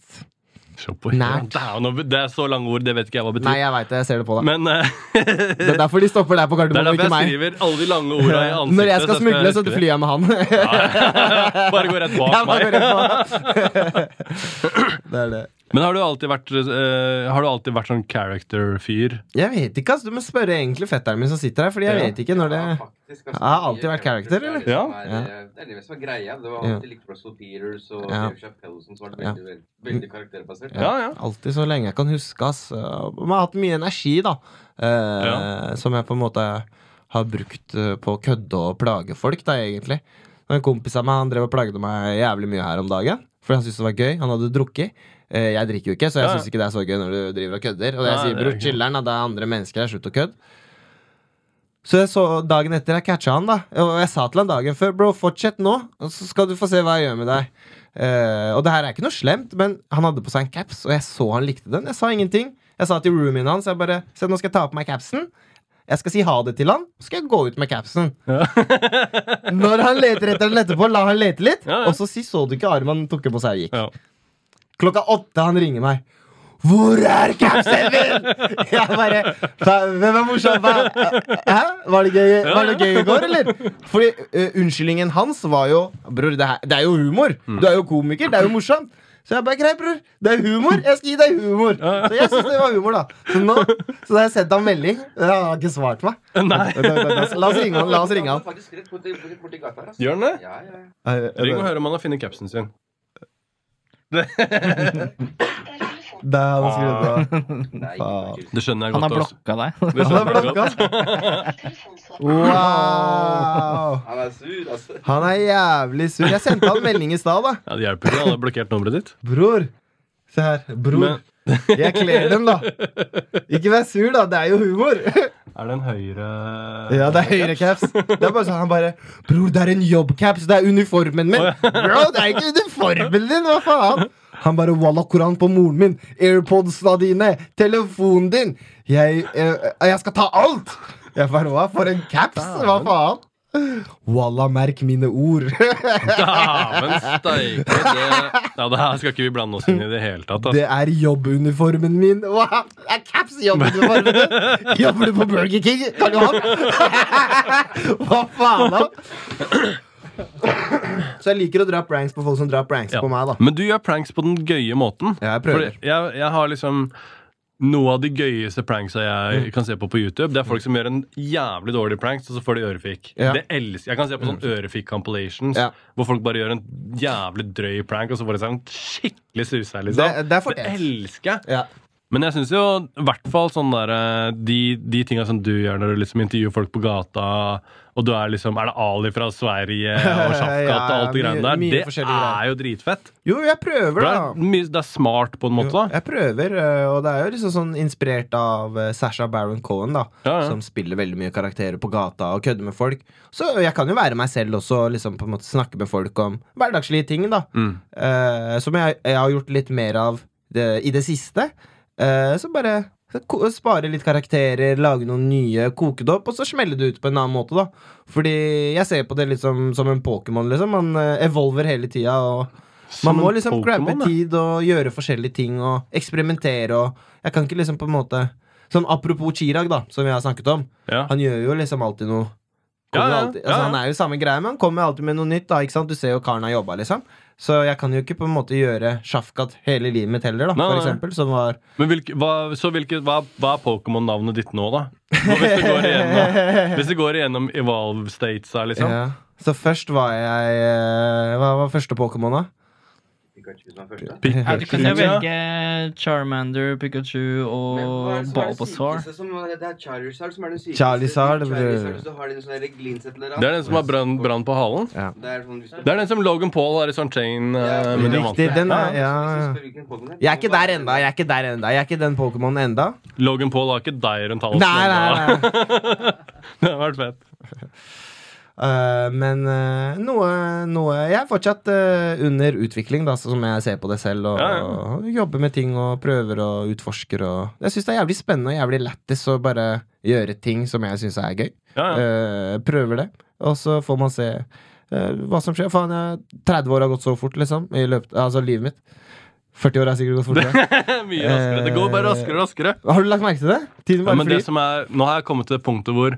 Speaker 2: Se på
Speaker 3: Nært.
Speaker 2: Det er jo noe- det er så lange ord, det vet ikke jeg hva betyr.
Speaker 3: Nei, jeg veit det. Jeg ser det på deg.
Speaker 2: Men eh,
Speaker 3: Det er derfor de stopper deg på
Speaker 2: det er
Speaker 3: Gardermoen,
Speaker 2: derfor
Speaker 3: og ikke
Speaker 2: jeg
Speaker 3: meg.
Speaker 2: skriver alle de lange orda i ansiktet.
Speaker 3: Når jeg skal
Speaker 2: så jeg
Speaker 3: smugle, så
Speaker 2: huske det.
Speaker 3: flyr jeg med han.
Speaker 2: Bare gå rett bak
Speaker 3: Jeg bare
Speaker 2: meg.
Speaker 3: går rett på. Det er det.
Speaker 2: Men har du alltid vært, eh, har du alltid vært sånn character-fyr?
Speaker 3: Jeg vet ikke, ass. Du må spørre egentlig fetteren min som sitter her, Fordi jeg
Speaker 2: Ja.
Speaker 3: vet ikke når det
Speaker 5: Ja, faktisk, altså,
Speaker 3: Jeg har alltid
Speaker 5: mye
Speaker 3: vært character, eller?
Speaker 5: Det er eh,
Speaker 3: Ja.
Speaker 5: det som er- Det er det som er greia. Det var
Speaker 3: Ja.
Speaker 5: alltid likt Russell Peters og
Speaker 3: Ja.
Speaker 5: Dave Chappelle som var
Speaker 3: Ja.
Speaker 5: veldig, veldig, veldig karakterbasert.
Speaker 2: Ja, ja.
Speaker 3: Alltid så lenge jeg kan huske, ass. Man har hatt mye energi, da. Eh,
Speaker 2: Ja.
Speaker 3: Som jeg på en måte har brukt eh, på å kødde og plage folk, da, egentlig. Og En kompis av meg han drev og plagde meg jævlig mye her om dagen. Fordi han syntes det var gøy. Han hadde drukket. Eh, Jeg drikker jo ikke, så jeg
Speaker 2: Ja, ja.
Speaker 3: syns ikke det er så gøy når du driver og kødder. Og jeg
Speaker 2: Nei,
Speaker 3: sier
Speaker 2: det er
Speaker 3: bror,
Speaker 2: ikke-
Speaker 3: chiller'n, da, det er andre mennesker her, slutt å kødde. Så jeg så dagen etter jeg catcha han, da. Og jeg sa til han dagen før, bro, fortsett nå, og så skal du få se hva jeg gjør med deg. Eh, og det her er ikke noe slemt, men han hadde på seg en caps, og jeg så han likte den. Jeg sa ingenting. Jeg sa til roomien hans jeg bare, Se, nå skal jeg ta på meg capsen. Jeg skal si ha det til han, så skal jeg gå ut med capsen. Når han leter etter den etterpå, la han lete litt.
Speaker 2: Ja, ja.
Speaker 3: Og så si, så du ikke armen han tok på seg og gikk.
Speaker 2: Ja.
Speaker 3: Klokka åtte han ringer meg. Hvor er capsen min?! Jeg bare "Fa- Hvem er morsom? Hva- Hæ? Var det gøy, var det gøy i går, eller? Fordi eh, unnskyldningen hans var jo Bror, det, her, det er jo humor! Du er jo komiker, det er jo morsomt! Så jeg bare Greit, bror. Det er humor! Jeg skal gi deg humor! Så jeg syns det var humor, da. Så, nå, så da har jeg sendt ham melding. Han har ikke svart meg.
Speaker 2: Nei.
Speaker 3: Da- da- da- La oss ringe han. La oss ringe
Speaker 5: Han
Speaker 3: han.
Speaker 5: var faktisk rett borti, rett borti gata her, altså.
Speaker 2: Gjør den det?
Speaker 5: Ja, ja, ja.
Speaker 2: Ring og hør om han har funnet capsen sin.
Speaker 3: Det er han skrevet bra.
Speaker 2: Ah.
Speaker 5: Nei,
Speaker 3: Faen.
Speaker 5: ikke
Speaker 2: Det skjønner jeg
Speaker 4: Han
Speaker 2: godt.
Speaker 4: har
Speaker 2: altså.
Speaker 4: blokka deg.
Speaker 2: Det
Speaker 3: Han er
Speaker 2: skjønner jeg godt.
Speaker 3: blokka. Wow!
Speaker 5: Han er sur, altså.
Speaker 3: Han er jævlig sur. Jeg sendte han melding i stad, da.
Speaker 2: Ja, det hjelper ikke. Han har blokkert nummeret ditt.
Speaker 3: Bror. Se her. Bror. Jeg kler dem, da. Ikke vær sur, da. Det er jo humor.
Speaker 2: Er det en høyre
Speaker 3: Ja, det er høyre caps. Det er bare sånn han bare Bror, det er en jobbcaps. Det er uniformen min. Bro, det er ikke uniformen din. Hva faen? Han bare Walla Koran på moren min. Airpodsene dine. Telefonen din. Jeg, eh, jeg skal ta alt. Jeg bare Hva? For en caps? Hva faen? Walla, merk mine ord!
Speaker 2: Dæven steike! det- Ja, det her skal ikke vi blande oss inn i det hele tatt. ass.
Speaker 3: Det er jobbuniformen min! Wow, det er caps i jobbuniformen din! Jobber du på Burger King? Kan du ha den? Hva faen, da? Så jeg liker å dra pranks på folk som drar pranks
Speaker 2: Ja.
Speaker 3: på meg, da.
Speaker 2: Men du gjør pranks på den gøye måten.
Speaker 3: Ja, jeg
Speaker 2: For
Speaker 3: prøver.
Speaker 2: jeg, jeg har liksom noe av de gøyeste pranksa
Speaker 3: Mm.
Speaker 2: jeg kan se på på YouTube, det er folk som gjør en jævlig dårlig prank, og så får de ørefik.
Speaker 3: Ja. Mm.
Speaker 2: Det elsker Jeg kan se på sånn ørefik-compilations
Speaker 3: Ja.
Speaker 2: hvor folk bare gjør en jævlig drøy prank, og så får de seg en skikkelig suse. Liksom.
Speaker 3: Det- det er fortjent.
Speaker 2: elsker jeg.
Speaker 3: Ja.
Speaker 2: Men jeg syns jo i hvert fall sånn der, eh, de, de tinga som du gjør når du liksom intervjuer folk på gata, og du er liksom Er det Ali fra Sverige og Sjafkat
Speaker 3: Ja,
Speaker 2: og alt det
Speaker 3: mye-
Speaker 2: greiene der?
Speaker 3: mye
Speaker 2: Det
Speaker 3: forskjellige greier.
Speaker 2: er jo dritfett.
Speaker 3: Jo, jeg prøver,
Speaker 2: Det
Speaker 3: da.
Speaker 2: er, mye, det er smart på en måte,
Speaker 3: Jo,
Speaker 2: da.
Speaker 3: jeg prøver, øh, og det er jo liksom sånn inspirert av øh, Sasha Baron Cohen, da.
Speaker 2: Ja, ja.
Speaker 3: Som spiller veldig mye karakterer på gata og kødder med folk. Så jeg kan jo være meg selv også, og liksom på en måte snakke med folk om hverdagslige ting, da.
Speaker 2: Mm.
Speaker 3: Eh, som jeg, jeg har gjort litt mer av det, i det siste. Eh, så bare ko- spare litt karakterer, lage noen nye, koke det opp, og så smelle det ut på en annen måte, da. Fordi jeg ser på det litt som, som en Pokémon, liksom. Man eh, evolver hele tida, og man
Speaker 2: Som
Speaker 3: må
Speaker 2: en
Speaker 3: liksom
Speaker 2: Pokémon,
Speaker 3: grabbe
Speaker 2: da.
Speaker 3: tid og gjøre forskjellige ting og eksperimentere og Jeg kan ikke liksom på en måte Sånn apropos Chirag, da, som vi har snakket om.
Speaker 2: Ja.
Speaker 3: Han gjør jo liksom alltid noe.
Speaker 2: Ja,
Speaker 3: Kommer
Speaker 2: ja,
Speaker 3: alltid,
Speaker 2: ja,
Speaker 3: altså,
Speaker 2: ja.
Speaker 3: Han er jo samme greie, men han kommer alltid med noe nytt. da, ikke sant? Du ser jo karen har jobba, liksom. Så jeg kan jo ikke på en måte gjøre Shafkat hele livet mitt heller, da,
Speaker 2: Nei,
Speaker 3: for
Speaker 2: nei.
Speaker 3: eksempel. Som var
Speaker 2: Men hvilke, hva, så hvilke, hva, hva er Pokémon-navnet ditt nå, da? Nå, hvis du går igjennom, hvis du går igjennom Evolve States her, liksom.
Speaker 3: ja. Så først var jeg eh, Hva var første Pokémon, da?
Speaker 5: Pikachu som er første.
Speaker 2: Pik-
Speaker 4: Ja, du kunne
Speaker 2: Pikachu, ja.
Speaker 4: velge Charmander, Pikachu og
Speaker 5: Men hva er det som er det
Speaker 4: Bulbasaur.
Speaker 5: sykeste som- Det er Charizard som er den sykeste.
Speaker 3: Charizard, det-
Speaker 5: Charizard, så har de en sånn der glins et eller annet.
Speaker 2: Det er den som har brann, brann på halen.
Speaker 5: Det er sånn hvis du
Speaker 2: Det er den som Logan Paul har i sånn chain. eh,
Speaker 5: Ja,
Speaker 2: med
Speaker 5: riktig,
Speaker 2: diamanter.
Speaker 3: den
Speaker 2: Ja, ja.
Speaker 3: er- ja. Jeg er ikke der enda, jeg er ikke der enda, jeg er ikke den Pokémonen enda.
Speaker 2: Logan Paul har ikke deg rundt halsen.
Speaker 3: Nei, nei, nei.
Speaker 2: Det har vært fett.
Speaker 3: Eh, men eh, noe, noe Jeg er fortsatt eh, under utvikling, da, som jeg ser på det selv. Og,
Speaker 2: Ja, ja.
Speaker 3: og jobber med ting og prøver og utforsker. Og jeg syns det er jævlig spennende og jævlig lættis å bare gjøre ting som jeg syns er gøy.
Speaker 2: Ja, ja.
Speaker 3: Eh, prøver det, og så får man se eh, hva som skjer. Faen, jeg, 30 år har gått så fort, liksom. I løpet, altså livet mitt. 40 år har sikkert gått fortere.
Speaker 2: Mye raskere. Det går bare raskere og raskere.
Speaker 3: har du lagt merke til det? Tiden
Speaker 2: Ja,
Speaker 3: bare
Speaker 2: men det
Speaker 3: flyr.
Speaker 2: som er, nå har jeg kommet til det punktet hvor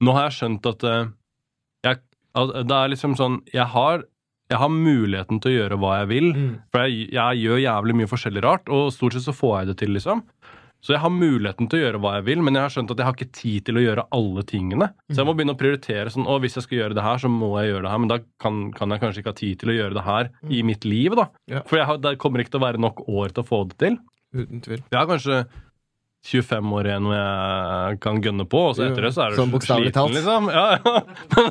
Speaker 2: Nå har jeg skjønt at eh, jeg, at Det er liksom sånn jeg har, jeg har muligheten til å gjøre hva jeg vil.
Speaker 3: Mm.
Speaker 2: For jeg, jeg gjør jævlig mye forskjellig rart, og stort sett så får jeg det til, liksom. Så jeg har muligheten til å gjøre hva jeg vil, men jeg har skjønt at jeg har ikke tid til å gjøre alle tingene. Så jeg
Speaker 3: Mm.
Speaker 2: må begynne å prioritere sånn Å, hvis jeg skal gjøre det her, så må jeg gjøre det her, men da kan, kan jeg kanskje ikke ha tid til å gjøre det her i mitt liv, da.
Speaker 3: Mm. Ja.
Speaker 2: For jeg har, det kommer ikke til å være nok år til å få det til.
Speaker 3: Uten tvil.
Speaker 2: Jeg har kanskje 25 år igjen hvor jeg kan gønne på, og så etter det så er du
Speaker 3: Sånn bokstavelig talt.
Speaker 2: sliten, liksom. Ja, ja.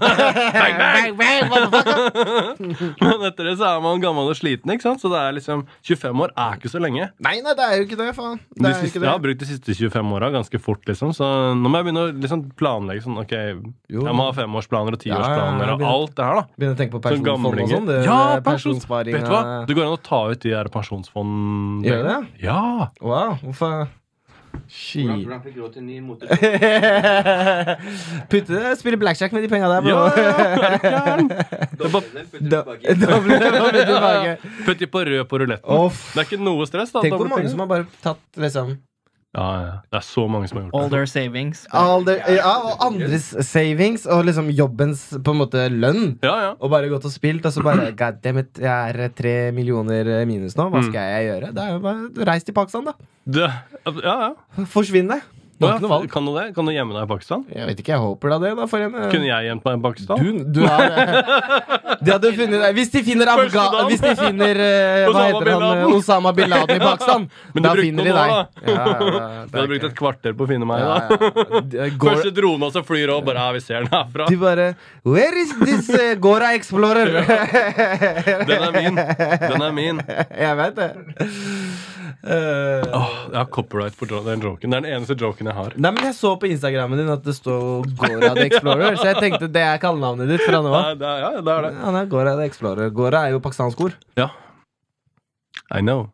Speaker 2: bang, bang! Men etter det så er man gammel og sliten, ikke sant? Så det er liksom 25 år er ikke så lenge.
Speaker 3: Nei, nei, det er jo ikke det, faen. Det
Speaker 2: De
Speaker 3: er jo
Speaker 2: siste,
Speaker 3: ikke
Speaker 2: jeg
Speaker 3: det.
Speaker 2: har brukt de siste 25 åra ganske fort, liksom. Så nå må jeg begynne å liksom planlegge sånn OK,
Speaker 3: Jo.
Speaker 2: jeg må ha femårsplaner og
Speaker 3: Ja, ja,
Speaker 2: tiårsplaner
Speaker 3: ja,
Speaker 2: og
Speaker 3: begynner-
Speaker 2: alt det her, da.
Speaker 3: Begynne å tenke på
Speaker 2: Sånn
Speaker 3: pensjonsfond og
Speaker 2: gamlinger.
Speaker 3: sånn. det-
Speaker 2: Ja,
Speaker 3: det
Speaker 2: pensjons...
Speaker 3: pensjonssparing
Speaker 2: Vet du hva? Det går an å ta ut de der pensjonsfond...
Speaker 3: Gjør det?
Speaker 2: Ja!
Speaker 3: Wow, hvorfor
Speaker 5: Hvordan,
Speaker 3: Ski...
Speaker 5: hvordan fikk du råd til en ny motor?
Speaker 3: Putte det, spille eh, blackjack med de penga der,
Speaker 2: Ja,
Speaker 3: bro.
Speaker 2: ja, ja, er du gæren?
Speaker 5: Doble den, putter
Speaker 3: Da-
Speaker 5: tilbake i.
Speaker 3: da ble det bare tilbake.
Speaker 2: Putt de på rød på ruletten.
Speaker 3: Off.
Speaker 2: Det er ikke noe stress, da.
Speaker 3: Tenk
Speaker 2: da
Speaker 3: hvor
Speaker 2: blir
Speaker 3: mange
Speaker 2: det-
Speaker 3: som har bare tatt liksom
Speaker 2: ja, ja. Det er så mange som har
Speaker 4: All
Speaker 2: gjort det.
Speaker 4: their savings.
Speaker 3: all the, ja, Og andres savings og liksom jobbens på en måte lønn.
Speaker 2: Ja, ja.
Speaker 3: Og bare gått og spilt, og så bare God damn it, jeg er eh, tre millioner eh, minus nå.
Speaker 2: Mm.
Speaker 3: Hva skal jeg gjøre? Det er jo bare Reis til Pakistan, da.
Speaker 2: Det, ja, ja.
Speaker 3: Forsvinne. Du har ikke noe valg.
Speaker 2: Kan du det? Kan du gjemme deg i Pakistan?
Speaker 3: Jeg vet ikke, jeg håper da det, da, for en eh,
Speaker 2: Kunne jeg gjemt meg i Pakistan?
Speaker 3: Du, du eh, har, de hadde funnet Hvis de finner, Afga,
Speaker 2: Første dagen.
Speaker 3: hvis de finner eh, Hva
Speaker 2: Osama
Speaker 3: heter
Speaker 2: bin
Speaker 3: han? eh,
Speaker 2: Laden.
Speaker 3: Osama bin Laden i Pakistan.
Speaker 2: Men du
Speaker 3: Da
Speaker 2: brukte
Speaker 3: finner de
Speaker 2: noen
Speaker 3: deg.
Speaker 2: år, da.
Speaker 3: Ja, ja, ja,
Speaker 2: Du hadde brukt et kvarter på å finne meg.
Speaker 3: ja,
Speaker 2: da
Speaker 3: ja. De- Går,
Speaker 2: Første drone, og så flyr og bare Ja, vi ser den herfra.
Speaker 3: de bare Where is this eh, Gora Explorer?
Speaker 2: Den er min. Den er min.
Speaker 3: Jeg vet det. Eh,
Speaker 2: Åh, jeg har copyright på dro- den joken. Det er den eneste joken jeg har.
Speaker 3: Nei, men Jeg så på Instagrammen din at det står Gora the Explorer, så jeg tenkte det er kallenavnet ditt fra nå
Speaker 2: Ja,
Speaker 3: av.
Speaker 2: det er, ja, det er det.
Speaker 3: Ja, nei, Gora the Explorer. Gora er jo pakistansk ord.
Speaker 2: Ja. I know.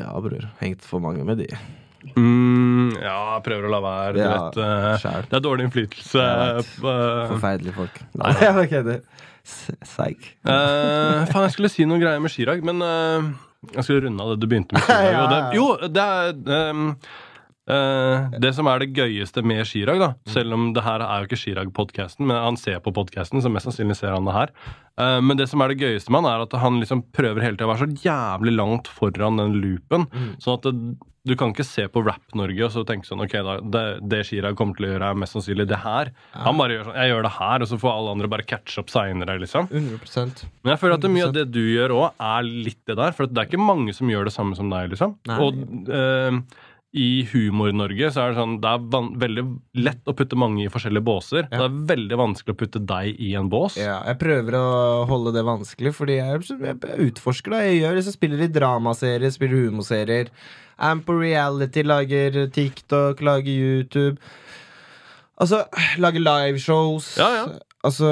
Speaker 3: Ja, bror. Hengt for mange med de.
Speaker 2: Mm, ja, prøver å la være. Du
Speaker 3: Ja.
Speaker 2: vet, eh,
Speaker 3: Sjæl.
Speaker 2: det er dårlig innflytelse. eh,
Speaker 3: Jeg vet.
Speaker 2: på-
Speaker 3: Forferdelige folk. Nei, jeg kødder. S- Seig.
Speaker 2: Eh, faen, jeg skulle si noen greier med Chirag, men eh, jeg skulle runde av det du begynte med. Chirag, og det, jo, det er ehm, eh, Det som er det gøyeste med Chirag, da, selv om det her er jo ikke Chirag-podkasten, men han ser på podkasten, så mest sannsynlig ser han det her. Eh, men det som er det gøyeste med han, er at han liksom prøver hele tida å være så jævlig langt foran den loopen. Sånn at det, du kan ikke se på Rap-Norge og så tenke sånn Ok, da, det, det Chirag kommer til å gjøre, er mest sannsynlig det her. Han bare gjør sånn Jeg gjør det her, og så får alle andre bare catche opp seinere, liksom.
Speaker 3: 100
Speaker 2: Men jeg føler at det, mye av det du gjør òg, er litt det der. For at det er ikke mange som gjør det samme som deg, liksom.
Speaker 3: Nei.
Speaker 2: Og eh, i Humor-Norge så er det sånn Det er van veldig lett å putte mange i forskjellige båser.
Speaker 3: Ja.
Speaker 2: Det er veldig vanskelig å putte deg i en bås.
Speaker 3: Ja, jeg prøver å holde det vanskelig, fordi jeg, jeg utforsker. da Jeg gjør det, så spiller i dramaserier, spiller humorserier. Er med på reality, lager TikTok, lager YouTube. Altså, lager liveshows.
Speaker 2: Ja, ja.
Speaker 3: Altså,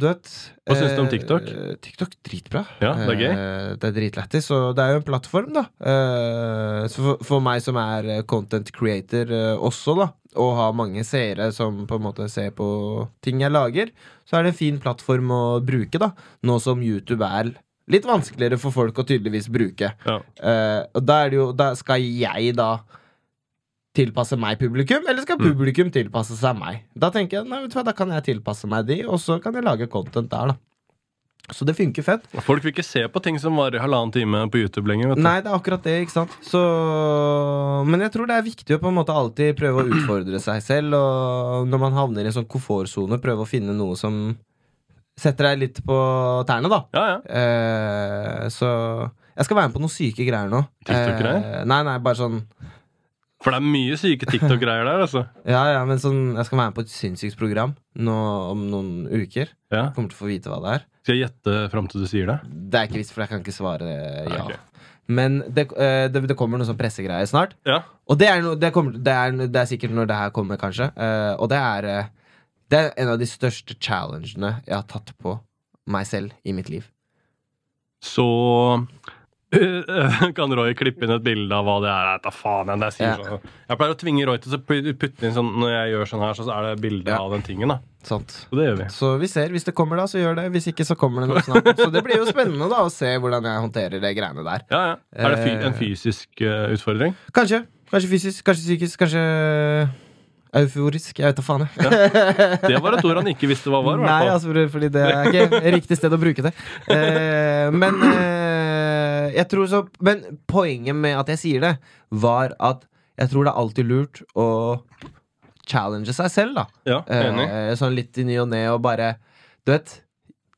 Speaker 3: du vet
Speaker 2: Hva syns du om
Speaker 3: eh,
Speaker 2: TikTok?
Speaker 3: TikTok, Dritbra.
Speaker 2: Ja, det er gøy.
Speaker 3: Eh, Det er dritlættis, og det er jo en plattform, da. Eh, Så for, for meg som er eh, content creator eh, også, da, og har mange seere som på en måte ser på ting jeg lager, så er det en fin plattform å bruke, da. Nå som YouTube er litt vanskeligere for folk å tydeligvis bruke.
Speaker 2: Ja.
Speaker 3: Eh, og da er det jo Da skal jeg da tilpasse meg publikum, eller skal
Speaker 2: Mm.
Speaker 3: publikum tilpasse seg meg? Da tenker jeg nei, vet du hva, da kan jeg tilpasse meg de, og så kan jeg lage content der, da. Så det funker fett.
Speaker 2: Folk vil ikke se på ting som varer halvannen time på YouTube lenger. vet du.
Speaker 3: Nei, det er akkurat det, ikke sant? Så, men jeg tror det er viktig å på en måte alltid prøve å utfordre seg selv, og når man havner i en sånn komfortsone, prøve å finne noe som setter deg litt på tærne, da.
Speaker 2: Ja, ja.
Speaker 3: Eh, så jeg skal være med på noen syke greier nå.
Speaker 2: TikTok-greier?
Speaker 3: Eh, nei, nei, bare sånn
Speaker 2: For det er mye syke TikTok-greier der, altså.
Speaker 3: Ja, ja, men sånn, jeg skal være med på et sinnssykt program nå om noen uker.
Speaker 2: Ja.
Speaker 3: Jeg kommer til å få vite hva det er.
Speaker 2: Skal jeg gjette fram til du sier det?
Speaker 3: Det er ikke visst, for jeg kan ikke svare eh, ja.
Speaker 2: Ok.
Speaker 3: Men det, eh, det, det kommer noe sånn pressegreier snart.
Speaker 2: Ja.
Speaker 3: Og det er, noe, det, kommer, det, er, det er sikkert når det her kommer, kanskje. Eh, og det er, eh, det er en av de største challengene jeg har tatt på meg selv i mitt liv.
Speaker 2: Så kan Roy klippe inn et bilde av hva det er. Jeg, tar faen, jeg, når jeg, sier
Speaker 3: Ja.
Speaker 2: sånn. jeg pleier å tvinge Roy til å pu- putte inn sånn Når jeg gjør sånn her, så er det bilde
Speaker 3: Ja.
Speaker 2: av den tingen. da
Speaker 3: Sant?
Speaker 2: Og det gjør vi.
Speaker 3: Så vi ser. Hvis det kommer, da, så gjør det. Hvis ikke, så kommer det noe snart. Så det blir jo spennende da å se hvordan jeg håndterer det greiene der.
Speaker 2: Ja, ja. Er det fy
Speaker 3: Eh.
Speaker 2: en fysisk eh, utfordring?
Speaker 3: Kanskje. Kanskje fysisk, kanskje psykisk, kanskje euforisk. Jeg vet da faen, jeg.
Speaker 2: Det var et ord han ikke visste hva var. i hvert
Speaker 3: Nei,
Speaker 2: fall.
Speaker 3: altså, bror, fordi det er ikke riktig sted å bruke det. Eh, men eh, jeg tror så Men poenget med at jeg sier det, var at jeg tror det er alltid lurt å challenge seg selv, da.
Speaker 2: Ja, enig.
Speaker 3: Eh, sånn litt i ny og ne, og bare Du vet,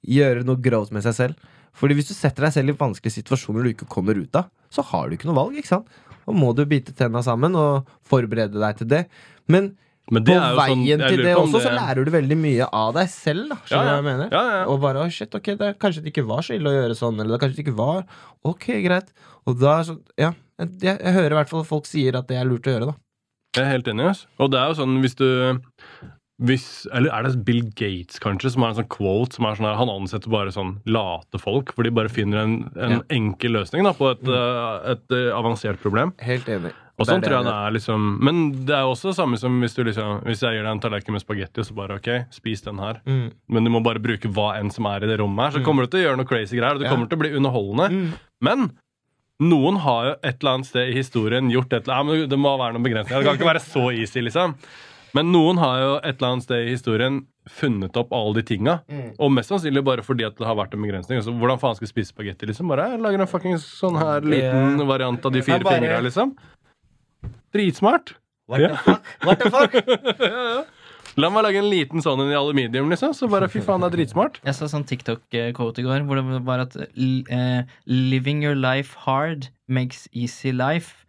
Speaker 3: gjøre noe grovt med seg selv. Fordi hvis du setter deg selv i vanskelige situasjoner du ikke kommer ut av, så har du ikke noe valg, ikke sant? Da må du bite tenna sammen og forberede deg til det. Men
Speaker 2: Men det
Speaker 3: på
Speaker 2: er jo sånn-
Speaker 3: veien
Speaker 2: jeg
Speaker 3: til
Speaker 2: lurer
Speaker 3: det
Speaker 2: på om
Speaker 3: også, så lærer du veldig mye av deg selv. Da,
Speaker 2: Ja,
Speaker 3: skjønner du
Speaker 2: ja.
Speaker 3: hva jeg mener?
Speaker 2: Ja, ja.
Speaker 3: Og bare «Å, shit, ok, det, kanskje det ikke var så ille å gjøre sånn, eller det kanskje det ikke var Ok, greit. Og da er sånn Ja. Jeg, jeg hører i hvert fall folk sier at det er lurt å gjøre, da.
Speaker 2: Jeg er helt enig. ass. Og det er jo sånn hvis du hvis, Eller er det Bill Gates, kanskje, som har en sånn quote som er sånn her Han ansetter bare sånn late folk, for de bare finner en, en
Speaker 3: Ja. Mm.
Speaker 2: enkel løsning da, på et, eh, et eh, avansert problem.
Speaker 3: Helt enig.
Speaker 2: Og sånn tror jeg det er liksom Men det er jo også det samme som hvis du liksom Hvis jeg gir deg en tallerken med spagetti, og så bare OK, spis den her.
Speaker 3: Mm.
Speaker 2: Men du må bare bruke hva enn som er i det rommet her, så kommer du til å gjøre noe crazy greier, og det
Speaker 3: Ja.
Speaker 2: kommer til å bli underholdende.
Speaker 3: Mm.
Speaker 2: Men noen har jo et eller annet sted i historien gjort et eller annet men Det må være noen begrensninger. Det kan ikke være så easy, liksom. Men noen har jo et eller annet sted i historien funnet opp alle de tinga. Og mest sannsynlig bare fordi at det har vært en begrensning. Altså, hvordan faen skal jeg spise spagetti? Liksom? Bare jeg lager en fucking sånn her liten variant av de fire
Speaker 3: Det er bare-
Speaker 2: fingra, liksom. Dritsmart.
Speaker 5: What the fuck? What the fuck?
Speaker 2: La meg lage en liten sånn en i aluminium, liksom. Så bare fy faen, det er dritsmart.
Speaker 4: Jeg så sånn TikTok-quote i går hvor det var at eh, Living your life hard makes easy life.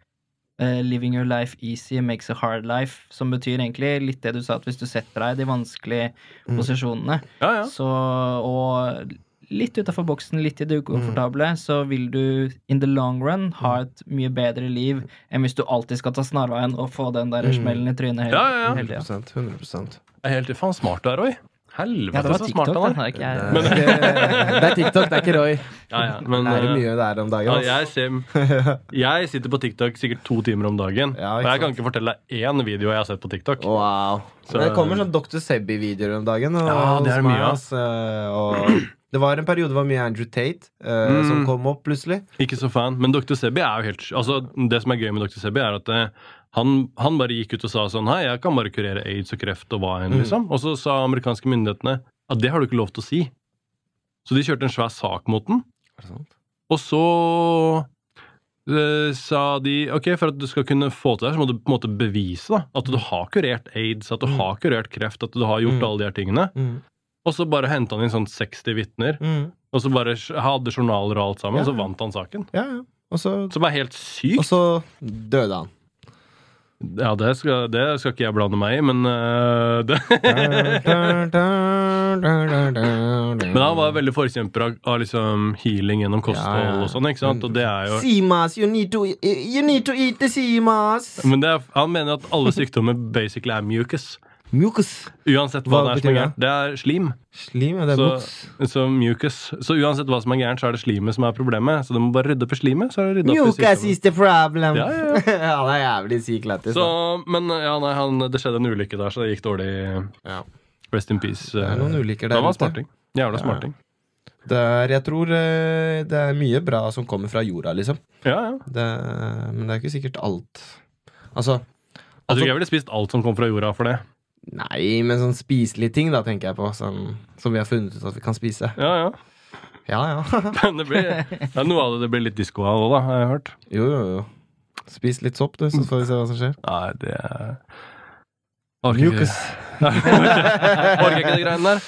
Speaker 4: Eh, living your life easy makes a hard life. Som betyr egentlig litt det du sa, at hvis du setter deg i de vanskelige
Speaker 3: Mm.
Speaker 4: posisjonene,
Speaker 2: Ja, ja.
Speaker 4: så Og litt utafor boksen, litt i det ukomfortable,
Speaker 2: Mm.
Speaker 4: så vil du in the long run ha et mye bedre liv enn hvis du alltid skal ta snarveien og få den der
Speaker 3: Mm.
Speaker 4: smellen i trynet hele,
Speaker 2: Ja, ja, ja.
Speaker 4: hele tida.
Speaker 3: 100, 100%.
Speaker 2: Jeg er helt faen smart du er, Roy.
Speaker 4: Ja,
Speaker 2: Helvete,
Speaker 4: det var
Speaker 2: så
Speaker 4: TikTok,
Speaker 2: smart
Speaker 4: den
Speaker 2: han er.
Speaker 4: har ikke jeg
Speaker 3: det er TikTok, det er ikke Roy.
Speaker 2: Ja, ja. Men
Speaker 3: Det er jo
Speaker 2: eh,
Speaker 3: mye altså. der om
Speaker 2: ja,
Speaker 3: dagen.
Speaker 2: jeg,
Speaker 3: ass.
Speaker 2: ser, jeg sitter på TikTok sikkert to timer om dagen.
Speaker 3: Ja,
Speaker 2: og
Speaker 3: ikke
Speaker 2: jeg kan
Speaker 3: sant.
Speaker 2: ikke fortelle deg én video jeg har sett på TikTok.
Speaker 3: Wow.
Speaker 2: Så-
Speaker 3: Men det kommer sånn Dr. Sebby-videoer om dagen. Og,
Speaker 2: Ja, det er
Speaker 3: hos meg,
Speaker 2: mye, ja.
Speaker 3: ass, eh, og, det var en periode det var mye Andrew Tate eh,
Speaker 2: Mm.
Speaker 3: som kom opp plutselig.
Speaker 2: Ikke så fan. Men Dr. Sebi er jo helt sj- altså, Det som er gøy med Dr. Sebi, er at eh, han, han bare gikk ut og sa sånn Hei, jeg kan bare kurere aids og kreft og hva enn,
Speaker 3: Mm.
Speaker 2: liksom. Og så sa amerikanske myndighetene at det har du ikke lov til å si. Så de kjørte en svær sak mot den. Og så eh, sa de ok, for at du skal kunne få til det, her, så må du på en måte bevise da, at du har kurert aids, at du
Speaker 3: Mm.
Speaker 2: har kurert kreft, at du har gjort
Speaker 3: Mm.
Speaker 2: alle de her tingene.
Speaker 3: Mm.
Speaker 2: Og så bare henta han inn sånn 60 vitner,
Speaker 3: Mm.
Speaker 2: og så bare sj- hadde journaler og alt sammen, og
Speaker 3: Ja.
Speaker 2: så vant han saken.
Speaker 3: Ja, ja. Og så,
Speaker 2: Som er helt sykt.
Speaker 3: og så døde han.
Speaker 2: Ja, det skal, det skal ikke jeg blande meg i, men øh, det. Men han var veldig forkjemper av, av liksom healing gjennom kosthold
Speaker 3: Ja, ja.
Speaker 2: og sånn, ikke sant? Og det er jo
Speaker 3: Simas, you need to, e-, you need to eat the Simas!
Speaker 2: Men det er, han mener at alle sykdommer basically er mucus.
Speaker 3: Mucus.
Speaker 2: Uansett hva, det
Speaker 3: Hva
Speaker 2: er som er
Speaker 3: betyr
Speaker 2: gærent. Det er slim.
Speaker 3: Slim, ja. Det er
Speaker 2: Så-
Speaker 3: mucus.
Speaker 2: Så mucus. Så uansett hva som er gærent, så er det slimet som er problemet. Så du må bare rydde opp i slimet, så er det rydda opp i
Speaker 3: Mucus
Speaker 2: sykdommen.
Speaker 3: is the problem!
Speaker 2: sånn. Ja, ja,
Speaker 3: Han sånn. er jævlig syk lættis.
Speaker 2: Så,
Speaker 3: da.
Speaker 2: men ja, nei, han, det skjedde en ulykke der, så det gikk dårlig.
Speaker 3: Ja.
Speaker 2: Rest in peace.
Speaker 3: Det er noen ulykker
Speaker 2: Han
Speaker 3: der
Speaker 2: var
Speaker 3: ute.
Speaker 2: smarting. Jævla
Speaker 3: Ja.
Speaker 2: smarting.
Speaker 3: Det er, jeg tror eh, det er mye bra som kommer fra jorda, liksom.
Speaker 2: Ja, ja.
Speaker 3: Det, men det er ikke sikkert alt. Altså
Speaker 2: Jeg
Speaker 3: Altså-
Speaker 2: tror jeg ville spist alt som kom fra jorda for det.
Speaker 3: Nei, men sånn spiselige ting, da, tenker jeg på. Sånn, som vi har funnet ut at vi kan spise.
Speaker 2: Ja, ja.
Speaker 3: Ja, ja.
Speaker 2: Men det blir, det er noe av det det blir litt disko av òg, da, har jeg hørt.
Speaker 3: Jo, jo, jo. Spis litt sopp, du, så får vi se hva som skjer.
Speaker 2: Nei, det er
Speaker 3: Mucus.
Speaker 2: Orker ikke de greiene der.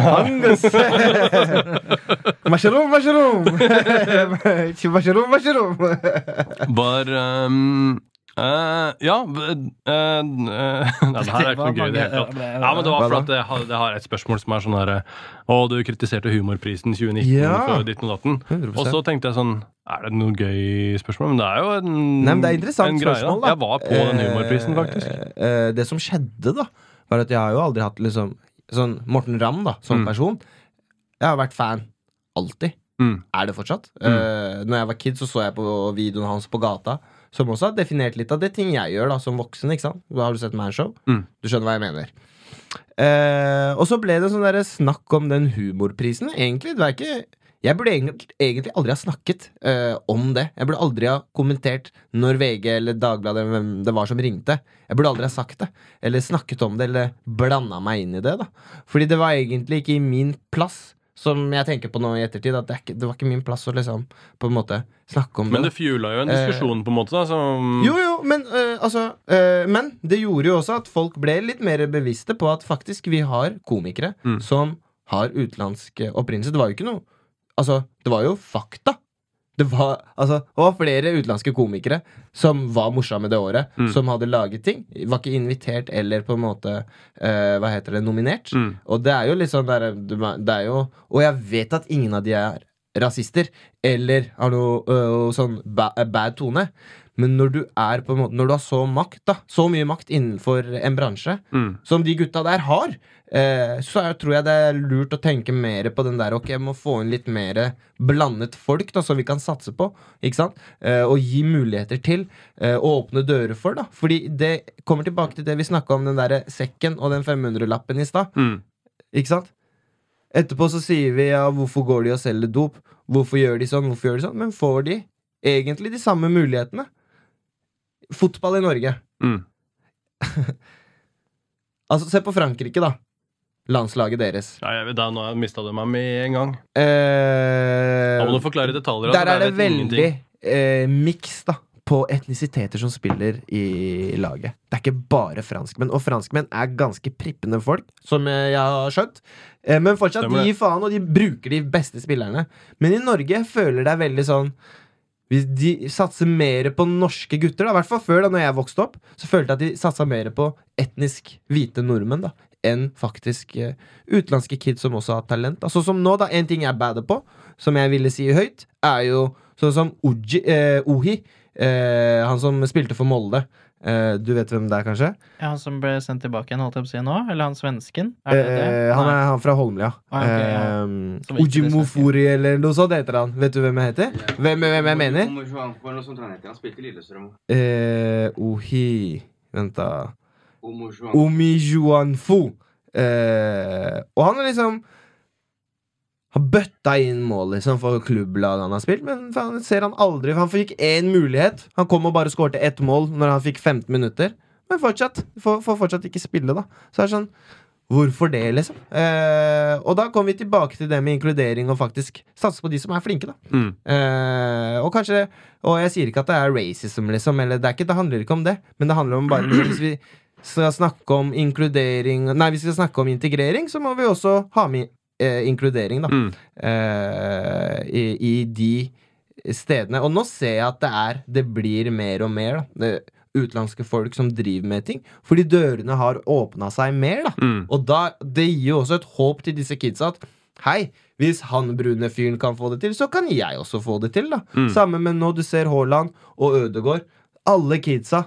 Speaker 3: Angus! Masharom, masharom! Masharom, masharom!
Speaker 2: Var ehm, eh, Ja eh, eh, Nei, det her er ikke noe gøy i det hele
Speaker 3: eh,
Speaker 2: tatt. Ja, men det var for at jeg har, jeg har et spørsmål som er sånn herre Å, du kritiserte humorprisen 2019
Speaker 3: Ja.
Speaker 2: for ditten og datten. Og så
Speaker 3: 100
Speaker 2: tenkte jeg sånn Er det noe gøy spørsmål? Men det er jo en,
Speaker 3: Nei, men det er interessant
Speaker 2: en greie. da.
Speaker 3: spørsmål, da.
Speaker 2: Jeg var på den humorprisen, faktisk.
Speaker 3: Eh, eh, det som skjedde, da, var at jeg har jo aldri hatt liksom Sånn Morten Ramm, da, som
Speaker 2: Mm.
Speaker 3: person. Jeg har vært fan. Alltid.
Speaker 2: Mm.
Speaker 3: Er det fortsatt. Eh, når jeg var kid, så så jeg på videoen hans på gata. Som også har definert litt av det ting jeg gjør da som voksen. ikke sant? Da har du sett Manshow.
Speaker 2: Mm.
Speaker 3: Du skjønner hva jeg mener. Eh, og så ble det sånn der snakk om den humorprisen. Egentlig, det var ikke Jeg burde egentlig, egentlig aldri ha snakket eh, om det. Jeg burde aldri ha kommentert når VG eller Dagbladet eller hvem det var som ringte. Jeg burde aldri ha sagt det. Eller snakket om det, eller blanda meg inn i det. da Fordi det var egentlig ikke i min plass. Som jeg tenker på nå i ettertid, at det, er ikke, det var ikke min plass å liksom på en måte snakke om
Speaker 2: Men
Speaker 3: det.
Speaker 2: det fuela jo en diskusjon, på en måte. da, som...
Speaker 3: eh, Jo, jo, men, eh, altså, eh, men det gjorde jo også at folk ble litt mer bevisste på at faktisk vi har komikere
Speaker 2: Mm.
Speaker 3: som har utenlandsk eh, opprinnelse. Det var jo ikke noe Altså, det var jo fakta. Det var, altså, det var flere utenlandske komikere som var morsomme det året.
Speaker 2: Mm.
Speaker 3: Som hadde laget ting. Var ikke invitert eller på en måte eh, Hva heter det? Nominert.
Speaker 2: Mm.
Speaker 3: Og det er jo litt sånn der, det er jo, Og jeg vet at ingen av de er rasister eller har noe øh, sånn ba, bad tone. Men når du er på en måte Når du har så makt da så mye makt innenfor en bransje
Speaker 2: Mm.
Speaker 3: som de gutta der har, eh, så er, tror jeg det er lurt å tenke mer på den der Ok, jeg må få inn litt mer blandet folk da som vi kan satse på. Ikke sant? Eh, og gi muligheter til, eh, og åpne dører for. da Fordi det kommer tilbake til det vi snakka om, den der sekken og den 500-lappen i stad.
Speaker 2: Mm.
Speaker 3: Ikke sant? Etterpå så sier vi ja, hvorfor går de og selger dop? Hvorfor gjør de sånn? Hvorfor gjør de sånn? Men får de egentlig de samme mulighetene? Fotball i Norge.
Speaker 2: Mm.
Speaker 3: Altså, se på Frankrike, da. Landslaget deres.
Speaker 2: Nei, jeg vet, da, nå mista du meg med en gang.
Speaker 3: Eh,
Speaker 2: Da må du forklare detaljer. altså,
Speaker 3: der er det
Speaker 2: jeg vet
Speaker 3: veldig
Speaker 2: ingenting.
Speaker 3: eh, miks, da. På etnisiteter som spiller i laget. Det er ikke bare franskmenn. Og franskmenn er ganske prippende folk, som eh, jeg har skjønt. Eh, Men fortsatt,
Speaker 2: Stemmer
Speaker 3: de
Speaker 2: det.
Speaker 3: gir faen, og de bruker de beste spillerne. Men i Norge føler det er veldig sånn hvis de satser mer på norske gutter, da, i hvert fall før da når jeg vokste opp, så følte jeg at de satsa mer på etnisk hvite nordmenn da, enn faktisk eh, utenlandske kids som også har talent. da. Sånn som nå, da, en ting jeg bader på, som jeg ville si høyt, er jo sånn som Oji, eh, Ohi, eh, han som spilte for Molde. Eh, du vet hvem det er, kanskje?
Speaker 4: Ja, han som ble sendt tilbake igjen, holdt jeg på å si nå? Eller han svensken? Er det det?
Speaker 3: Eh, han
Speaker 4: Nei.
Speaker 3: er han fra Holmlia.
Speaker 4: Ah, ok, ja. Som
Speaker 3: eh,
Speaker 4: ikke det
Speaker 3: Ujimofori eller noe sånt heter han. Vet du hvem jeg heter? Hvem, hvem jeg mener?
Speaker 5: Kommer så an på noe sånt han heter. Han spilte i Lillestrøm.
Speaker 3: Eh, Ohi Vent, da.
Speaker 5: Omo Juan.
Speaker 3: Omi Juanfu. Eh, og han er liksom Har bøtta inn mål liksom for klubblaget han har spilt, men faen, ser han aldri Han fikk én mulighet. Han kom og bare skårte ett mål når han fikk 15 minutter. Men fortsatt får, får fortsatt ikke spille, da. Så er det sånn Hvorfor det, liksom? Eh, og da kommer vi tilbake til det med inkludering og faktisk satse på de som er flinke, da.
Speaker 2: Mm.
Speaker 3: Eh, og kanskje Og jeg sier ikke at det er racism, liksom. Eller det, er ikke, det handler ikke om det. Men det handler om bare Hvis vi skal snakke om inkludering Nei, hvis vi skal snakke om integrering, så må vi også ha med eh, inkludering, da.
Speaker 2: Mm.
Speaker 3: Eh, i, I de stedene. Og nå ser jeg at det er Det blir mer og mer, da. Det, utenlandske folk som driver med ting. Fordi dørene har åpna seg mer, da.
Speaker 2: Mm.
Speaker 3: Og da, det gir jo også et håp til disse kidsa at hei, hvis han brune fyren kan få det til, så kan jeg også få det til. da.
Speaker 2: Mm.
Speaker 3: Samme med nå du ser Haaland og Ødegård. Alle kidsa.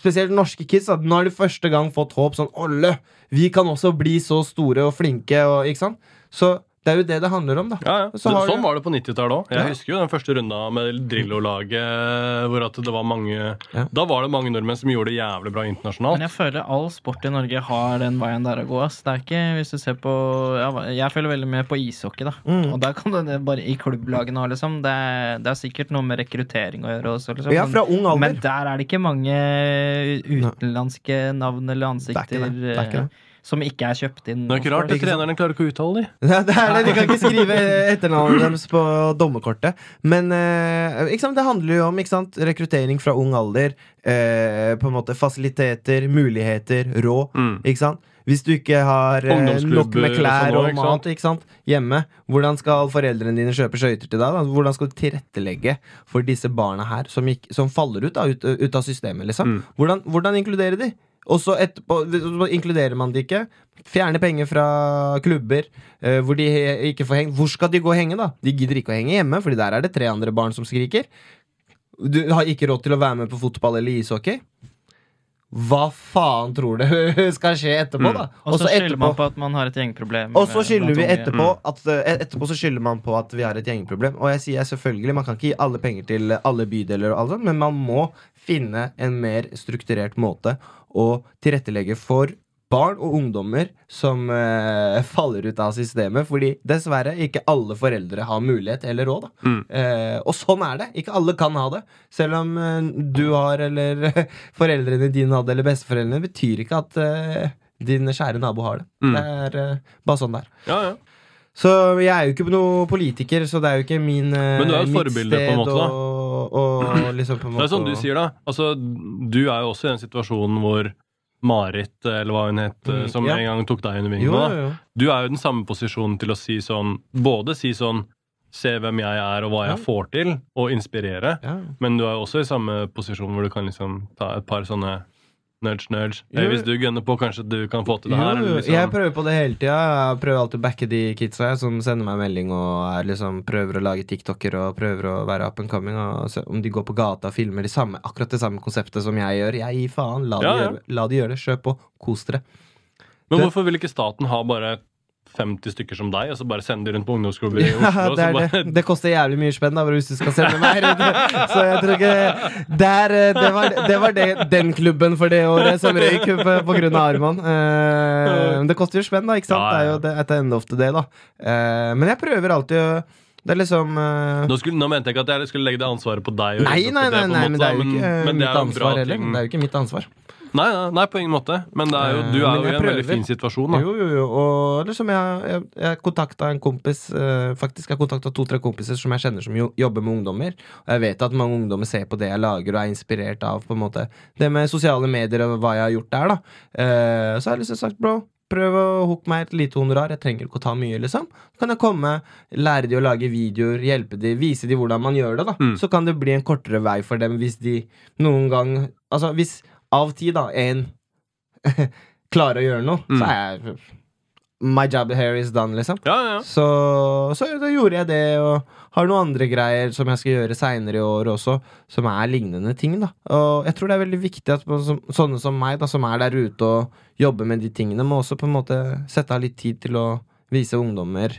Speaker 3: Spesielt norske kids. da. Nå har de første gang fått håp. Sånn Olle! Vi kan også bli så store og flinke. Og, ikke sant? Så det er jo det det handler om, da.
Speaker 2: Ja, ja.
Speaker 3: Så har
Speaker 2: sånn
Speaker 3: du-
Speaker 2: var det på 90-tallet òg. Jeg
Speaker 3: Ja.
Speaker 2: husker jo den første runda med Drillo-laget. Hvor at det var mange
Speaker 3: Ja.
Speaker 2: Da var det mange nordmenn som gjorde det jævlig bra internasjonalt.
Speaker 4: Men jeg føler all sport i Norge har den veien der å gå. Ass. Det er ikke, hvis du ser på ja, Jeg føler veldig med på ishockey, da.
Speaker 3: Mm.
Speaker 4: Og der kan du det bare i klubblagene òg, liksom. Det er, det er sikkert noe med rekruttering å gjøre også, liksom.
Speaker 3: Ja, fra ung alder.
Speaker 4: Men der er det ikke mange utenlandske navn eller ansikter
Speaker 3: Det er ikke det. Det er ikke det.
Speaker 4: eh, som ikke er kjøpt inn.
Speaker 2: Det er ikke rart, det
Speaker 4: hos folk. liksom.
Speaker 2: trenerne klarer ikke å uttale de.
Speaker 3: Nei, det er det. De kan ikke skrive etternavnet deres på dommerkortet. Men eh, ikke sant? det handler jo om ikke sant? rekruttering fra ung alder. Eh, på en måte Fasiliteter, muligheter, råd.
Speaker 2: Mm.
Speaker 3: Ikke sant? Hvis du ikke har eh, nok
Speaker 2: Ungdomsklubber
Speaker 3: med klær
Speaker 2: og sånn også,
Speaker 3: og,
Speaker 2: ikke sant?
Speaker 3: mat ikke sant? hjemme, hvordan skal foreldrene dine kjøpe skøyter til deg? Da? Hvordan skal du tilrettelegge for disse barna her som, ikk- som faller ut, da, ut, ut av systemet? Liksom?
Speaker 2: Mm.
Speaker 3: Hvordan, hvordan inkludere de? Og så etterpå så inkluderer man de ikke. Fjerne penger fra klubber eh, hvor de he- ikke får henge. Hvor skal de gå og henge, da? De gidder ikke å henge hjemme, Fordi der er det tre andre barn som skriker. Du har ikke råd til å være med på fotball eller ishockey. Hva faen tror du skal skje etterpå,
Speaker 2: Mm.
Speaker 3: da?
Speaker 4: Og så skylder
Speaker 3: etterpå-
Speaker 4: man på at man har et gjengproblem.
Speaker 3: og så
Speaker 4: eh,
Speaker 3: skylder
Speaker 4: blant
Speaker 3: vi
Speaker 4: unge.
Speaker 3: etterpå at, eh, etterpå så skylder man på at vi har et gjengproblem. Og jeg sier selvfølgelig, man kan ikke gi alle penger til alle bydeler, og alt sånt, men man må finne en mer strukturert måte å tilrettelegge for barn og ungdommer som eh, faller ut av systemet. Fordi dessverre, ikke alle foreldre har mulighet eller råd. Da.
Speaker 2: Mm.
Speaker 3: Eh, og sånn er det. Ikke alle kan ha det. Selv om eh, du har, eller foreldrene dine hadde, eller besteforeldrene, betyr ikke at eh, din kjære nabo har det.
Speaker 2: Mm.
Speaker 3: Det er eh, bare sånn det er.
Speaker 2: Ja, ja.
Speaker 3: Så jeg er jo ikke noen politiker, så det er jo ikke min eh,
Speaker 2: Men du er jo et
Speaker 3: mitt
Speaker 2: forbilde på en måte, da.
Speaker 3: å- å- å liksom på en
Speaker 2: Det
Speaker 3: måte
Speaker 2: er sånn du
Speaker 3: å-
Speaker 2: sier, da. Altså, du er jo også i den situasjonen hvor Marit, eller hva hun het,
Speaker 3: Mm,
Speaker 2: som
Speaker 3: ja.
Speaker 2: en gang tok deg under
Speaker 3: Jo,
Speaker 2: vingene,
Speaker 3: jo,
Speaker 2: da.
Speaker 3: jo.
Speaker 2: du er jo i den samme posisjonen til å si sånn Både si sånn Se hvem jeg er, og hva jeg
Speaker 3: Ja.
Speaker 2: får til, og inspirere.
Speaker 3: Ja.
Speaker 2: Men du er jo også i samme posisjon hvor du kan liksom ta et par sånne nudge, nudge.
Speaker 3: Jo.
Speaker 2: Eh, Hvis du gunner på, kanskje du kan få til det her.
Speaker 3: Jo,
Speaker 2: Eller
Speaker 3: jo,
Speaker 2: liksom.
Speaker 3: Jeg prøver på det hele tida. Jeg prøver alltid å backe de kidsa jeg, som sender meg melding og er liksom prøver å lage TikToker og prøver å være up and coming. Og se om de går på gata og filmer de samme, akkurat det samme konseptet som jeg gjør. Jeg gir faen. La,
Speaker 2: Ja,
Speaker 3: de,
Speaker 2: ja.
Speaker 3: Gjøre, la de gjøre det. Kjør på. Kos dere.
Speaker 2: Men
Speaker 3: Det-
Speaker 2: hvorfor vil ikke staten ha bare 50 stykker som deg, og så bare sende de rundt på ungdomsklubber i
Speaker 3: Ja,
Speaker 2: Oslo? og
Speaker 3: det,
Speaker 2: så
Speaker 3: er
Speaker 2: bare,
Speaker 3: det. det koster jævlig mye spenn da, hvis du skal sende meg rundt. Så jeg tror ikke der, eh, Det var, det var det, den klubben for det året som røyk på, på grunn av Arman. Eh, men det koster jo spenn, da. ikke sant?
Speaker 2: Ja,
Speaker 3: Det er
Speaker 2: ja.
Speaker 3: jo det, at det ender ofte det, da. Eh, men jeg prøver alltid å Det er liksom eh,
Speaker 2: Nå, skulle, nå mente jeg ikke at jeg skulle legge det ansvaret på deg. og
Speaker 3: Nei,
Speaker 2: rydde opp i
Speaker 3: nei, nei,
Speaker 2: på en
Speaker 3: nei,
Speaker 2: måte,
Speaker 3: men det er jo
Speaker 2: men-
Speaker 3: ikke eh,
Speaker 2: men det er
Speaker 3: mitt
Speaker 2: jo en bra
Speaker 3: ansvar heller.
Speaker 2: ting.
Speaker 3: Det er jo ikke mitt ansvar.
Speaker 2: Nei, nei, nei, på ingen måte. Men det er jo, du er
Speaker 3: Eh, men
Speaker 2: jo i
Speaker 3: jeg
Speaker 2: en veldig
Speaker 3: prøver.
Speaker 2: fin situasjon. Da.
Speaker 3: Jo, jo, jo. Og liksom jeg, jeg, jeg kontakta en kompis eh, Faktisk jeg kontakta to-tre kompiser som jeg kjenner som jo, jobber med ungdommer. Og jeg vet at mange ungdommer ser på det jeg lager, og er inspirert av på en måte det med sosiale medier og hva jeg har gjort der. da Eh, Så har jeg liksom sagt, bro Prøv å hooke meg et lite honorar. Jeg trenger ikke å ta mye. liksom Så kan jeg komme, lære de å lage videoer, hjelpe de, vise de hvordan man gjør det. da
Speaker 2: Mm.
Speaker 3: Så kan det bli en kortere vei for dem hvis de noen gang Altså hvis av ti, da, en klarer å gjøre noe,
Speaker 2: Mm.
Speaker 3: så er jeg My job here is done, liksom.
Speaker 2: Ja, ja, ja.
Speaker 3: Så, så da gjorde jeg det, og har noen andre greier som jeg skal gjøre seinere i år også, som er lignende ting, da. Og jeg tror det er veldig viktig at man som, sånne som meg, da, som er der ute og jobber med de tingene, må også på en måte sette av litt tid til å vise ungdommer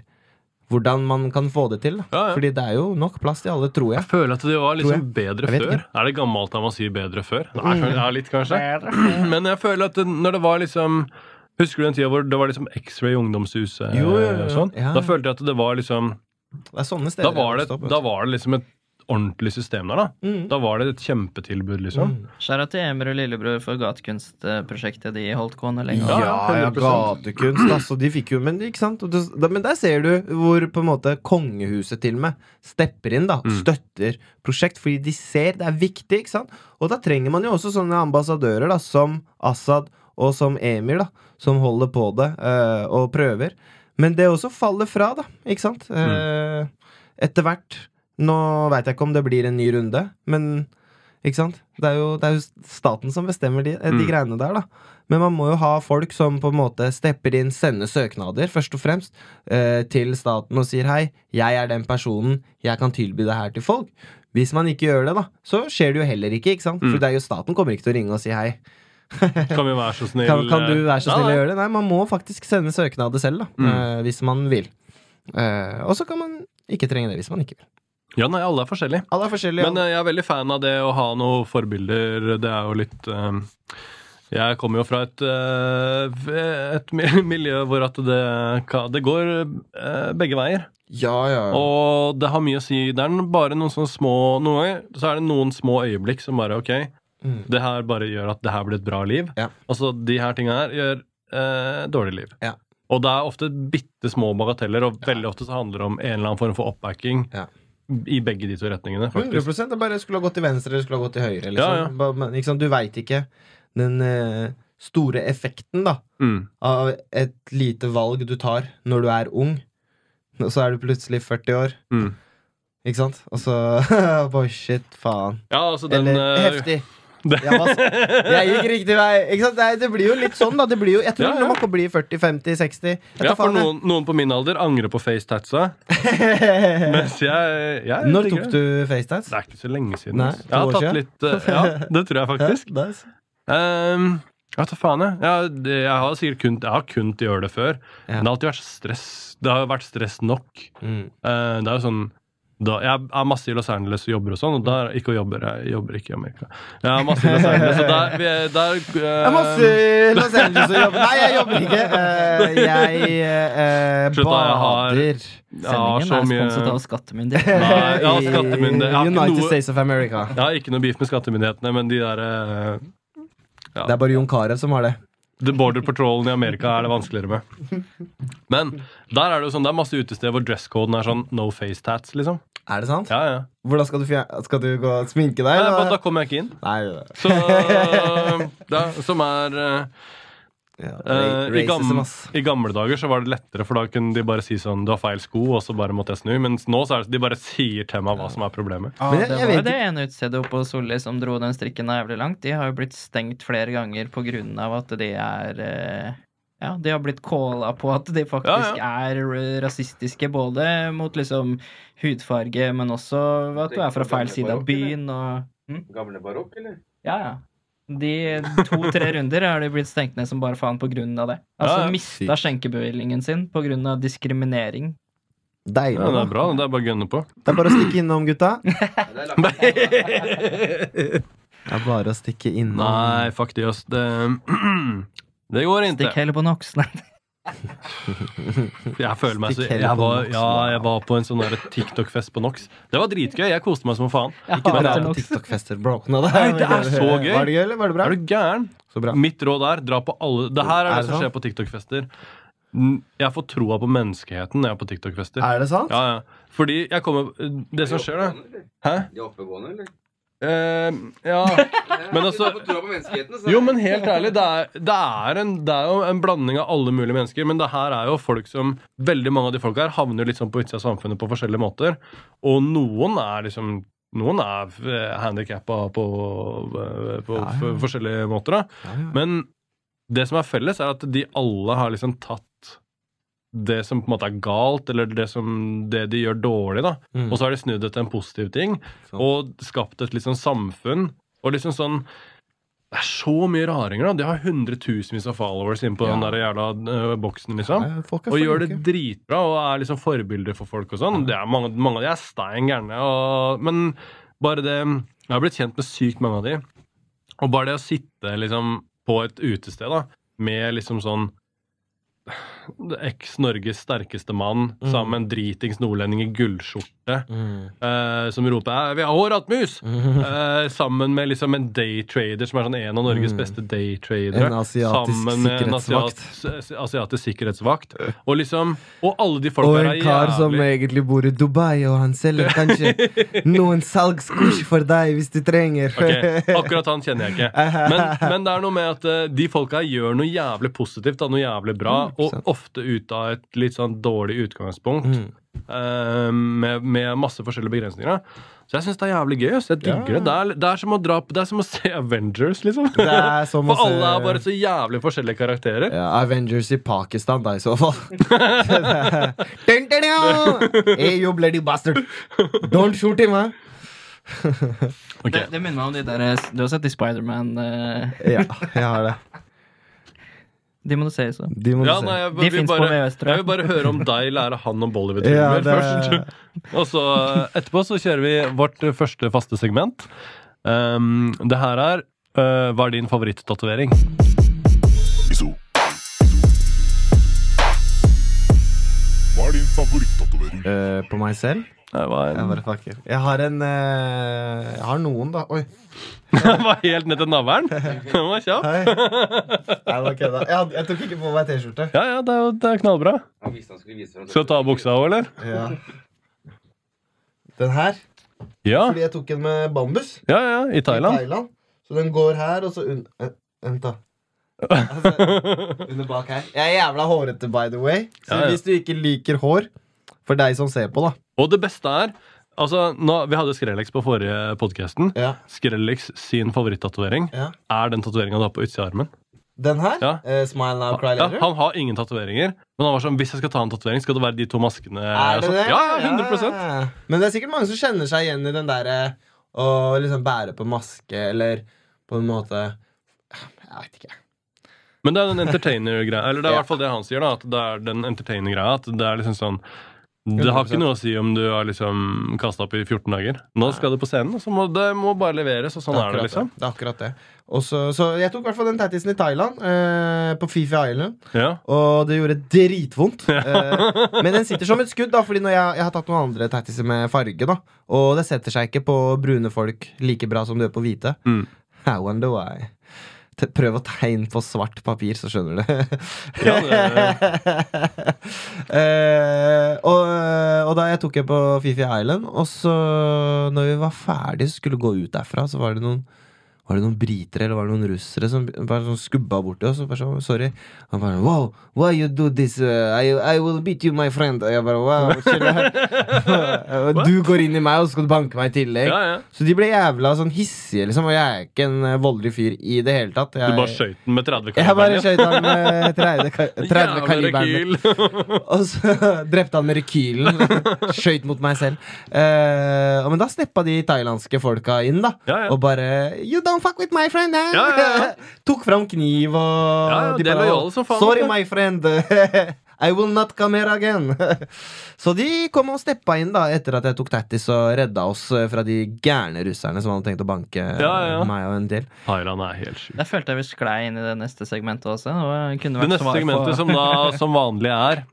Speaker 3: hvordan man kan få det til. da.
Speaker 2: Ja, ja.
Speaker 3: Fordi det er jo nok plass til alle, tror jeg.
Speaker 2: Jeg føler at det var liksom bedre
Speaker 3: Jeg vet Mm.
Speaker 2: før. Er det gammelt da man sier bedre før? Nei, kanskje- ja, litt kanskje. Men jeg føler at det- når det var liksom Husker du den tida hvor det var liksom X-ray i ungdomshuset?
Speaker 3: Jo, jo, jo.
Speaker 2: og Sånn?
Speaker 3: Ja.
Speaker 2: Da følte jeg at det var liksom
Speaker 3: Det er sånne steder.
Speaker 2: Da var det,
Speaker 3: jeg vokste opp,
Speaker 2: da var det liksom et ordentlig system der, da.
Speaker 3: vet du. Mm.
Speaker 2: Da var det et kjempetilbud, liksom.
Speaker 3: Mm.
Speaker 4: Skjæra til Emer og lillebror for gatekunstprosjektet de holdt gående lenge.
Speaker 2: Ja,
Speaker 3: Ja,
Speaker 2: ja,
Speaker 3: ja,
Speaker 2: 100%.
Speaker 3: gatekunst, altså. De fikk jo, men, ikke sant? Og det, da, men der ser du hvor på en måte kongehuset til og med stepper inn, da.
Speaker 2: Mm.
Speaker 3: Støtter prosjekt, fordi de ser det er viktig, ikke sant? Og da trenger man jo også sånne ambassadører, da, som Assad og som Emir, da, som holder på det eh, og prøver. Men det også faller fra, da, ikke sant?
Speaker 2: Mm.
Speaker 3: Eh, etter hvert. Nå veit jeg ikke om det blir en ny runde, men ikke sant? Det er jo, det er jo staten som bestemmer de, eh, de
Speaker 2: Mm.
Speaker 3: greiene der, da. Men man må jo ha folk som på en måte stepper inn, sender søknader, først og fremst, eh, til staten og sier hei, jeg er den personen, jeg kan tilby det her til folk. Hvis man ikke gjør det, da, så skjer det jo heller ikke, ikke sant?
Speaker 2: Mm.
Speaker 3: For det er jo staten kommer ikke til å ringe og si hei.
Speaker 2: Kan vi være så snill
Speaker 3: Mm.
Speaker 2: eh,
Speaker 3: Kan, kan du være så
Speaker 2: Ja,
Speaker 3: snill
Speaker 2: ja.
Speaker 3: å gjøre det? Nei, man må faktisk sende søknader selv, da,
Speaker 2: Mm.
Speaker 3: eh, hvis man vil. Eh, og så kan man ikke trenge det hvis man ikke vil.
Speaker 2: Ja, nei, alle er forskjellige.
Speaker 3: Alle er forskjellige.
Speaker 2: Men eh, jeg er veldig fan av det å ha noen forbilder. Det er jo litt eh, Jeg kommer jo fra et, eh, et mi- miljø hvor at det, ka- det går eh, begge veier.
Speaker 3: ja, ja.
Speaker 2: Og det har mye å si. Det er bare noen sånne små Noen ganger så er det noen små øyeblikk som bare OK,
Speaker 3: Mm.
Speaker 2: det her bare gjør at det her blir et bra liv.
Speaker 3: Ja.
Speaker 2: Altså, de her tinga her gjør eh, dårlig liv.
Speaker 3: Ja.
Speaker 2: Og det er ofte bitte små bagateller, og veldig ofte så handler det om en eller annen form for oppbacking
Speaker 3: Ja.
Speaker 2: i begge de to retningene. faktisk
Speaker 3: 100 det bare skulle ha gått til venstre eller skulle ha gått til høyre. Liksom.
Speaker 2: Ja, ja.
Speaker 3: Ba- Men, ikke sant, Du veit ikke den eh, store effekten da
Speaker 2: Mm.
Speaker 3: av et lite valg du tar når du er ung. Og så er du plutselig 40 år,
Speaker 2: Mm.
Speaker 3: ikke sant? Og så Boy, shit, faen.
Speaker 2: Ja, altså den
Speaker 3: Eller
Speaker 2: eh,
Speaker 3: heftig.
Speaker 2: det-
Speaker 3: Jeg, var, jeg gikk riktig vei. Ikke sant? Nei, det blir jo litt sånn, da. Det blir jo, jeg tror
Speaker 2: Ja, ja.
Speaker 3: man kan bli 40-50-60.
Speaker 2: Ja, for noen, noen på min alder angrer på facetatsa. Mens jeg, jeg
Speaker 3: Når tok du FaceTats?
Speaker 2: Det er ikke så lenge siden.
Speaker 3: Nei,
Speaker 2: altså.
Speaker 3: to
Speaker 2: jeg har
Speaker 3: år
Speaker 2: tatt
Speaker 3: siden?
Speaker 2: litt eh, Ja, det tror jeg faktisk.
Speaker 3: Ja, nice.
Speaker 2: Ehm, ja, ta faen, jeg. Jeg, det- jeg har sikkert kun, jeg har kun til å gjøre det før.
Speaker 3: Ja.
Speaker 2: Men det har alltid vært så stress. Det har jo vært stress nok.
Speaker 3: Mm.
Speaker 2: Eh, det er jo sånn da, jeg er masse i Los Angeles og jobber og sånn, og der ikke og jobber, jeg jobber ikke i Amerika. Jeg er masse i Los Angeles, og der, vi- der eh,
Speaker 3: Jeg er masse i Los Angeles og jobber. Nei, jeg jobber ikke. Eh, jeg eh,
Speaker 2: Slutt da, jeg har-
Speaker 3: bader.
Speaker 2: ehm, ja,
Speaker 4: Sendingen
Speaker 2: så
Speaker 4: er
Speaker 2: mye-
Speaker 4: sponset av skattemyndighetene.
Speaker 2: Nei, ja, skattemyndighet. Jeg har
Speaker 3: I
Speaker 2: ikke
Speaker 3: United
Speaker 2: noe-
Speaker 3: States of America.
Speaker 2: Jeg har ikke noe beef med skattemyndighetene, men de der eh,
Speaker 3: Det er bare Jon Carew som har det.
Speaker 2: The Border Patrolen i Amerika er det vanskeligere med. Men der er det jo sånn, det er masse utesteder hvor dresscoden er sånn no face tats, liksom.
Speaker 3: Er det sant?
Speaker 2: Ja, ja.
Speaker 3: Hvordan skal du, fjer- skal du gå og sminke deg?
Speaker 2: Nei,
Speaker 3: eller?
Speaker 2: da kommer jeg ikke inn.
Speaker 3: Nei,
Speaker 2: Så, ja, som er eh,
Speaker 3: ja,
Speaker 2: eh, i,
Speaker 3: racism,
Speaker 2: gamle,
Speaker 3: ass.
Speaker 2: I gamle dager så var det lettere, for da kunne de bare si sånn Du har feil sko, og så bare måtte jeg snu. Mens nå så er det, de bare sier til meg hva som er problemet.
Speaker 3: Men
Speaker 4: Ah,
Speaker 3: jeg,
Speaker 4: Det
Speaker 3: jeg
Speaker 4: var jo
Speaker 3: vet
Speaker 4: det ene utstedet oppe hos Solli som dro den strikken jævlig langt. De har jo blitt stengt flere ganger på grunn av at de er eh, Ja, de har blitt calla på at de faktisk er rasistiske, både mot liksom hudfarge, men også at du er fra feil side av byen og hm?
Speaker 5: Gamle barokk, eller?
Speaker 4: Ja, ja. De to-tre runder har de blitt stengt ned som bare faen på grunn av det.
Speaker 2: Ja,
Speaker 4: Altså
Speaker 2: ja.
Speaker 4: mista skjenkebevilgningen sin på grunn av diskriminering.
Speaker 3: ikke. Deilig.
Speaker 2: Ja, det
Speaker 3: da.
Speaker 2: er bra. Det er bare å gunne på.
Speaker 3: Det er bare å stikke innom, gutta.
Speaker 5: Ja, det er lagt-
Speaker 3: Det er bare å stikke innom.
Speaker 2: Nei, fuck de, ass. Det, det går ikke.
Speaker 4: Stikk heller på Noxland.
Speaker 2: Jeg føler meg så
Speaker 3: Stikk heller
Speaker 2: jeg
Speaker 3: på
Speaker 2: var,
Speaker 3: Nox,
Speaker 2: ja,
Speaker 3: da.
Speaker 2: jeg var på en sånn der TikTok-fest på Nox. Det var dritgøy. Jeg koste meg som faen.
Speaker 4: Jeg
Speaker 3: Ikke
Speaker 4: hater
Speaker 3: dra på
Speaker 4: Nox.
Speaker 3: TikTok-fester, bro. Nå, det,
Speaker 2: Nei, det er så gøy.
Speaker 3: Var det gøy, eller var det bra?
Speaker 2: Er du gæren?
Speaker 3: Så bra.
Speaker 2: Mitt råd er dra på alle Det her er
Speaker 3: Er
Speaker 2: det
Speaker 3: det
Speaker 2: som
Speaker 3: sant?
Speaker 2: skjer på TikTok-fester. N- Jeg får troa på menneskeheten når jeg er på TikTok-fester.
Speaker 3: Er det sant?
Speaker 2: Ja, ja. Fordi jeg kommer Det som skjer, da Hæ?
Speaker 5: De er oppegående, eller?
Speaker 2: Eh, ja. Men altså-
Speaker 5: Du tror på menneskeheten, så.
Speaker 2: Jo, men helt ærlig, det er, det, er en, det er jo en blanding av alle mulige mennesker. Men det her er jo folk som Veldig mange av de folka her havner litt sånn på utsida av samfunnet på forskjellige måter. Og noen er liksom Noen er handikappa på, eh, på
Speaker 3: Ja, ja.
Speaker 2: f- forskjellige måter, da.
Speaker 3: Ja, ja.
Speaker 2: Men det som er felles, er at de alle har liksom tatt det som på en måte er galt, eller det, som, det de gjør dårlig. da.
Speaker 3: Mm.
Speaker 2: Og så har de snudd det til en positiv ting,
Speaker 3: Sant.
Speaker 2: og skapt et liksom samfunn. Og liksom sånn Det er så mye raringer, da. De har hundretusenvis av followers inne på
Speaker 3: Ja.
Speaker 2: den der jævla øh, boksen, liksom.
Speaker 3: Nei, folk er
Speaker 2: Og gjør det
Speaker 3: flinke.
Speaker 2: dritbra og er liksom forbilder for folk og sånn. Det er Mange, mange av de er stein gærne. og- Men bare det Jeg har blitt kjent med sykt mange av de. Og bare det å sitte liksom på et utested da, med liksom sånn Eks-Norges sterkeste mann
Speaker 3: Mm.
Speaker 2: sammen med en dritings nordlending i gullskjorte
Speaker 3: Mm.
Speaker 2: eh, som roper «Æ, 'Vi har hårhattmus!' Eh, sammen med liksom en daytrader som er sånn en av Norges
Speaker 3: Mm.
Speaker 2: beste daytradere.
Speaker 3: En asiatisk
Speaker 2: Sammen med en
Speaker 3: sikkerhetsvakt.
Speaker 2: asiat- asiatisk sikkerhetsvakt. Og liksom Og alle de
Speaker 3: Og
Speaker 2: folka
Speaker 3: en kar som egentlig bor i Dubai, og han selger kanskje noen salgskurs for deg hvis du trenger.
Speaker 2: Ok, Akkurat han kjenner jeg ikke. Men, men det er noe med at eh, de folka gjør noe jævlig positivt, da, noe jævlig bra, og
Speaker 3: 100%.
Speaker 2: ofte ut av et litt sånn dårlig utgangspunkt.
Speaker 3: Mm.
Speaker 2: eh, med, med masse forskjellige begrensninger. da. Så jeg syns det er jævlig gøy. ass. Jeg digger
Speaker 3: Ja.
Speaker 2: det. Det er, det, er som å dra på, det er som å se Avengers, liksom.
Speaker 3: Det er som å
Speaker 2: For alle
Speaker 3: se-
Speaker 2: er bare så jævlig forskjellige karakterer.
Speaker 3: Ja, Avengers i Pakistan, da, i så fall. Dun, dun, dun! hey, you bloody bastard! Don't shoot him, huh?
Speaker 2: Ok.
Speaker 4: Det, det minner meg om de der Du har sett de Spiderman uh,
Speaker 3: Ja, jeg har det.
Speaker 4: De må du se i så.
Speaker 3: De må du
Speaker 2: Ja,
Speaker 3: se.
Speaker 2: nei, jeg,
Speaker 4: De
Speaker 2: vil
Speaker 4: finnes på
Speaker 2: bare,
Speaker 4: VHS, tror jeg.
Speaker 2: jeg vil bare høre om deg lære han om
Speaker 3: Ja,
Speaker 2: Bollywood-filmer
Speaker 3: det-
Speaker 2: først. Og så eh, etterpå så kjører vi vårt eh, første faste segment. Um, det her er eh, Hva er din favorittatovering?
Speaker 6: Iso. Hva er din favorittatovering?
Speaker 3: Eh, på meg selv?
Speaker 2: Det var,
Speaker 3: Jeg bare fucker. Jeg har en eh, Jeg har noen, da. Oi.
Speaker 2: det var helt ned til navlen. Den var kjapp.
Speaker 3: Hei. Nei, nå kødda jeg. hadde- Jeg tok ikke på meg T-skjorte.
Speaker 2: Ja, ja, det er, jo- det er knallbra.
Speaker 5: Han visste han skulle vise frem
Speaker 2: Skal du ta av buksa òg, eller?
Speaker 3: Ja. Den her.
Speaker 2: Ja.
Speaker 3: Fordi jeg tok den med bambus.
Speaker 2: ja, ja, i
Speaker 3: I
Speaker 2: Thailand.
Speaker 3: Thailand. Så den går her, og så un... eh, Vent, da. Altså, under bak her. Jeg er jævla hårete, by the way. Så
Speaker 2: Ja, ja.
Speaker 3: hvis du ikke liker hår For deg som ser på, da.
Speaker 2: Og det beste er Altså, nå, Vi hadde Skrellex på forrige podkasten.
Speaker 3: Ja.
Speaker 2: Skrellex sin favorittatovering
Speaker 3: Ja.
Speaker 2: er den tatoveringa du har på utsida av armen.
Speaker 3: Den her.
Speaker 2: Ja.
Speaker 3: eh, smile now, cry
Speaker 2: Ja,
Speaker 3: later.
Speaker 2: han har ingen tatoveringer, men han var sånn, hvis jeg skal ta en tatovering, skal det være de to maskene.
Speaker 3: Er
Speaker 2: Eh,
Speaker 3: det
Speaker 2: Så-
Speaker 3: det?
Speaker 2: Ja, ja, 100
Speaker 3: Ja. Men det er sikkert mange som kjenner seg igjen i den derre å liksom bære på maske, eller på en måte Jeg vet ikke.
Speaker 2: Men det er den entertainer-greia, eller det er i
Speaker 3: Ja.
Speaker 2: hvert fall det han sier, da, at det er den entertainer-greia, at det er liksom sånn det har ikke
Speaker 3: 100%.
Speaker 2: noe å si om du har liksom kasta opp i 14 dager. Nå skal du på scenen, og så må det må bare leveres, og sånn er det,
Speaker 3: akkurat
Speaker 2: liksom.
Speaker 3: Det er akkurat det. Og så- så jeg tok i hvert fall den tattisen i Thailand, eh, på Fifi Island.
Speaker 2: Ja.
Speaker 3: Og det gjorde dritvondt. Eh, men den sitter som et skudd, da Fordi når jeg, jeg har tatt noen andre tattiser med farge. da Og det setter seg ikke på brune folk like bra som det gjør på hvite.
Speaker 2: Mm.
Speaker 3: I wonder why. Te- Prøv å tegne på svart papir, så skjønner du.
Speaker 2: Ja, det-
Speaker 3: Eh, og, og da jeg tok en på Fifi Island, og så når vi var ferdige skulle gå ut derfra, så var det noen var det noen briter eller var det noen russere som bare sånn skubba borti oss? Og bare sånn, sorry Han bare Wow, why you do this? Uh, I, I will beat you, my friend. Og jeg bare wow, chill. Du går inn i meg, og så skal du banke meg i tillegg.
Speaker 2: ja, ja.
Speaker 3: Så de ble jævla sånn hissige, liksom. Og jeg er ikke en eh, voldelig fyr i det hele tatt. Jeg,
Speaker 2: Du bare skøyt den med 30
Speaker 3: jeg bare
Speaker 2: kaliber.
Speaker 3: skøyt han med 30, ka- 30 kaliberen. min. Og så drepte han med rekylen. Skøyt mot meg selv. Eh, men da sneppa de thailandske folka inn, da.
Speaker 2: Ja, ja.
Speaker 3: Og bare You don't fuck with my friend! eh!»
Speaker 2: Ja, ja, ja.
Speaker 3: Tok fram kniv og
Speaker 2: Ja, ja, de er
Speaker 3: bare,
Speaker 2: lojale som faen, altså."
Speaker 3: Sorry,
Speaker 2: vet du."
Speaker 3: my friend. I will not come here again. så de kom og steppa inn da etter at jeg tok tattis og redda oss eh, fra de gærne russerne som hadde tenkt å banke eh,
Speaker 2: Ja, ja.
Speaker 3: meg og en del.
Speaker 2: Thailand er helt sjukt.
Speaker 4: Der følte jeg vi sklei inn i det neste segmentet også. Det kunne
Speaker 2: Det
Speaker 4: vært
Speaker 2: neste
Speaker 4: svar på-
Speaker 2: segmentet, som da som vanlig er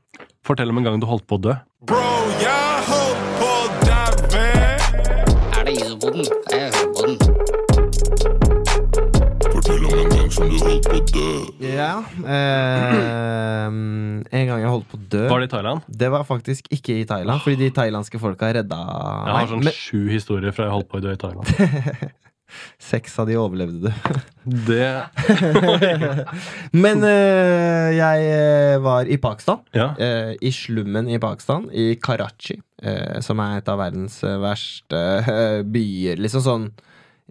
Speaker 2: Fortell om en gang du holdt på å dø.
Speaker 6: Bro, jeg holdt på å daue.
Speaker 7: Er det isopoden? Det er isopoden.
Speaker 6: Fortell om en gang som du holdt på å dø.
Speaker 3: Ja. eh, en gang jeg holdt på å dø.
Speaker 2: Var det i Thailand?
Speaker 3: Det var faktisk ikke i Thailand, fordi de thailandske folka redda
Speaker 2: Jeg har
Speaker 3: meg.
Speaker 2: sånn sju historier fra jeg holdt på å dø i Thailand.
Speaker 3: Men seks av de overlevde det.
Speaker 2: Det
Speaker 3: Men eh, jeg eh, var i Pakistan.
Speaker 2: Ja.
Speaker 3: eh, I slummen i Pakistan, i Karachi, eh, som er et av verdens eh, verste eh, byer. Liksom sånn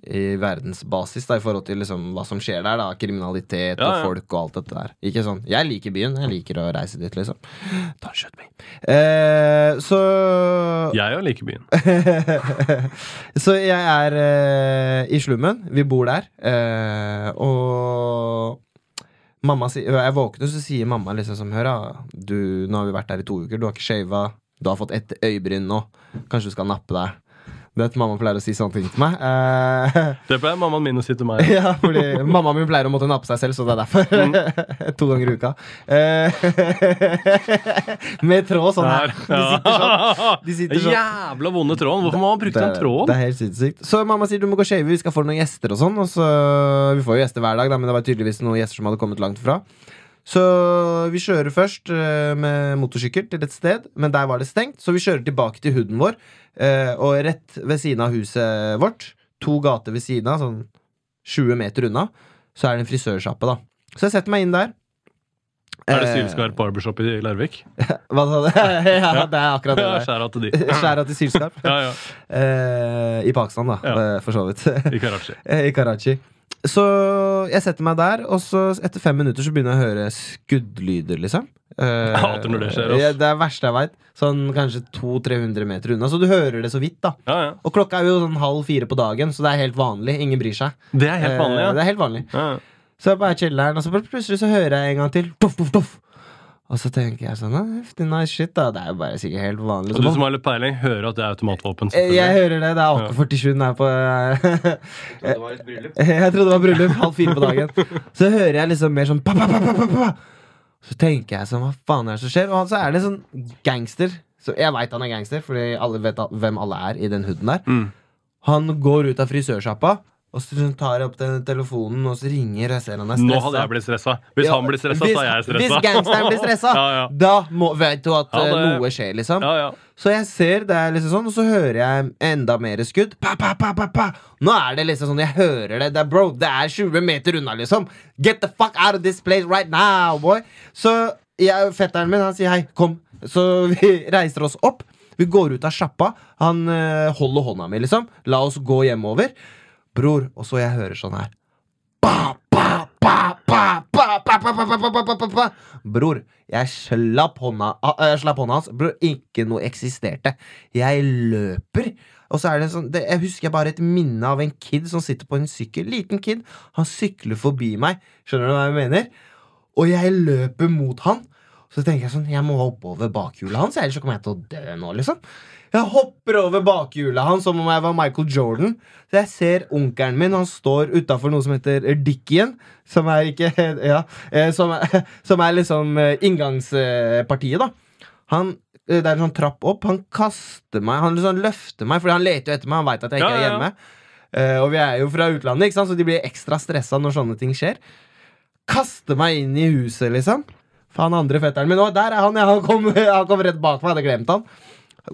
Speaker 3: i verdensbasis da, i forhold til liksom, hva som skjer der. da Kriminalitet
Speaker 2: Ja, ja.
Speaker 3: og folk og alt dette der. Ikke sånn Jeg liker byen. Jeg liker å reise dit, liksom. Don't shoot me. Eh, så
Speaker 2: Jeg òg liker byen.
Speaker 3: Så jeg er eh, i slummen. Vi bor der. Eh, og mamma sier og Jeg våkner, så sier mamma liksom som Hør, da. Du, nå har vi vært der i to uker. Du har ikke shava. Du har fått ett øyebryn nå. Kanskje du skal nappe deg. Du vet, Mamma pleier å si sånne ting til meg. Eh,
Speaker 2: Det pleier mammaen min å si til meg.
Speaker 3: ja, fordi mamma min pleier å måtte nappe seg selv, så det er derfor. to ganger i uka. Eh, Med tråd sånn her. De sitter sånn.
Speaker 2: Jævla vonde tråden! Hvorfor må man bruke den tråden?
Speaker 3: Det er helt sinnssykt. Så mamma sier du må gå shave, vi skal få noen gjester og sånn. Og så, vi får jo gjester hver dag, da, men det var tydeligvis noen gjester som hadde kommet langt fra. Så vi kjører først eh, med motorsykkel til et sted, men der var det stengt. Så vi kjører tilbake til huden vår, eh, og rett ved siden av huset vårt, to gater ved siden av, sånn 20 meter unna, så er det en frisørsjappe, da. Så jeg setter meg inn der.
Speaker 2: Er det
Speaker 3: Eh,
Speaker 2: Sylskarp barbershop i Larvik?
Speaker 3: Hva sa du? ja, det er akkurat det.
Speaker 2: Ja,
Speaker 3: der.
Speaker 2: Skjæra til de.
Speaker 3: Skjæra til Sylskarp.
Speaker 2: Ja, ja.
Speaker 3: Eh, I Pakistan, da,
Speaker 2: Ja.
Speaker 3: eh, for så vidt.
Speaker 2: I Karachi.
Speaker 3: Eh, I Karachi. Så jeg setter meg der, og så etter fem minutter så begynner jeg å høre skuddlyder, liksom. Eh,
Speaker 2: Jeg hater når det skjer, ass.
Speaker 3: ja, det er det verste jeg veit. Sånn kanskje 200-300 meter unna. Så du hører det så vidt, da.
Speaker 2: Ja, ja.
Speaker 3: Og klokka er jo sånn halv fire på dagen, så det er helt vanlig. Ingen bryr seg.
Speaker 2: Det er helt vanlig,
Speaker 3: Eh, Det
Speaker 2: ja.
Speaker 3: er helt vanlig.
Speaker 2: ja. ja.
Speaker 3: Så jeg bare chiller her, og så bare plutselig så hører jeg en gang til. Poff, poff, poff. Og så tenker jeg sånn ah, heftig nice shit, da. Det er jo bare sikkert helt vanlig.
Speaker 2: Og du
Speaker 3: Så
Speaker 2: som har litt peiling, hører at det er automatvåpen.
Speaker 3: Eh, Jeg
Speaker 2: selvfølgelig.
Speaker 3: hører det. Det er AK-47 her på eh,
Speaker 5: Så det var et bryllup.
Speaker 3: Jeg trodde det var bryllup halv fire på dagen. Så hører jeg liksom mer sånn pa, pa, pa, pa, pa, pa. Så tenker jeg sånn, hva faen er det som skjer? Og han- så er det en sånn gangster. Så jeg veit han er gangster, fordi alle vet al- hvem alle er i den hooden der.
Speaker 2: Mm.
Speaker 3: Han går ut av frisørsjappa og så liksom tar jeg opp den telefonen og så ringer. Jeg ser han er
Speaker 2: Nå hadde jeg
Speaker 3: stressa.
Speaker 2: blitt stressa. Hvis
Speaker 3: Ja,
Speaker 2: han blir stressa,
Speaker 3: hvis-
Speaker 2: så er jeg
Speaker 3: Hvis gangsteren blir stressa,
Speaker 2: Ja, ja.
Speaker 3: da må, vet du at
Speaker 2: Ja,
Speaker 3: eh,
Speaker 2: det-
Speaker 3: noe skjer, liksom.
Speaker 2: Ja, ja.
Speaker 3: Så jeg ser det er liksom sånn, og så hører jeg enda mer skudd. Pa, pa, pa, pa, pa. Nå er det liksom sånn, jeg hører det. Det er, bro, det er 20 meter unna, liksom. Get the fuck out of this place right now, boy. Så jeg, fetteren min han sier hei, kom. Så vi reiser oss opp. Vi går ut av sjappa. Han eh, holder hånda mi, liksom. La oss gå hjemover. Bror, og så jeg hører sånn her. Ba, ba, ba, ba, ba, ba, ba, ba, ba, ba, ba, ba, ba. Bror, jeg slapp hånda, ah, eh, slapp hånda hans. Bror, ikke noe eksisterte. Jeg løper. Og så er det en sånn, det, Jeg husker bare et minne av en kid som sitter på en sykkel. Liten kid. Han sykler forbi meg. Skjønner du hva jeg mener? Og jeg løper mot han. Så tenker jeg sånn, jeg må hoppe over bakhjulet hans, ellers så kommer jeg til å dø nå, liksom. Jeg hopper over bakhjulet hans som om jeg var Michael Jordan. Så jeg ser onkelen min, han står utafor noe som heter Dickien. Som er ikke Ja. eh, Som er, som er liksom eh, inngangspartiet, da. Han eh, Det er en sånn trapp opp. Han kaster meg, han liksom løfter meg, fordi han leter jo etter meg. Han veit at jeg ikke
Speaker 2: Ja,
Speaker 3: er
Speaker 2: ja, ja.
Speaker 3: hjemme. Eh, og vi er jo fra utlandet, ikke sant? så de blir ekstra stressa når sånne ting skjer. Kaster meg inn i huset, liksom. Faen, andre fetteren min Å, der er han! Ja, han kom, han kom rett bak meg. Jeg hadde glemt han.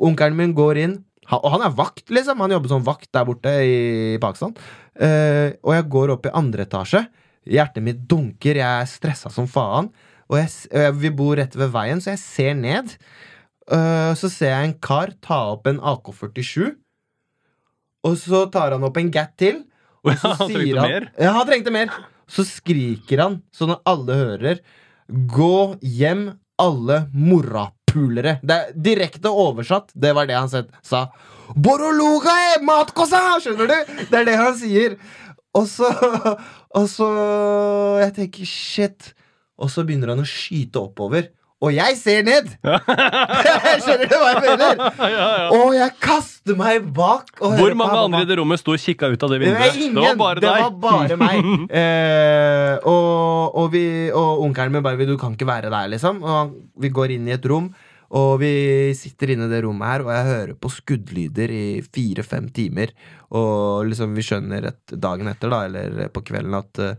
Speaker 3: Onkelen min går inn, han, og han er vakt, liksom. Han jobber som vakt der borte i Pakistan. Eh, og jeg går opp i andre etasje. Hjertet mitt dunker, jeg er stressa som faen. Og jeg, s- eh, vi bor rett ved veien, så jeg ser ned. Eh, så ser jeg en kar ta opp en AK-47. Og så tar han opp en gat til. Og så
Speaker 2: Ja, han
Speaker 3: sier
Speaker 2: trengte
Speaker 3: han,
Speaker 2: mer.
Speaker 3: Ja, han trengte mer. Så skriker han, så når alle hører, gå hjem, alle morapulere. Det er direkte oversatt. Det var det han set- sa. Boroluga e matkosa! Skjønner du? Det er det han sier. Og så, og så Jeg tenker shit. Og så begynner han å skyte oppover. Og jeg ser ned! Skjønner du hva jeg mener?
Speaker 2: Ja, ja, ja.
Speaker 3: Og jeg kaster meg bak. Og hører
Speaker 2: Hvor
Speaker 3: på
Speaker 2: mange
Speaker 3: han,
Speaker 2: andre i
Speaker 3: han-
Speaker 2: det rommet sto og kikka ut av det
Speaker 3: det var
Speaker 2: vinduet?
Speaker 3: ingen!
Speaker 2: Det var bare
Speaker 3: det
Speaker 2: deg.
Speaker 3: var bare meg. Eh, og, og, vi, og onkelen min bare "Du kan ikke være der, liksom. Og han, vi går inn i et rom, og vi sitter inne i det rommet her, og jeg hører på skuddlyder i fire-fem timer. Og liksom vi skjønner at dagen etter, da, eller på kvelden, at eh,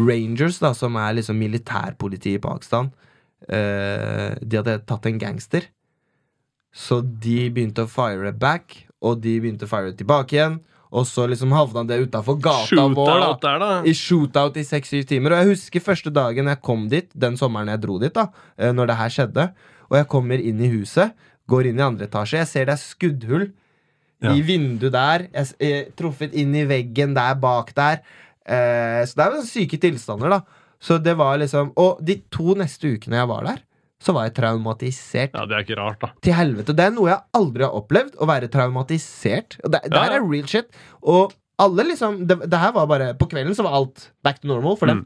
Speaker 3: Rangers, da, som er liksom militærpolitiet i Pakistan, eh, de hadde tatt en gangster. Så de begynte å fire back, og de begynte å fire tilbake igjen. Og så liksom havna det utafor gata vår. da
Speaker 2: Shootout der, da.
Speaker 3: i shootout i 6-7 timer. Og jeg husker første dagen jeg kom dit, den sommeren jeg dro dit, da, eh, når det her skjedde. Og jeg kommer inn i huset, går inn i andre etasje. Jeg ser det er skuddhull
Speaker 2: Ja.
Speaker 3: i vinduet der, jeg, s- eh, truffet inn i veggen der bak der. Eh, så det er jo syke tilstander, da. Så det var liksom Og de to neste ukene jeg var der, så var jeg traumatisert
Speaker 2: Ja, det er ikke rart, da.
Speaker 3: til helvete. Det er noe jeg aldri har opplevd, å være traumatisert. Og Det, det her
Speaker 2: Ja, ja.
Speaker 3: er real shit. Og alle liksom det, det her var bare På kvelden så var alt back to normal for dem.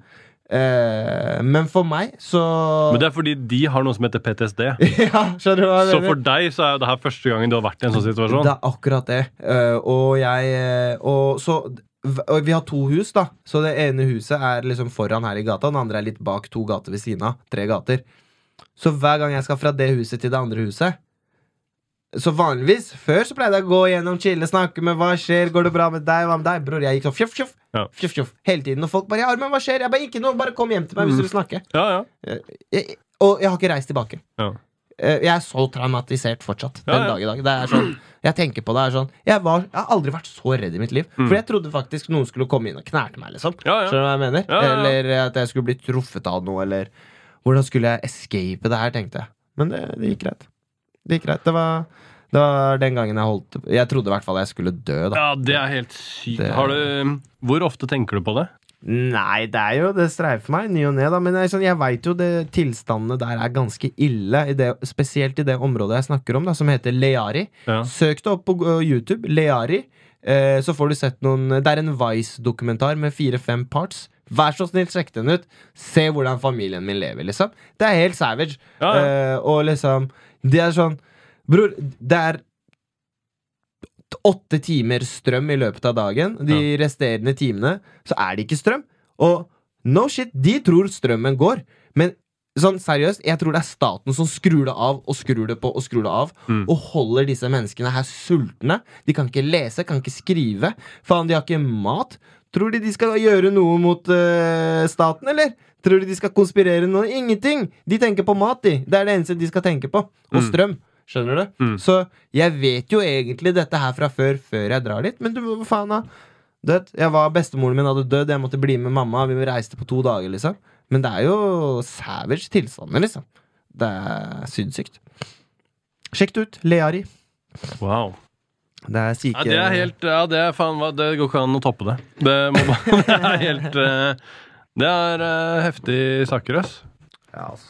Speaker 3: Eh, men for meg så
Speaker 2: Mm. Men det er fordi de har noe som heter PTSD.
Speaker 3: Ja, skjønner du hva jeg
Speaker 2: Så
Speaker 3: mener?
Speaker 2: for deg så er jo det her første gangen du har vært i en sånn situasjon.
Speaker 3: Det er akkurat det. Eh, og jeg eh, Og så v- og vi har to hus, da. Så det ene huset er liksom foran her i gata, og det andre er litt bak to gater ved siden av. Tre gater. Så hver gang jeg skal fra det huset til det andre huset Så vanligvis Før så pleide jeg å gå gjennom, chille, snakke med hva skjer, går det bra med deg, hva med deg? Bror, jeg gikk sånn fjoff, fjoff,
Speaker 2: Ja.
Speaker 3: fjoff, fjoff hele tiden. Og folk bare ja, 'Armen, hva skjer?' Jeg bare 'Ikke noe, bare kom hjem til meg hvis du vil snakke'.
Speaker 2: Ja, ja.
Speaker 3: Jeg, og jeg har ikke reist tilbake.
Speaker 2: Ja.
Speaker 3: Eh, Jeg er så traumatisert fortsatt den
Speaker 2: Ja, ja.
Speaker 3: dag i dag. Det er sånn, jeg tenker på det er sånn jeg, var, jeg har aldri vært så redd i mitt liv. For jeg trodde faktisk noen skulle komme inn og knerte meg. liksom
Speaker 2: Mm. Ja, ja.
Speaker 3: Skjønner du hva jeg mener?
Speaker 2: Ja, ja, ja.
Speaker 3: Eller at jeg skulle bli truffet av noe. Eller hvordan skulle jeg escape det her, tenkte jeg. Men det, det gikk greit. Det gikk greit. Det var, det var den gangen jeg holdt Jeg trodde i hvert fall jeg skulle dø, da.
Speaker 2: ja det er helt sykt.
Speaker 3: Det-
Speaker 2: Har du, um, hvor ofte tenker du på det?
Speaker 3: Nei, det er jo Det streifer meg i ny og ne, da. Men jeg, sånn, jeg veit jo det tilstandene der er ganske ille. I det, spesielt i det området jeg snakker om, da, som heter Leari.
Speaker 2: Ja.
Speaker 3: Søk det opp på uh, YouTube. Leari. Eh, så får du sett noen Det er en Vice-dokumentar med fire-fem parts. Vær så snill, sjekk den ut. Se hvordan familien min lever, liksom. Det er helt savage.
Speaker 2: Ja, ja.
Speaker 3: Eh, og liksom Det er sånn Bror, det er åtte timer strøm i løpet av dagen. De resterende timene så er det ikke strøm. Og no shit, de tror strømmen går. Men sånn seriøst, jeg tror det er staten som skrur det av og skrur det på og skrur det av.
Speaker 2: Mm.
Speaker 3: Og holder disse menneskene her sultne. De kan ikke lese, kan ikke skrive. Faen, de har ikke mat. Tror de de skal gjøre noe mot eh, staten, eller? Tror de de skal konspirere noe? Ingenting! De tenker på mat, de. Det er det eneste de skal tenke på. Og
Speaker 2: Mm.
Speaker 3: strøm. Skjønner du?
Speaker 2: Mm.
Speaker 3: Så jeg vet jo egentlig dette her fra før, før jeg drar dit, men du, hva faen da? Du vet, jeg var, Bestemoren min hadde dødd, jeg måtte bli med mamma, vi reiste på to dager, liksom. Men det er jo savage tilstander, liksom. Det er sinnssykt. Sjekk det ut. Leari.
Speaker 2: Wow.
Speaker 3: Det er syke
Speaker 2: Ja, det er helt Ja, det er faen hva Det går ikke an å toppe det. Det, må bare, det er helt eh, Det er eh, heftig saker, ass.
Speaker 3: Ja, ass.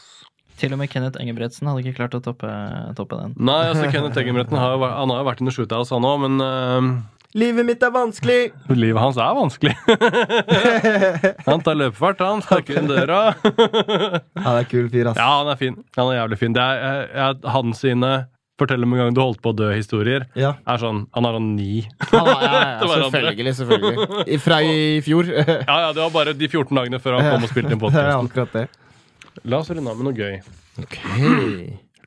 Speaker 4: Til og med Kenneth Engebretsen hadde ikke klart å toppe, toppe den.
Speaker 2: Nei, altså Kenneth Eggenbretten har jo vært- han har jo vært under shoothouse, han òg, men
Speaker 3: Livet mitt er vanskelig!
Speaker 2: eh, livet hans er vanskelig. han tar løpefart, han. Snakker inn døra.
Speaker 3: Ja, det er kul fyr, ass.
Speaker 2: Ja, han er fin. Han er jævlig fin. Det er, jeg, jeg, han sine 'fortell om en gang du holdt på å dø'-historier
Speaker 3: Ja.
Speaker 2: er sånn Han har sånn ni.
Speaker 3: Ja, ja, ja,
Speaker 2: Det var andre.
Speaker 3: selvfølgelig, selvfølgelig. I- Fra i fjor. Det
Speaker 2: Ja, ja, det var bare de 14 dagene før han kom og spilte inn
Speaker 3: er
Speaker 2: podkasten.
Speaker 3: akkurat det.
Speaker 2: La oss runde av med noe gøy.
Speaker 3: Ok.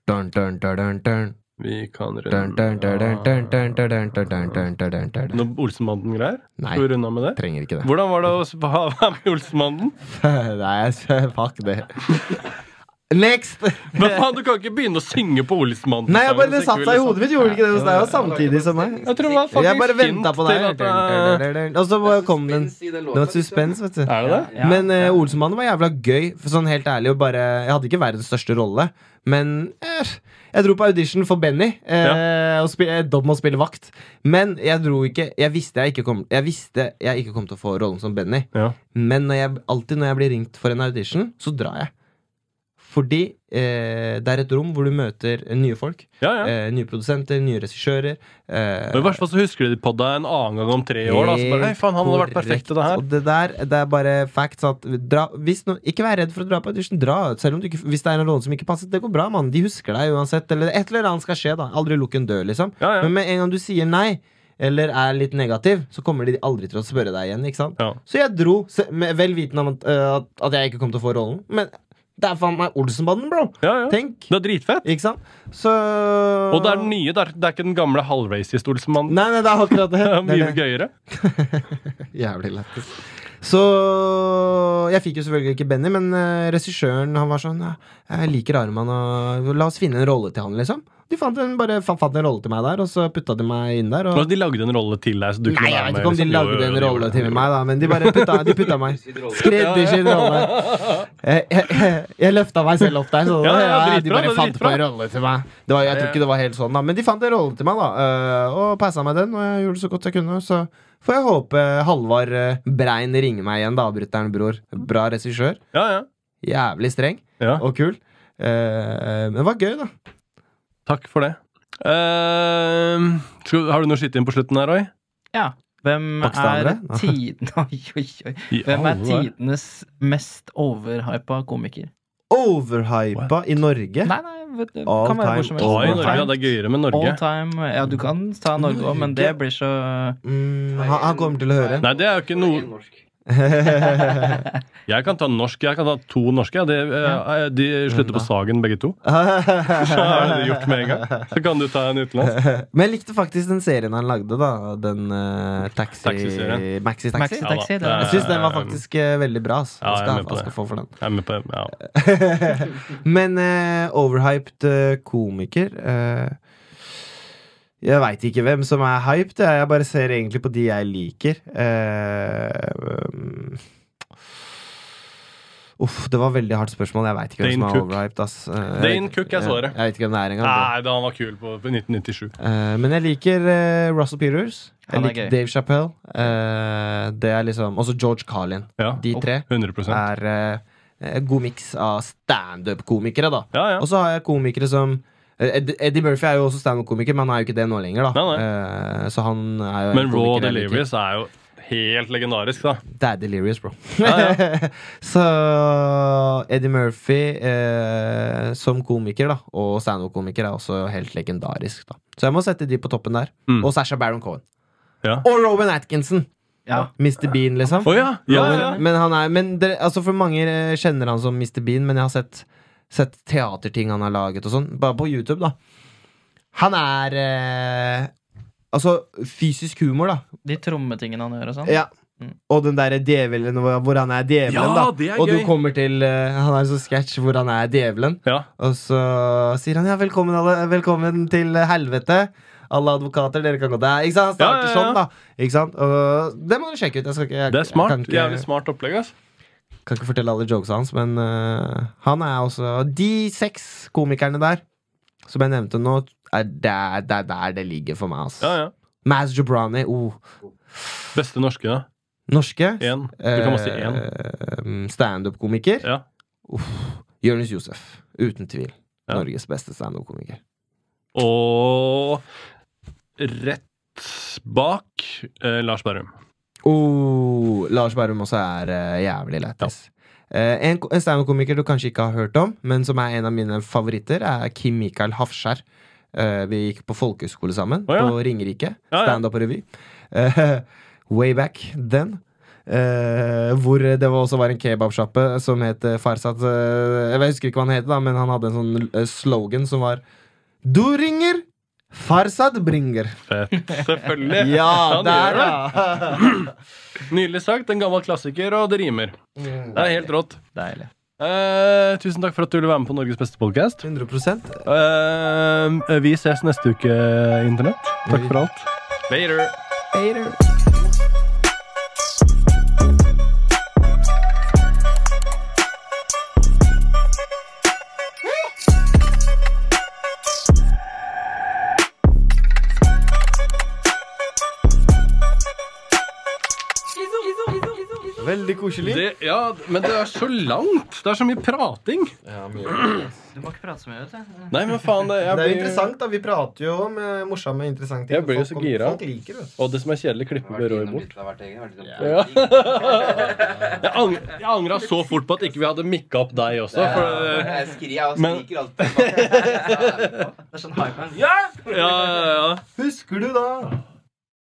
Speaker 3: Dun, dun, dun, dun, dun.
Speaker 2: Vi kan
Speaker 3: Dun, dun, dun, dun, dun,
Speaker 2: runde
Speaker 3: dun, dun, dun, dun, dun, dun, dun, dun.
Speaker 2: Noe Olsenbanden-greier?
Speaker 3: Nei,
Speaker 2: Skal vi runde av med det?
Speaker 3: trenger ikke det.
Speaker 2: Hvordan var det å s- ha- være med i Olsenbanden?
Speaker 3: Nei, s- fuck det. Next!
Speaker 2: Men faen, du kan ikke begynne å synge på Olsenbanden.
Speaker 3: Nei, jeg bare det satt seg i hodet mitt. Gjorde det ikke det hos deg? Og samtidig som meg.
Speaker 2: liksom. Jeg tror det var fucking
Speaker 3: Jeg bare
Speaker 2: hint
Speaker 3: venta på
Speaker 2: til at eh,
Speaker 3: deg.
Speaker 2: det-
Speaker 3: Og så bare kom den.
Speaker 5: Suspens i den låta,
Speaker 3: Det var
Speaker 5: liksom.
Speaker 3: suspens, vet du.
Speaker 2: Er det det?
Speaker 5: Ja.
Speaker 3: Men eh, Olsenmannen var jævla gøy. For sånn helt ærlig og bare Jeg hadde ikke verdens største rolle, men eh, jeg dro på audition for Benny. Eh, og spi eh, Dob må spille vakt. Men jeg dro ikke Jeg visste jeg ikke kom, jeg visste jeg ikke kom til å få rollen som Benny.
Speaker 2: Ja.
Speaker 3: Men når jeg, alltid når jeg blir ringt for en audition, så drar jeg. Fordi eh, det er et rom hvor du møter eh, nye folk.
Speaker 2: ja, ja.
Speaker 3: Eh, nye produsenter, nye regissører. Eh,
Speaker 2: Men I hvert fall så husker du de på deg en annen gang om tre år. Da, så bare, Hei, faen, han hadde vært perfekt til det
Speaker 3: Korrekt.
Speaker 2: her.
Speaker 3: Og det der, det er bare facts at dra, hvis no, Ikke vær redd for å dra på audition. Dra. Selv om du ikke, hvis det er en rolle som ikke passer, det går bra, mann. De husker deg uansett. Eller et eller annet skal skje, da. Aldri lukk en dør, liksom.
Speaker 2: Ja, ja.
Speaker 3: Men med en gang du sier nei, eller er litt negativ, så kommer de aldri til å spørre deg igjen, ikke sant?
Speaker 2: Ja.
Speaker 3: Så jeg dro, se- med vel vitende om at, øh, at, at jeg ikke kom til å få rollen. Men det er faen meg Olsenbanden, bro!
Speaker 2: Ja, ja.
Speaker 3: Tenk!
Speaker 2: Det er dritfett.
Speaker 3: Ikke sant? Så
Speaker 2: Og det er den nye. Det er, det er ikke den gamle halvracist Olsenmannen.
Speaker 3: Nei, nei, det er akkurat det.
Speaker 2: Det er
Speaker 3: Det
Speaker 2: mye
Speaker 3: er det.
Speaker 2: gøyere.
Speaker 3: Jævlig lættis. Så jeg fikk jo selvfølgelig ikke Benny, men eh, regissøren han var sånn ja, 'Jeg liker Arman, og la oss finne en rolle til han', liksom. De fant en, bare fa- fant en rolle til meg der, og så putta de meg inn der.
Speaker 2: Og
Speaker 3: Og...
Speaker 2: Altså, de lagde en rolle til deg, så du kunne
Speaker 3: Nei, jeg
Speaker 2: være
Speaker 3: vet
Speaker 2: med.
Speaker 3: ikke om de
Speaker 2: liksom. Jo,
Speaker 3: lagde
Speaker 2: jo,
Speaker 3: en
Speaker 2: de gjorde
Speaker 3: rolle
Speaker 2: det.
Speaker 3: til meg, da, men de bare putta, de putta meg. Skreddersydd rolle. Jeg, jeg, jeg løfta meg selv opp der. Sånn,
Speaker 2: Ja, ja, dritbra,
Speaker 3: de bare
Speaker 2: det er
Speaker 3: fant på
Speaker 2: dritbra.
Speaker 3: en rolle til meg. Det var, jeg tror ikke det var helt sånn, da. Men de fant en rolle til meg, da. eh, Og passa meg den, og jeg gjorde så godt jeg kunne. Så får jeg håpe Halvard eh, Brein ringer meg igjen, da, avbryteren, bror. Bra regissør.
Speaker 2: Ja, ja.
Speaker 3: Jævlig streng
Speaker 2: Ja.
Speaker 3: og kul. Eh, Men det var gøy, da.
Speaker 2: Takk for det. Ehm, skal, har du noe skitt inn på slutten her, Roy?
Speaker 4: Hvem er,
Speaker 3: Pakistanere? Nei.
Speaker 4: tiden, oi, oi, oi. Hvem er tidenes mest overhypa komiker?
Speaker 3: Overhypa i Norge.
Speaker 4: Nei, nei, vet du, det
Speaker 3: All
Speaker 4: kan være
Speaker 3: time,
Speaker 4: hvor som
Speaker 2: Ja, i
Speaker 4: helst.
Speaker 2: Norge, ja, det er gøyere med
Speaker 4: All
Speaker 2: Norge.
Speaker 4: time Ja, du kan ta Norge òg, men det blir så
Speaker 3: Mm, han, han kommer til å høre.
Speaker 2: Nei, det er jo ikke noe- Jeg kan ta norsk. Jeg kan ta to norske. Ja. De, eh, de slutter på Sagen, begge to. Så er det gjort med en gang. Så kan du ta en utenlands.
Speaker 3: Men jeg likte faktisk den serien han lagde, da. Den eh, taxi...
Speaker 2: Taxiserien.
Speaker 3: Maxi Taxi.
Speaker 4: Maxi Taxi.
Speaker 2: Ja da,
Speaker 4: det er-
Speaker 3: Jeg syns den var faktisk eh, veldig bra. ass.
Speaker 2: Ja,
Speaker 3: Jeg
Speaker 2: jeg er
Speaker 3: skal,
Speaker 2: med på
Speaker 3: jeg skal
Speaker 2: det.
Speaker 3: få for den.
Speaker 2: Jeg er med på, ja.
Speaker 3: Men eh, overhyped eh, komiker eh, Jeg veit ikke hvem som er hyped. Jeg, jeg bare ser egentlig på de jeg liker. Eh, um, Uff, det var veldig hardt spørsmål. Jeg veit ikke hvem
Speaker 2: Dane
Speaker 3: som er
Speaker 2: Cook.
Speaker 3: overhyped. Ass. Eh, jeg
Speaker 2: Dane
Speaker 3: vet-
Speaker 2: Cook, jeg så det.
Speaker 3: Jeg vet ikke hvem det er engang.
Speaker 2: Nei, da han var kul på på 1997.
Speaker 3: Eh, men jeg liker eh, Russell Peters. Jeg
Speaker 4: Han er
Speaker 3: liker
Speaker 4: gøy.
Speaker 3: Dave Chappelle. eh, det er liksom Også George Carlin.
Speaker 2: Ja,
Speaker 3: De
Speaker 4: Oh,
Speaker 3: tre
Speaker 2: 100
Speaker 3: er eh, en god miks av standup-komikere, da.
Speaker 2: Ja, ja.
Speaker 3: Og så har jeg komikere som eh, Ed- Eddie Murphy er jo også standup-komiker, men han er jo ikke det nå lenger. da
Speaker 2: Nei,
Speaker 3: Eh, Så han er jo en
Speaker 2: Men Raw
Speaker 3: komiker jeg liker.
Speaker 2: Delirious er jo helt legendarisk, da.
Speaker 3: Det er delirious, bro.
Speaker 2: Ja,
Speaker 3: så Eddie Murphy eh, som komiker da og standup-komiker er også helt legendarisk. da Så jeg må sette de på toppen der.
Speaker 2: Mm.
Speaker 3: Og Sasha Baron Cohen.
Speaker 2: Ja.
Speaker 3: Og Robin Atkinson!
Speaker 4: Ja.
Speaker 3: Mr. Bean, liksom.
Speaker 2: Å ja! ja, ja, ja.
Speaker 3: Men, han er, men dere, altså For mange eh, kjenner han som Mr. Bean, men jeg har sett, sett teaterting han har laget og sånn. Bare på YouTube, da. Han er eh, Altså, fysisk humor, da.
Speaker 4: De trommetingene han gjør og sånn.
Speaker 3: Ja.
Speaker 4: Mm.
Speaker 3: Og den derre djevelen hvor hvor han er djevelen,
Speaker 2: Ja,
Speaker 3: da.
Speaker 2: det er
Speaker 3: og
Speaker 2: gøy.
Speaker 3: du kommer til eh, Han har en sånn sketsj hvor han er djevelen,
Speaker 2: ja.
Speaker 3: og så sier han ja, velkommen, alle, velkommen til helvete. Alle advokater, dere kan gå der. Ikke sant? Han
Speaker 2: Ja,
Speaker 3: starter
Speaker 2: ja, ja.
Speaker 3: sånn, da. Ikke sant? Og det må du sjekke ut. Jeg, skal ikke, jeg,
Speaker 2: Det er smart.
Speaker 3: jeg kan,
Speaker 2: Jævlig
Speaker 3: ikke,
Speaker 2: smart opplegg, ass.
Speaker 3: kan ikke fortelle alle jokesa hans, men eh, han er også De seks komikerne der som jeg nevnte nå, er der, der, der det ligger for meg, altså.
Speaker 2: Ja, ja.
Speaker 3: Maz Jobrani. Oh.
Speaker 2: Beste norske, da.
Speaker 3: Norske.
Speaker 2: Én. Du kan bare si én.
Speaker 3: Eh, Standup-komiker.
Speaker 2: Ja.
Speaker 3: Uff. Jonis Josef. Uten tvil.
Speaker 2: Ja.
Speaker 3: Norges beste standup-komiker.
Speaker 2: Og rett bak eh, Lars Berrum.
Speaker 3: Oh, Lars Berrum også er eh, jævlig lættis. Eh, en ko- en standup-komiker du kanskje ikke har hørt om, men som er en av mine favoritter, er Kim Mikael Hafskjær. Eh, vi gikk på folkehøyskole sammen,
Speaker 2: Å, ja.
Speaker 3: på Ringerike.
Speaker 2: Ja, ja.
Speaker 3: Standup og revy. Eh, way back then. Eh, hvor det var også var en kebabsjappe som het eh, Farsat eh, Jeg husker ikke hva han het, da, men han hadde en sånn eh, slogan som var Du ringer, Farsat bringer.
Speaker 2: Fett. Selvfølgelig.
Speaker 3: Ja,
Speaker 2: Han gjør
Speaker 3: der,
Speaker 2: det.
Speaker 3: ja!
Speaker 2: Nydelig sagt. En gammel klassiker, og det rimer. Det er helt rått.
Speaker 4: Deilig.
Speaker 2: Eh, tusen takk for at du ville være med på Norges beste podkast.
Speaker 3: 100
Speaker 2: vi ses neste uke, Internett. Takk
Speaker 3: Mm.
Speaker 2: for alt. Later.
Speaker 3: Veldig koselig.
Speaker 2: Det, ja, men det er så langt. Det er så mye prating.
Speaker 4: Du må ikke prate så mye, vet du.
Speaker 2: Nei, men faen, det, jeg
Speaker 3: Det er jo
Speaker 2: blir-
Speaker 3: interessant, da. Vi prater jo om eh, morsomme, interessante ting.
Speaker 2: Jeg blir jo så
Speaker 3: Folk-
Speaker 2: gira.
Speaker 3: Folk liker det.
Speaker 2: Og det som er kjedelig, klipper vi Roy bort.
Speaker 5: Ja.
Speaker 2: Jeg, ang jeg angra så fort på at ikke vi hadde mikka opp deg også. For, eh,
Speaker 5: Jeg skriker, jeg
Speaker 2: Men-
Speaker 5: skriker alltid.
Speaker 4: Det er sånn hype.
Speaker 2: ja, ja, ja.
Speaker 3: Husker du da?